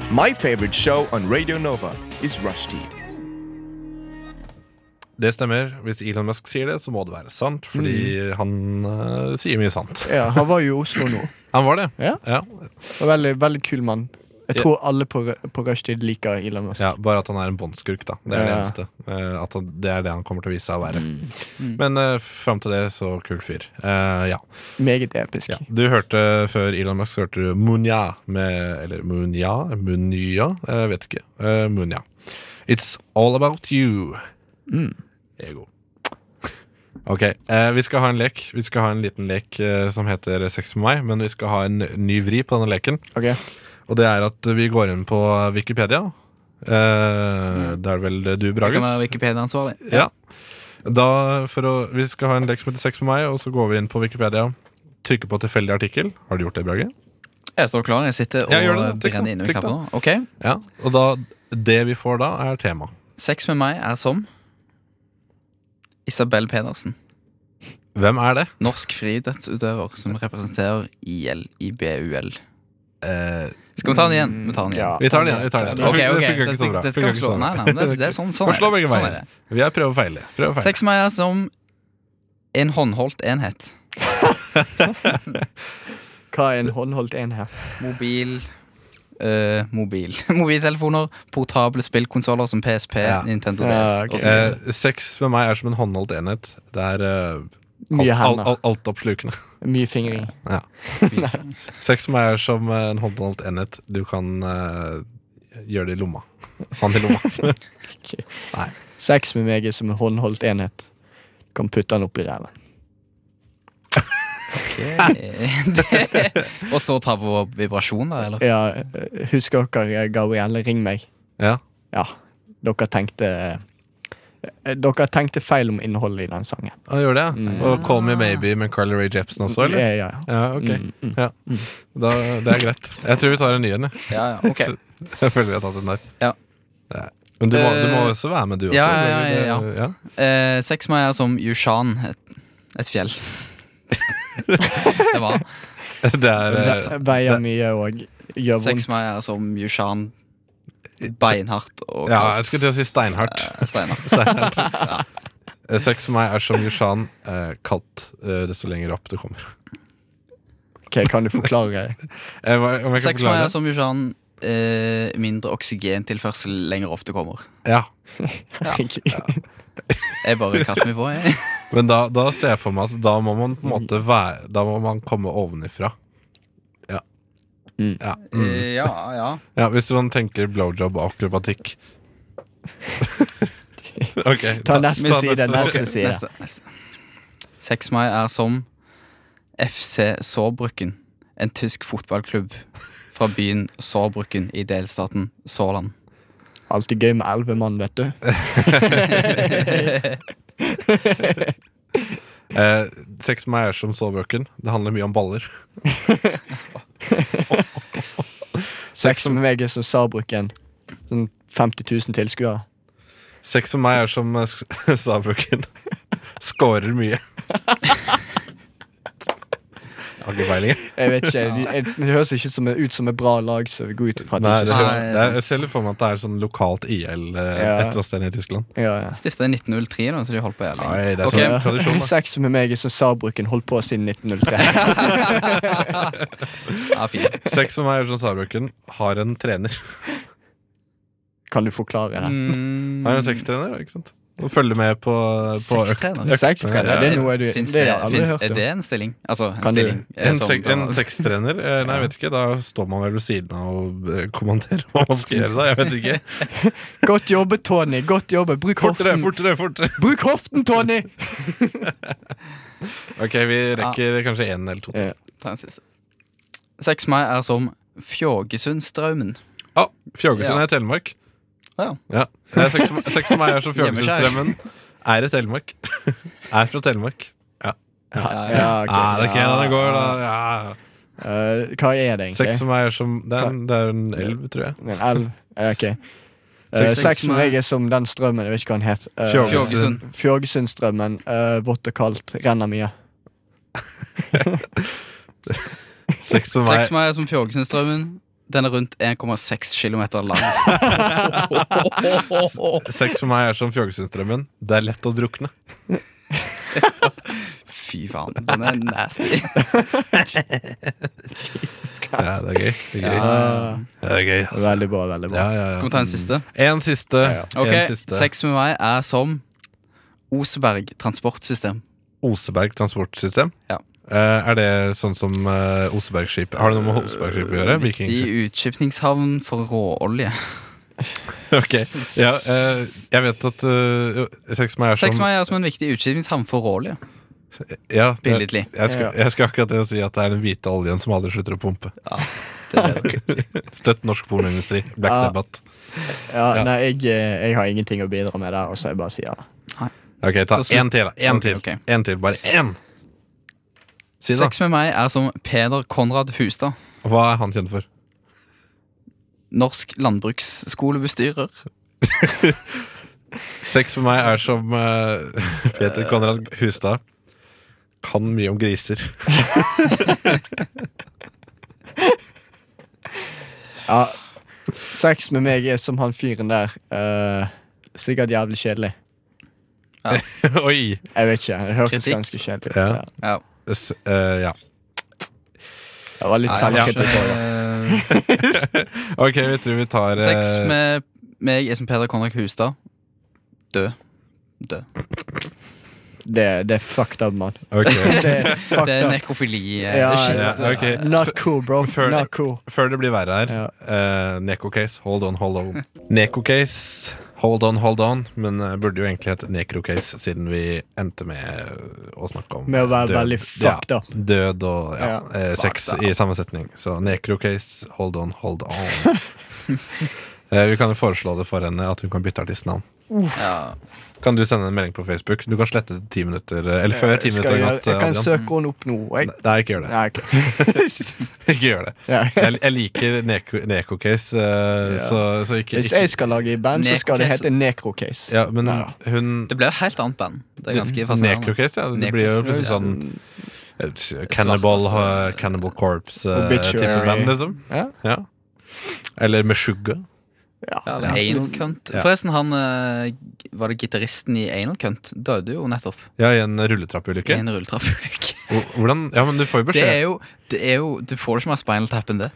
[SPEAKER 12] My favorite show on Radio Nova is Rushdie.
[SPEAKER 2] Det stemmer. Hvis Elon Musk sier det, så må det være sant, fordi
[SPEAKER 1] Mm.
[SPEAKER 2] han eh, sier mye sant.
[SPEAKER 1] Ja, han var jo i Oslo nå.
[SPEAKER 2] Han var det?
[SPEAKER 1] Ja. Og Veldig, veldig kul mann. Jeg
[SPEAKER 2] Ja.
[SPEAKER 1] tror alle på, Ru- på rushtid liker Elon Musk.
[SPEAKER 2] Ja, bare at han er en båndskurk, da. Det er det
[SPEAKER 1] Ja. Mm.
[SPEAKER 2] eneste. Eh, At han- det er det han kommer til å vise seg å være. Men uh, fram til det, så kul fyr. Eh, ja.
[SPEAKER 1] Meget episk.
[SPEAKER 2] Du hørte før Elon Musk hørte du Munja med Eller Munja? Munya? Jeg vet ikke. Eh, Munja. It's all about you.
[SPEAKER 1] Mm.
[SPEAKER 2] Ego. Ok, eh, vi skal ha en lek Vi skal ha en liten lek eh, som heter Sex med meg, men vi skal ha en ny vri på denne leken.
[SPEAKER 1] Ok.
[SPEAKER 2] Og det er at vi går inn på Wikipedia. Eh, Det er vel du,
[SPEAKER 3] Jeg
[SPEAKER 2] Brages?
[SPEAKER 3] Mm. kan være Wikipedia-ansvarlig.
[SPEAKER 2] Ja. Da, for å, vi skal ha en lek som heter Sex med meg, og så går vi inn på Wikipedia. Trykker på tilfeldig artikkel. Har du gjort det, Brage?
[SPEAKER 3] Jeg står klar. Jeg sitter og
[SPEAKER 2] Ja, gjør det. Trykk da.
[SPEAKER 3] brenner inne i
[SPEAKER 2] Trykk da.
[SPEAKER 3] knappen nå. Ok.
[SPEAKER 2] Ja, og da, det vi får da, er tema.
[SPEAKER 3] Sex med meg er som Isabel Pedersen.
[SPEAKER 2] Hvem er det?
[SPEAKER 3] Norsk friidrettsutøver som representerer ILIBUL.
[SPEAKER 2] Eh,
[SPEAKER 3] Skal vi ta den igjen? Vi tar den igjen.
[SPEAKER 2] Vi tar den igjen. Vi tar den igjen.
[SPEAKER 3] Ok, ok.
[SPEAKER 2] Det funker
[SPEAKER 3] Dette-
[SPEAKER 2] ikke så bra.
[SPEAKER 3] dette
[SPEAKER 2] Funker
[SPEAKER 3] kan
[SPEAKER 2] ikke
[SPEAKER 3] slå.
[SPEAKER 2] så bra.
[SPEAKER 3] Nei, nei, men det- det er sånn- sånn er
[SPEAKER 2] Kan slå
[SPEAKER 3] det.
[SPEAKER 2] begge
[SPEAKER 3] Sånn er
[SPEAKER 2] veier. Vi er prøv og feil. Prøv og feil.
[SPEAKER 3] Sex med meg er som en håndholdt enhet.
[SPEAKER 1] Hva er en håndholdt enhet?
[SPEAKER 3] Mobil eh, mobil. Mobiltelefoner, portable spillkonsoller som PSP, Nintendo DS og så videre.
[SPEAKER 2] Eh, sex med meg er som en håndholdt enhet. Det er uh,
[SPEAKER 1] Mye
[SPEAKER 2] alt,
[SPEAKER 1] hender.
[SPEAKER 2] alt, altoppslukende.
[SPEAKER 1] Mye fingring.
[SPEAKER 2] Ja. Sex med meg er som eh, en håndholdt enhet. Du kan eh, gjøre det i lomma. Hånd i lomma. Nei.
[SPEAKER 1] Sex med meg er som en håndholdt enhet. Du kan putte den opp i ræven.
[SPEAKER 3] Det- og så ta på vibrasjon, da? Eller?
[SPEAKER 1] Ja, eh, husker dere Gabrielle Ring meg?
[SPEAKER 2] Ja.
[SPEAKER 1] Dere tenkte eh, Dere tenkte feil om innholdet i den sangen.
[SPEAKER 2] Han gjør det, ja.
[SPEAKER 3] Mm.
[SPEAKER 2] Og Call Me Maybe med Carly Rae Jepsen også, eller?
[SPEAKER 1] Ja, ja,
[SPEAKER 2] ja. ok.
[SPEAKER 3] Mm,
[SPEAKER 2] Ja. Da, det er greit. Jeg tror vi tar en ny en, jeg.
[SPEAKER 3] Ja, ja, ok.
[SPEAKER 2] Så- Jeg føler vi har tatt en der.
[SPEAKER 3] Ja.
[SPEAKER 2] Nei. Men du må, du må
[SPEAKER 3] Eh,
[SPEAKER 2] også være med, du også.
[SPEAKER 3] Ja, ja, ja, ja,
[SPEAKER 2] eller?
[SPEAKER 3] ja. Eh, Sex med meg er som Yushan, et, et fjell. det var
[SPEAKER 2] Det er eh,
[SPEAKER 1] Ve- Veier mye og gjør
[SPEAKER 3] Sex
[SPEAKER 1] vondt.
[SPEAKER 3] med meg er som Yushan, beinhardt og eh,
[SPEAKER 2] Eh, Ja, jeg skulle til å si steinhardt.
[SPEAKER 3] steinhardt. Ja.
[SPEAKER 2] Eh, Sex for meg er som Yushan, eh, kaldt eh, desto lenger opp du kommer.
[SPEAKER 1] Ok, Kan du forklare?
[SPEAKER 2] Eh, hva- om jeg kan
[SPEAKER 3] Sex med meg
[SPEAKER 2] forklare
[SPEAKER 3] er som Yushan, eh, mindre oksygentilførsel lenger opp du kommer.
[SPEAKER 2] Ja.
[SPEAKER 3] Jeg bare kaster meg på, jeg.
[SPEAKER 2] Men da, da ser jeg for meg at da må man på en måte være Da må man komme ovenifra. Ja. Ja. mm.
[SPEAKER 3] Eh, ja, ja.
[SPEAKER 2] ja. Hvis man tenker blowjob og akrobatikk. Ok,
[SPEAKER 3] Ta neste
[SPEAKER 2] ta
[SPEAKER 3] side, neste
[SPEAKER 2] Ok,
[SPEAKER 3] side. neste. Sex med meg er som FC Sårbrukken, en tysk fotballklubb fra byen Sårbrukken i delstaten Sårland.
[SPEAKER 1] Alltid gøy med elleve mann, vet du.
[SPEAKER 2] Eh, sex med meg er som soveøken. Det handler mye om baller.
[SPEAKER 1] Sex med meg er som Saarbruken. Sånn 50 000 tilskuere.
[SPEAKER 2] Sex for meg er som eh, sk- Saarbrücken. Skårer mye. Jeg har ikke peiling.
[SPEAKER 1] Jeg vet ikke, de- jeg- Det høres ikke som, ut som et bra lag, så vi går ut fra at
[SPEAKER 2] Nei,
[SPEAKER 1] ikke
[SPEAKER 2] det,
[SPEAKER 1] skal-
[SPEAKER 2] hører- det er, jeg ser litt for meg at det er sånn lokalt IL eh, et
[SPEAKER 1] Ja.
[SPEAKER 2] eller annet sted nede i Tyskland.
[SPEAKER 1] Ja, ja.
[SPEAKER 3] Stiftet i 1903, da, så de holdt på jævlig
[SPEAKER 2] Nei, det er
[SPEAKER 3] Ok.
[SPEAKER 2] tra- tradisjon. Da.
[SPEAKER 1] Sex med meg er som Saarbruken holdt på siden 1903.
[SPEAKER 3] Ja, fin.
[SPEAKER 2] Sex for meg er som Saarbrücken har en trener.
[SPEAKER 1] kan du forklare det?
[SPEAKER 2] Mm.
[SPEAKER 3] Mm.
[SPEAKER 2] Har en sextrener, da, ikke sant? Og følger med på, på økt-
[SPEAKER 3] Sextrener?
[SPEAKER 2] økt-
[SPEAKER 1] Sextrener,
[SPEAKER 2] Ja.
[SPEAKER 1] det er noe du-
[SPEAKER 3] Finnes
[SPEAKER 1] det
[SPEAKER 3] det,
[SPEAKER 1] har jeg aldri
[SPEAKER 3] finnes,
[SPEAKER 1] hørt
[SPEAKER 3] er
[SPEAKER 1] om.
[SPEAKER 3] det en stilling? Altså, en
[SPEAKER 1] Kan du-
[SPEAKER 3] stilling eh,
[SPEAKER 2] En,
[SPEAKER 3] som-
[SPEAKER 2] sek en sextrener? Eh, Nei, jeg vet ikke. Da står man vel ved siden av og eh, kommenterer hva man skal gjøre. da, Jeg vet ikke.
[SPEAKER 1] Godt jobbet, Tony. Godt jobbet. Bruk
[SPEAKER 2] Fortere,
[SPEAKER 1] hoften.
[SPEAKER 2] fortere, fortere!
[SPEAKER 1] Bruk hoften, Tony!
[SPEAKER 2] Ok, vi rekker kanskje én eller to. til.
[SPEAKER 3] Ta en siste. Sex med meg er som Fjågesundstraumen.
[SPEAKER 2] Ah, Fjågesund
[SPEAKER 3] Ja.
[SPEAKER 2] er Telemark.
[SPEAKER 3] Ja.
[SPEAKER 2] Ja. Det er Sex sex som meg er som
[SPEAKER 3] Gjemmer seg.
[SPEAKER 2] Fjågesundstrømmen. Er i Telemark. Er fra Telemark. Ja.
[SPEAKER 1] Ja, ok.
[SPEAKER 2] Ah, det er ok, da, det går, da. Ja.
[SPEAKER 1] Eh, hva er det, egentlig?
[SPEAKER 2] Sex som meg er som Det er en, det er en elv, tror jeg.
[SPEAKER 1] En elv? Ja, ok. Eh,
[SPEAKER 3] Seks-
[SPEAKER 1] Sex med meg er som den strømmen, jeg vet ikke hva den het. Eh,
[SPEAKER 3] Fjorgesund.
[SPEAKER 1] Fjorgesundstrømmen. eh, Vått og kaldt, renner mye.
[SPEAKER 2] Sex
[SPEAKER 3] som
[SPEAKER 2] som
[SPEAKER 3] er,
[SPEAKER 2] meg-
[SPEAKER 3] som Fjorgesundstrømmen. Den er rundt 1,6 km lang.
[SPEAKER 2] Sex for meg er som Fjorgesundstrømmen. Det er lett å drukne.
[SPEAKER 3] Fy faen, den er nasty.
[SPEAKER 1] Jesus Christ.
[SPEAKER 2] Ja, det er gøy. Det er
[SPEAKER 3] Ja.
[SPEAKER 2] gøy. Det er gøy altså.
[SPEAKER 1] Eh, Veldig bra. veldig
[SPEAKER 2] Ja, ja,
[SPEAKER 1] bra
[SPEAKER 2] ja.
[SPEAKER 3] Skal vi ta en siste?
[SPEAKER 2] En siste.
[SPEAKER 3] Ok,
[SPEAKER 2] En siste.
[SPEAKER 3] Sex med meg er som Oseberg transportsystem.
[SPEAKER 2] Oseberg transportsystem.
[SPEAKER 3] Ja.
[SPEAKER 2] Eh, er det sånn som eh, Osebergskip Har det noe med Osebergskipet å gjøre?
[SPEAKER 3] Viktig
[SPEAKER 2] Vikingskip?
[SPEAKER 3] utskipningshavn for råolje.
[SPEAKER 2] Ok, ja, eh, Jeg vet at uh, sex med meg er som
[SPEAKER 3] Sex med meg er som en viktig utskipningshavn for råolje.
[SPEAKER 2] Ja, det-
[SPEAKER 3] Billedlig.
[SPEAKER 2] Jeg skal, jeg skal akkurat til å si at det er den hvite oljen som aldri slutter å pumpe. Støtt norsk pornoindustri. Black
[SPEAKER 1] Ja.
[SPEAKER 2] Debate.
[SPEAKER 1] Ja,
[SPEAKER 2] Ja.
[SPEAKER 1] Nei, jeg, eh, jeg har ingenting å bidra med der, og så jeg bare sier det.
[SPEAKER 2] Ok, ta
[SPEAKER 3] Da skal vi-
[SPEAKER 2] én til, da.
[SPEAKER 3] Ok,
[SPEAKER 2] Én til.
[SPEAKER 3] ok.
[SPEAKER 2] En til. Bare én! Si det,
[SPEAKER 3] Sex med meg er som Peder Konrad Hustad.
[SPEAKER 2] da. Hva er han kjent for?
[SPEAKER 3] Norsk landbruksskolebestyrer.
[SPEAKER 2] Sex for meg er som eh, Peter Konrad Hustad. Kan mye om griser.
[SPEAKER 1] Ja, sex med meg er som han fyren der. eh, sikkert jævlig kjedelig.
[SPEAKER 2] Oi!
[SPEAKER 1] Jeg vet ikke. Det hørtes
[SPEAKER 3] Kritikk.
[SPEAKER 1] ganske kjedelig ut.
[SPEAKER 2] Ja.
[SPEAKER 1] Ja.
[SPEAKER 3] Ja.
[SPEAKER 2] S eh, ja.
[SPEAKER 1] Det var litt
[SPEAKER 3] Nei, jeg
[SPEAKER 1] selvkritikk
[SPEAKER 3] skjønner.
[SPEAKER 1] også, ja.
[SPEAKER 2] Ok, vi tror vi tar eh,
[SPEAKER 3] Sex med meg er som Peder Konrad Hustad. Død. Død.
[SPEAKER 1] Det, det er fucked up, mann.
[SPEAKER 2] ok.
[SPEAKER 1] Det er fucked
[SPEAKER 3] Det er
[SPEAKER 1] up.
[SPEAKER 3] nekrofili. eh,
[SPEAKER 1] Ja,
[SPEAKER 3] shit.
[SPEAKER 1] ja,
[SPEAKER 2] ja, ok.
[SPEAKER 1] Not cool, bro.
[SPEAKER 2] Før-
[SPEAKER 1] Not cool.
[SPEAKER 2] Før det blir verre her
[SPEAKER 1] Ja.
[SPEAKER 2] eh, Neko-case, hold on, hold on Neko-case, hold on, hold on Men eh, burde jo egentlig hette Nekro-case Siden vi endte med eh, å snakke om
[SPEAKER 1] Med å være
[SPEAKER 2] død.
[SPEAKER 1] veldig fucked
[SPEAKER 2] ja,
[SPEAKER 1] up.
[SPEAKER 2] Død og ja,
[SPEAKER 1] Ja,
[SPEAKER 2] eh, sex i samme setning Så Nekro-case, hold on, hold on Eh, Vi kan jo foreslå det for henne At hun kan bytte artistnavn
[SPEAKER 3] Ja.
[SPEAKER 2] Kan du sende en melding på Facebook Du kan slette det ti minutter eh, Eller før ti
[SPEAKER 1] Skal
[SPEAKER 2] minutter i
[SPEAKER 1] jeg, gjøre-
[SPEAKER 2] natt, eh,
[SPEAKER 1] jeg kan
[SPEAKER 2] Adrian.
[SPEAKER 1] søke henne opp nå. Jeg,
[SPEAKER 2] Nei, ikke gjør det
[SPEAKER 1] nei, ok.
[SPEAKER 2] Ikke gjør det.
[SPEAKER 1] Ja.
[SPEAKER 2] Jeg, jeg liker neko- Neko-case, eh,
[SPEAKER 1] Ja.
[SPEAKER 2] så, så ikke,
[SPEAKER 1] Hvis
[SPEAKER 2] ikke
[SPEAKER 1] jeg skal lage i band, så skal det
[SPEAKER 3] Necrocase.
[SPEAKER 1] hete Necrocase.
[SPEAKER 2] ja, Men
[SPEAKER 1] Neida.
[SPEAKER 2] hun
[SPEAKER 3] Det ble et helt annet band. Det er ganske fascinerende.
[SPEAKER 2] Neko-case, ja. Det blir jo
[SPEAKER 3] Necro-case,
[SPEAKER 2] plutselig sånn eh, Cannibal,
[SPEAKER 3] Svarteste-
[SPEAKER 2] eh, cannibal Corpse-type
[SPEAKER 1] Obituary.
[SPEAKER 2] band, liksom.
[SPEAKER 1] Ja.
[SPEAKER 2] Ja. Eller Meshuggah.
[SPEAKER 1] Ja.
[SPEAKER 3] Ja, eller Anal Cunt.
[SPEAKER 2] Ja.
[SPEAKER 3] Forresten, han eh, var det gitaristen i Anal Cunt. Døde jo nettopp
[SPEAKER 2] Ja, i en
[SPEAKER 3] i
[SPEAKER 2] rulletrappulykke.
[SPEAKER 3] en rulletrappulykke.
[SPEAKER 2] Hvor- Hvordan Ja, men du får jo
[SPEAKER 3] Det er
[SPEAKER 2] beskjed.
[SPEAKER 3] jo, det er jo Du får det ikke mer spinal tap enn det.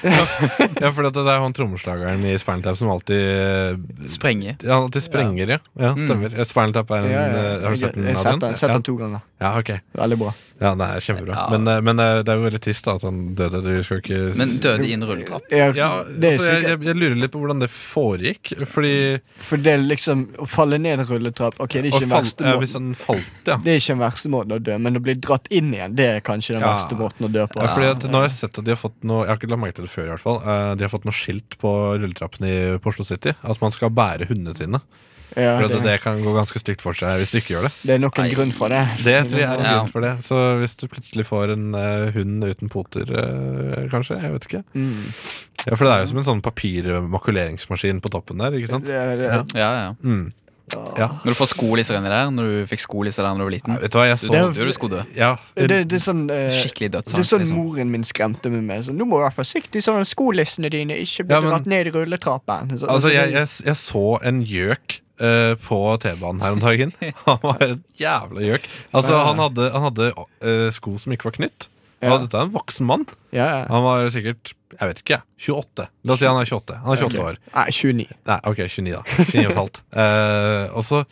[SPEAKER 2] Ja, for det er han trommeslageren i Spinal Tap som alltid eh,
[SPEAKER 3] Sprenge.
[SPEAKER 2] ja, han alltid sprenger, ja. ja stemmer. Spinal Tap er en
[SPEAKER 1] Ja, ja.
[SPEAKER 2] eh, Har du sett den?
[SPEAKER 1] Jeg har sett den, sett den
[SPEAKER 2] Adrian?
[SPEAKER 1] to ganger.
[SPEAKER 2] Ja, ja, ok.
[SPEAKER 1] Veldig bra.
[SPEAKER 2] Ja, det er kjempebra.
[SPEAKER 3] Ja.
[SPEAKER 2] Men, eh, men eh, det er jo veldig trist da at han døde. Du skal jo ikke s-
[SPEAKER 3] Men døde i en rulletrapp.
[SPEAKER 1] Ja,
[SPEAKER 2] ja,
[SPEAKER 1] det er
[SPEAKER 2] altså, jeg,
[SPEAKER 1] sikkert,
[SPEAKER 2] jeg, jeg lurer litt på hvordan det foregikk. Fordi
[SPEAKER 1] for det er liksom Å falle ned en rulletrapp Ok, det er
[SPEAKER 2] og
[SPEAKER 1] ikke den
[SPEAKER 2] falt,
[SPEAKER 1] verste
[SPEAKER 2] ja, Hvis
[SPEAKER 1] måten
[SPEAKER 2] han falt, ja.
[SPEAKER 1] Det er ikke den verste måten å dø, men å bli dratt inn igjen, det er kanskje den
[SPEAKER 2] Ja.
[SPEAKER 1] verste måten å dø på.
[SPEAKER 2] Ja, fordi
[SPEAKER 1] altså.
[SPEAKER 2] at nå har jeg sett at de har fått noe Jeg har ikke lagt merke til det før, i hvert fall. eh, de har fått noe skilt på rulletrappen i på Oslo City. At man skal bære hundene sine.
[SPEAKER 1] Ja,
[SPEAKER 2] For at
[SPEAKER 1] det,
[SPEAKER 2] det kan gå ganske stygt for seg hvis du ikke gjør det.
[SPEAKER 1] det er nok en grunn for det.
[SPEAKER 2] Det tror jeg er en
[SPEAKER 3] Ja.
[SPEAKER 2] grunn for det. Så hvis du plutselig får en eh, hund uten poter, eh, kanskje. Jeg vet ikke.
[SPEAKER 1] Mm.
[SPEAKER 2] Ja, For det er jo som en sånn papirmakuleringsmaskin på toppen der, ikke sant?
[SPEAKER 1] Det, er- det,
[SPEAKER 2] Ja.
[SPEAKER 3] Ja, ja.
[SPEAKER 2] Mm.
[SPEAKER 1] Ah.
[SPEAKER 2] Ja.
[SPEAKER 3] Når du får skolisser inni der, når du fikk skolisser der når du var liten.
[SPEAKER 2] Nei, Vet du hva, jeg
[SPEAKER 3] Du
[SPEAKER 2] så
[SPEAKER 1] Det-
[SPEAKER 3] døde jo, du skulle dø.
[SPEAKER 2] ja,
[SPEAKER 1] det, det er sånn eh,
[SPEAKER 3] Skikkelig
[SPEAKER 1] Det er
[SPEAKER 3] dødsangst.
[SPEAKER 1] sånn
[SPEAKER 3] Liksom.
[SPEAKER 1] moren min skremte meg med. Sånn, 'Du må være forsiktig, sånn at skolissene dine ikke blir
[SPEAKER 2] Ja, men-
[SPEAKER 1] dratt ned i rulletrappen.' Så,
[SPEAKER 2] Altså,
[SPEAKER 1] så
[SPEAKER 2] jeg,
[SPEAKER 1] det-
[SPEAKER 2] jeg, jeg så en gjøk eh, på T-banen her om dagen. Han var en jævla gjøk. Altså, han hadde, han hadde eh, sko som ikke var knytt.
[SPEAKER 1] Ja.
[SPEAKER 2] Og dette er en voksen mann.
[SPEAKER 1] ja, ja.
[SPEAKER 2] Han var sikkert jeg vet ikke, jeg, 28. La oss si han er 28. Han er 28 år.
[SPEAKER 1] Nei, 29.
[SPEAKER 2] Nei, ok, 29, da. 29 og et halvt. Eh, og så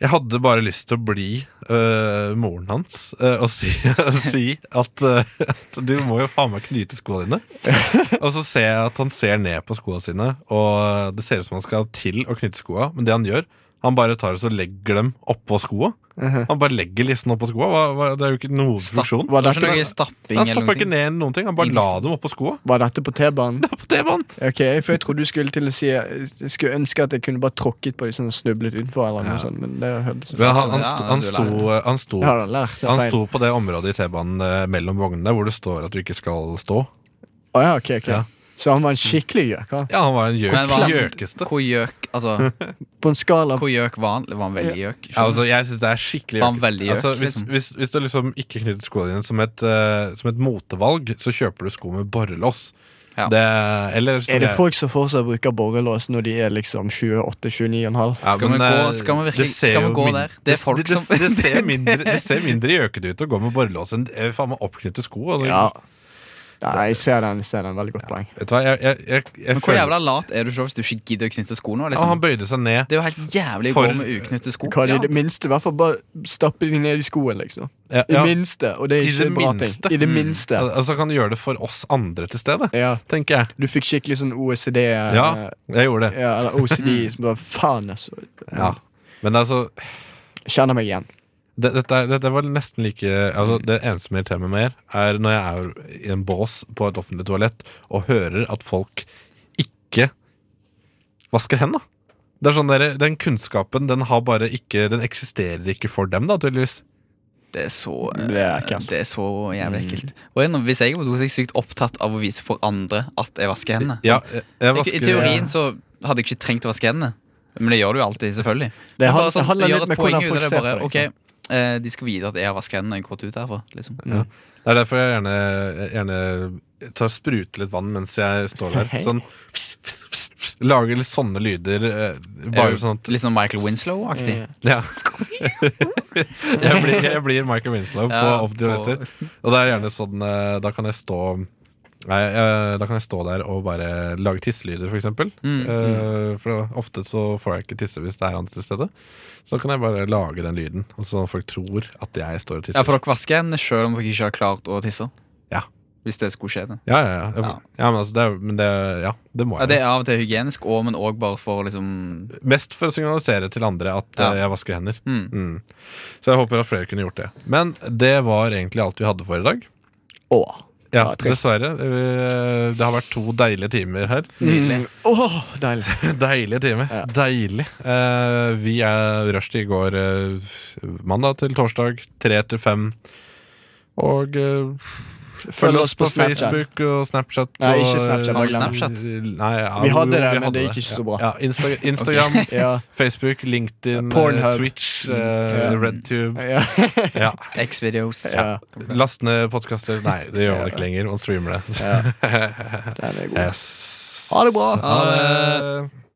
[SPEAKER 2] Jeg hadde bare lyst til å bli eh, moren hans eh, og si, og si at, eh, at du må jo faen meg knyte skoene dine. og så ser jeg at han ser ned på skoene sine, og det ser ut som han skal til å knytte skoene, men det han gjør han bare tar og så legger dem oppå skoene. Han bare legger listen oppå skoene. Hva, hva, det er jo ikke noen
[SPEAKER 3] Stapp-
[SPEAKER 2] funksjon.
[SPEAKER 1] Var
[SPEAKER 3] Det var
[SPEAKER 1] dette,
[SPEAKER 3] ikke noe stapping
[SPEAKER 2] Han
[SPEAKER 3] eller
[SPEAKER 2] stappa
[SPEAKER 3] noe.
[SPEAKER 2] ikke ned noen ting. Han
[SPEAKER 3] I
[SPEAKER 2] bare la dem oppå skoene.
[SPEAKER 1] var dette på T-banen?
[SPEAKER 2] På T-banen!
[SPEAKER 1] Ok, For jeg trodde du skulle til å si Jeg skulle ønske at jeg kunne bare tråkket på de sånn og snublet utenfor. Eller noe
[SPEAKER 2] Ja.
[SPEAKER 1] sånt, men det hørtes
[SPEAKER 2] Men Han, han,
[SPEAKER 3] Ja,
[SPEAKER 2] sto- han,
[SPEAKER 3] du er
[SPEAKER 2] sto- han sto
[SPEAKER 1] Jeg har lært det er
[SPEAKER 2] Han
[SPEAKER 1] feil.
[SPEAKER 2] sto på det området i T-banen eh, mellom vognene hvor det står at du ikke skal stå.
[SPEAKER 1] Å ja, ok, ok
[SPEAKER 2] Ja.
[SPEAKER 1] Så han var en skikkelig gjøk. Han.
[SPEAKER 2] Ja, han var en gjøk.
[SPEAKER 1] Men var han-
[SPEAKER 2] gjøkeste.
[SPEAKER 3] Hvor gjøk, altså
[SPEAKER 1] På en skala
[SPEAKER 3] Hvor gjøk var han? Var han veldig gjøk?
[SPEAKER 2] Ja, altså, jeg syns det er skikkelig
[SPEAKER 3] Var han veldig gjøk,
[SPEAKER 2] altså, hvis,
[SPEAKER 3] liksom?
[SPEAKER 2] hvis, hvis du liksom ikke knytter skoene dine som et, eh, som et motevalg, så kjøper du sko med borrelås. Det, eller som
[SPEAKER 1] Er det
[SPEAKER 2] jeg-
[SPEAKER 1] folk som fortsatt bruker borrelås når de er liksom 28-29,5?
[SPEAKER 2] Ja,
[SPEAKER 3] Skal
[SPEAKER 2] men,
[SPEAKER 3] vi gå-
[SPEAKER 2] eh,
[SPEAKER 3] skal vi virkelig-
[SPEAKER 2] det ser
[SPEAKER 3] skal vi
[SPEAKER 2] jo
[SPEAKER 3] gå
[SPEAKER 2] min-
[SPEAKER 3] der? Det er folk
[SPEAKER 2] det,
[SPEAKER 3] som-
[SPEAKER 2] det, det, ser mindre, det ser mindre gjøkete ut å gå med borrelås enn eh, faen meg oppknytte sko. Altså.
[SPEAKER 1] Ja. Nei, jeg ser den, jeg ser den. Veldig godt poeng.
[SPEAKER 2] Vet du hva, jeg, jeg, jeg, jeg
[SPEAKER 3] Men hvor jævla lat er du selv hvis du ikke gidder å knytte sko nå? liksom?
[SPEAKER 2] Ja, han bøyde seg ned.
[SPEAKER 3] Det er jo helt jævlig å
[SPEAKER 2] For-
[SPEAKER 3] gå med uknytte sko.
[SPEAKER 1] Kan i
[SPEAKER 3] Ja.
[SPEAKER 1] det minste i hvert fall bare stappe de ned i skoen, liksom.
[SPEAKER 2] Ja,
[SPEAKER 1] I
[SPEAKER 2] ja.
[SPEAKER 1] minste, og det
[SPEAKER 2] I
[SPEAKER 1] er ikke
[SPEAKER 2] det
[SPEAKER 1] bra
[SPEAKER 2] minste.
[SPEAKER 1] ting. I det
[SPEAKER 2] Mm.
[SPEAKER 1] minste.
[SPEAKER 2] Al- Altså kan gjøre det for oss andre til stede, tenker jeg.
[SPEAKER 1] Du fikk skikkelig sånn OECD eh,
[SPEAKER 2] Ja, jeg gjorde det.
[SPEAKER 1] Ja, eller OCD
[SPEAKER 3] Mm.
[SPEAKER 1] som bare faen, altså.
[SPEAKER 2] Ja. Men altså
[SPEAKER 1] Kjenner meg igjen.
[SPEAKER 2] Det, dette, er- dette var nesten like altså, Det eneste som irriterer meg mer, er når jeg er i en bås på et offentlig toalett og hører at folk ikke vasker hendene. Det er sånn der, Den kunnskapen den har bare ikke Den eksisterer ikke for dem, da, tydeligvis.
[SPEAKER 3] Det er så eh, Det er så
[SPEAKER 2] Mm.
[SPEAKER 3] jævlig ekkelt. Og jeg, hvis jeg var så sykt opptatt av å vise for andre at jeg vasker hendene så-
[SPEAKER 2] Ja, jeg- jeg vasker-
[SPEAKER 3] I teorien så hadde jeg ikke trengt å vaske hendene. Men det gjør du jo alltid, selvfølgelig.
[SPEAKER 1] Det
[SPEAKER 3] Men
[SPEAKER 1] han-
[SPEAKER 3] bare sånn
[SPEAKER 1] det handler
[SPEAKER 3] gjør
[SPEAKER 1] litt
[SPEAKER 3] et
[SPEAKER 1] med
[SPEAKER 3] poeng ut
[SPEAKER 1] hvordan
[SPEAKER 3] av
[SPEAKER 1] folk
[SPEAKER 3] det,
[SPEAKER 1] ser
[SPEAKER 3] bare,
[SPEAKER 1] på liksom. det,
[SPEAKER 3] Ok, eh, de skal vite at jeg har vasket hendene når jeg gått ut herfra. Liksom.
[SPEAKER 2] Ja. Det er derfor jeg gjerne, gjerne tar sprute litt vann mens jeg står der.
[SPEAKER 3] Hei.
[SPEAKER 2] Sånn fss, fss, fss, fss, Lager litt sånne lyder. eh, Bare
[SPEAKER 3] Eh,
[SPEAKER 2] sånn at Mm.
[SPEAKER 3] litt sånn Michael Winslow-aktig.
[SPEAKER 2] Ja. jeg, blir, jeg blir Michael Winslow
[SPEAKER 3] Ja,
[SPEAKER 2] på offentlige
[SPEAKER 3] på-
[SPEAKER 2] toaletter. Og det er gjerne sånn eh, Da kan jeg stå Nei, eh, da kan jeg stå der og bare lage tisselyder, for eksempel.
[SPEAKER 3] Mm.
[SPEAKER 2] Eh, For ofte så får jeg ikke tisse hvis det er andre til stede. Så da kan jeg bare lage den lyden, og så folk tror at jeg står og tisser.
[SPEAKER 3] Ja, for dere vasker hendene selv om dere ikke har klart å tisse.
[SPEAKER 2] Ja.
[SPEAKER 3] Hvis det skulle skje. da.
[SPEAKER 2] Ja, ja, ja. Jeg- ja men, altså, det, er- men det Ja, det må
[SPEAKER 3] Ja,
[SPEAKER 2] jeg.
[SPEAKER 3] det er av og til hygienisk, og, men òg bare for å liksom
[SPEAKER 2] Mest for å signalisere til andre at
[SPEAKER 3] Ja.
[SPEAKER 2] eh, jeg vasker hender.
[SPEAKER 3] Mm.
[SPEAKER 2] Så jeg håper at flere kunne gjort det. Men det var egentlig alt vi hadde for i dag.
[SPEAKER 1] Åh.
[SPEAKER 2] Ja,
[SPEAKER 1] Ja, trist.
[SPEAKER 2] dessverre. Eh, Det har vært to deilige timer her.
[SPEAKER 1] Mm. Åh, deilig.
[SPEAKER 2] Deilige timer. Deilig. Eh, vi er rushtid går eh, mandag til torsdag, tre til fem. Og eh, følg oss på,
[SPEAKER 1] Snapchat.
[SPEAKER 2] Facebook og Snapchat. og,
[SPEAKER 1] Nei, ikke Snapchat,
[SPEAKER 2] eh,
[SPEAKER 1] bare Snapchat.
[SPEAKER 2] Nei, ja,
[SPEAKER 1] Vi
[SPEAKER 2] jo,
[SPEAKER 1] hadde det,
[SPEAKER 2] vi
[SPEAKER 1] men det gikk ikke så bra.
[SPEAKER 2] Ja, Insta Instagram,
[SPEAKER 1] Ok. Ja.
[SPEAKER 2] Facebook, LinkedIn, eh,
[SPEAKER 1] Pornhub. Mm,
[SPEAKER 2] Twitch, eh,
[SPEAKER 1] Ja.
[SPEAKER 2] RedTube.
[SPEAKER 1] Ja.
[SPEAKER 2] Ja.
[SPEAKER 3] X-videos.
[SPEAKER 2] Ja. Last ned podkaster. Nei, det gjør man ikke lenger. Man streamer det.
[SPEAKER 1] Ja. Den er god.
[SPEAKER 2] Yes.
[SPEAKER 1] Ha det bra.
[SPEAKER 2] Ha det.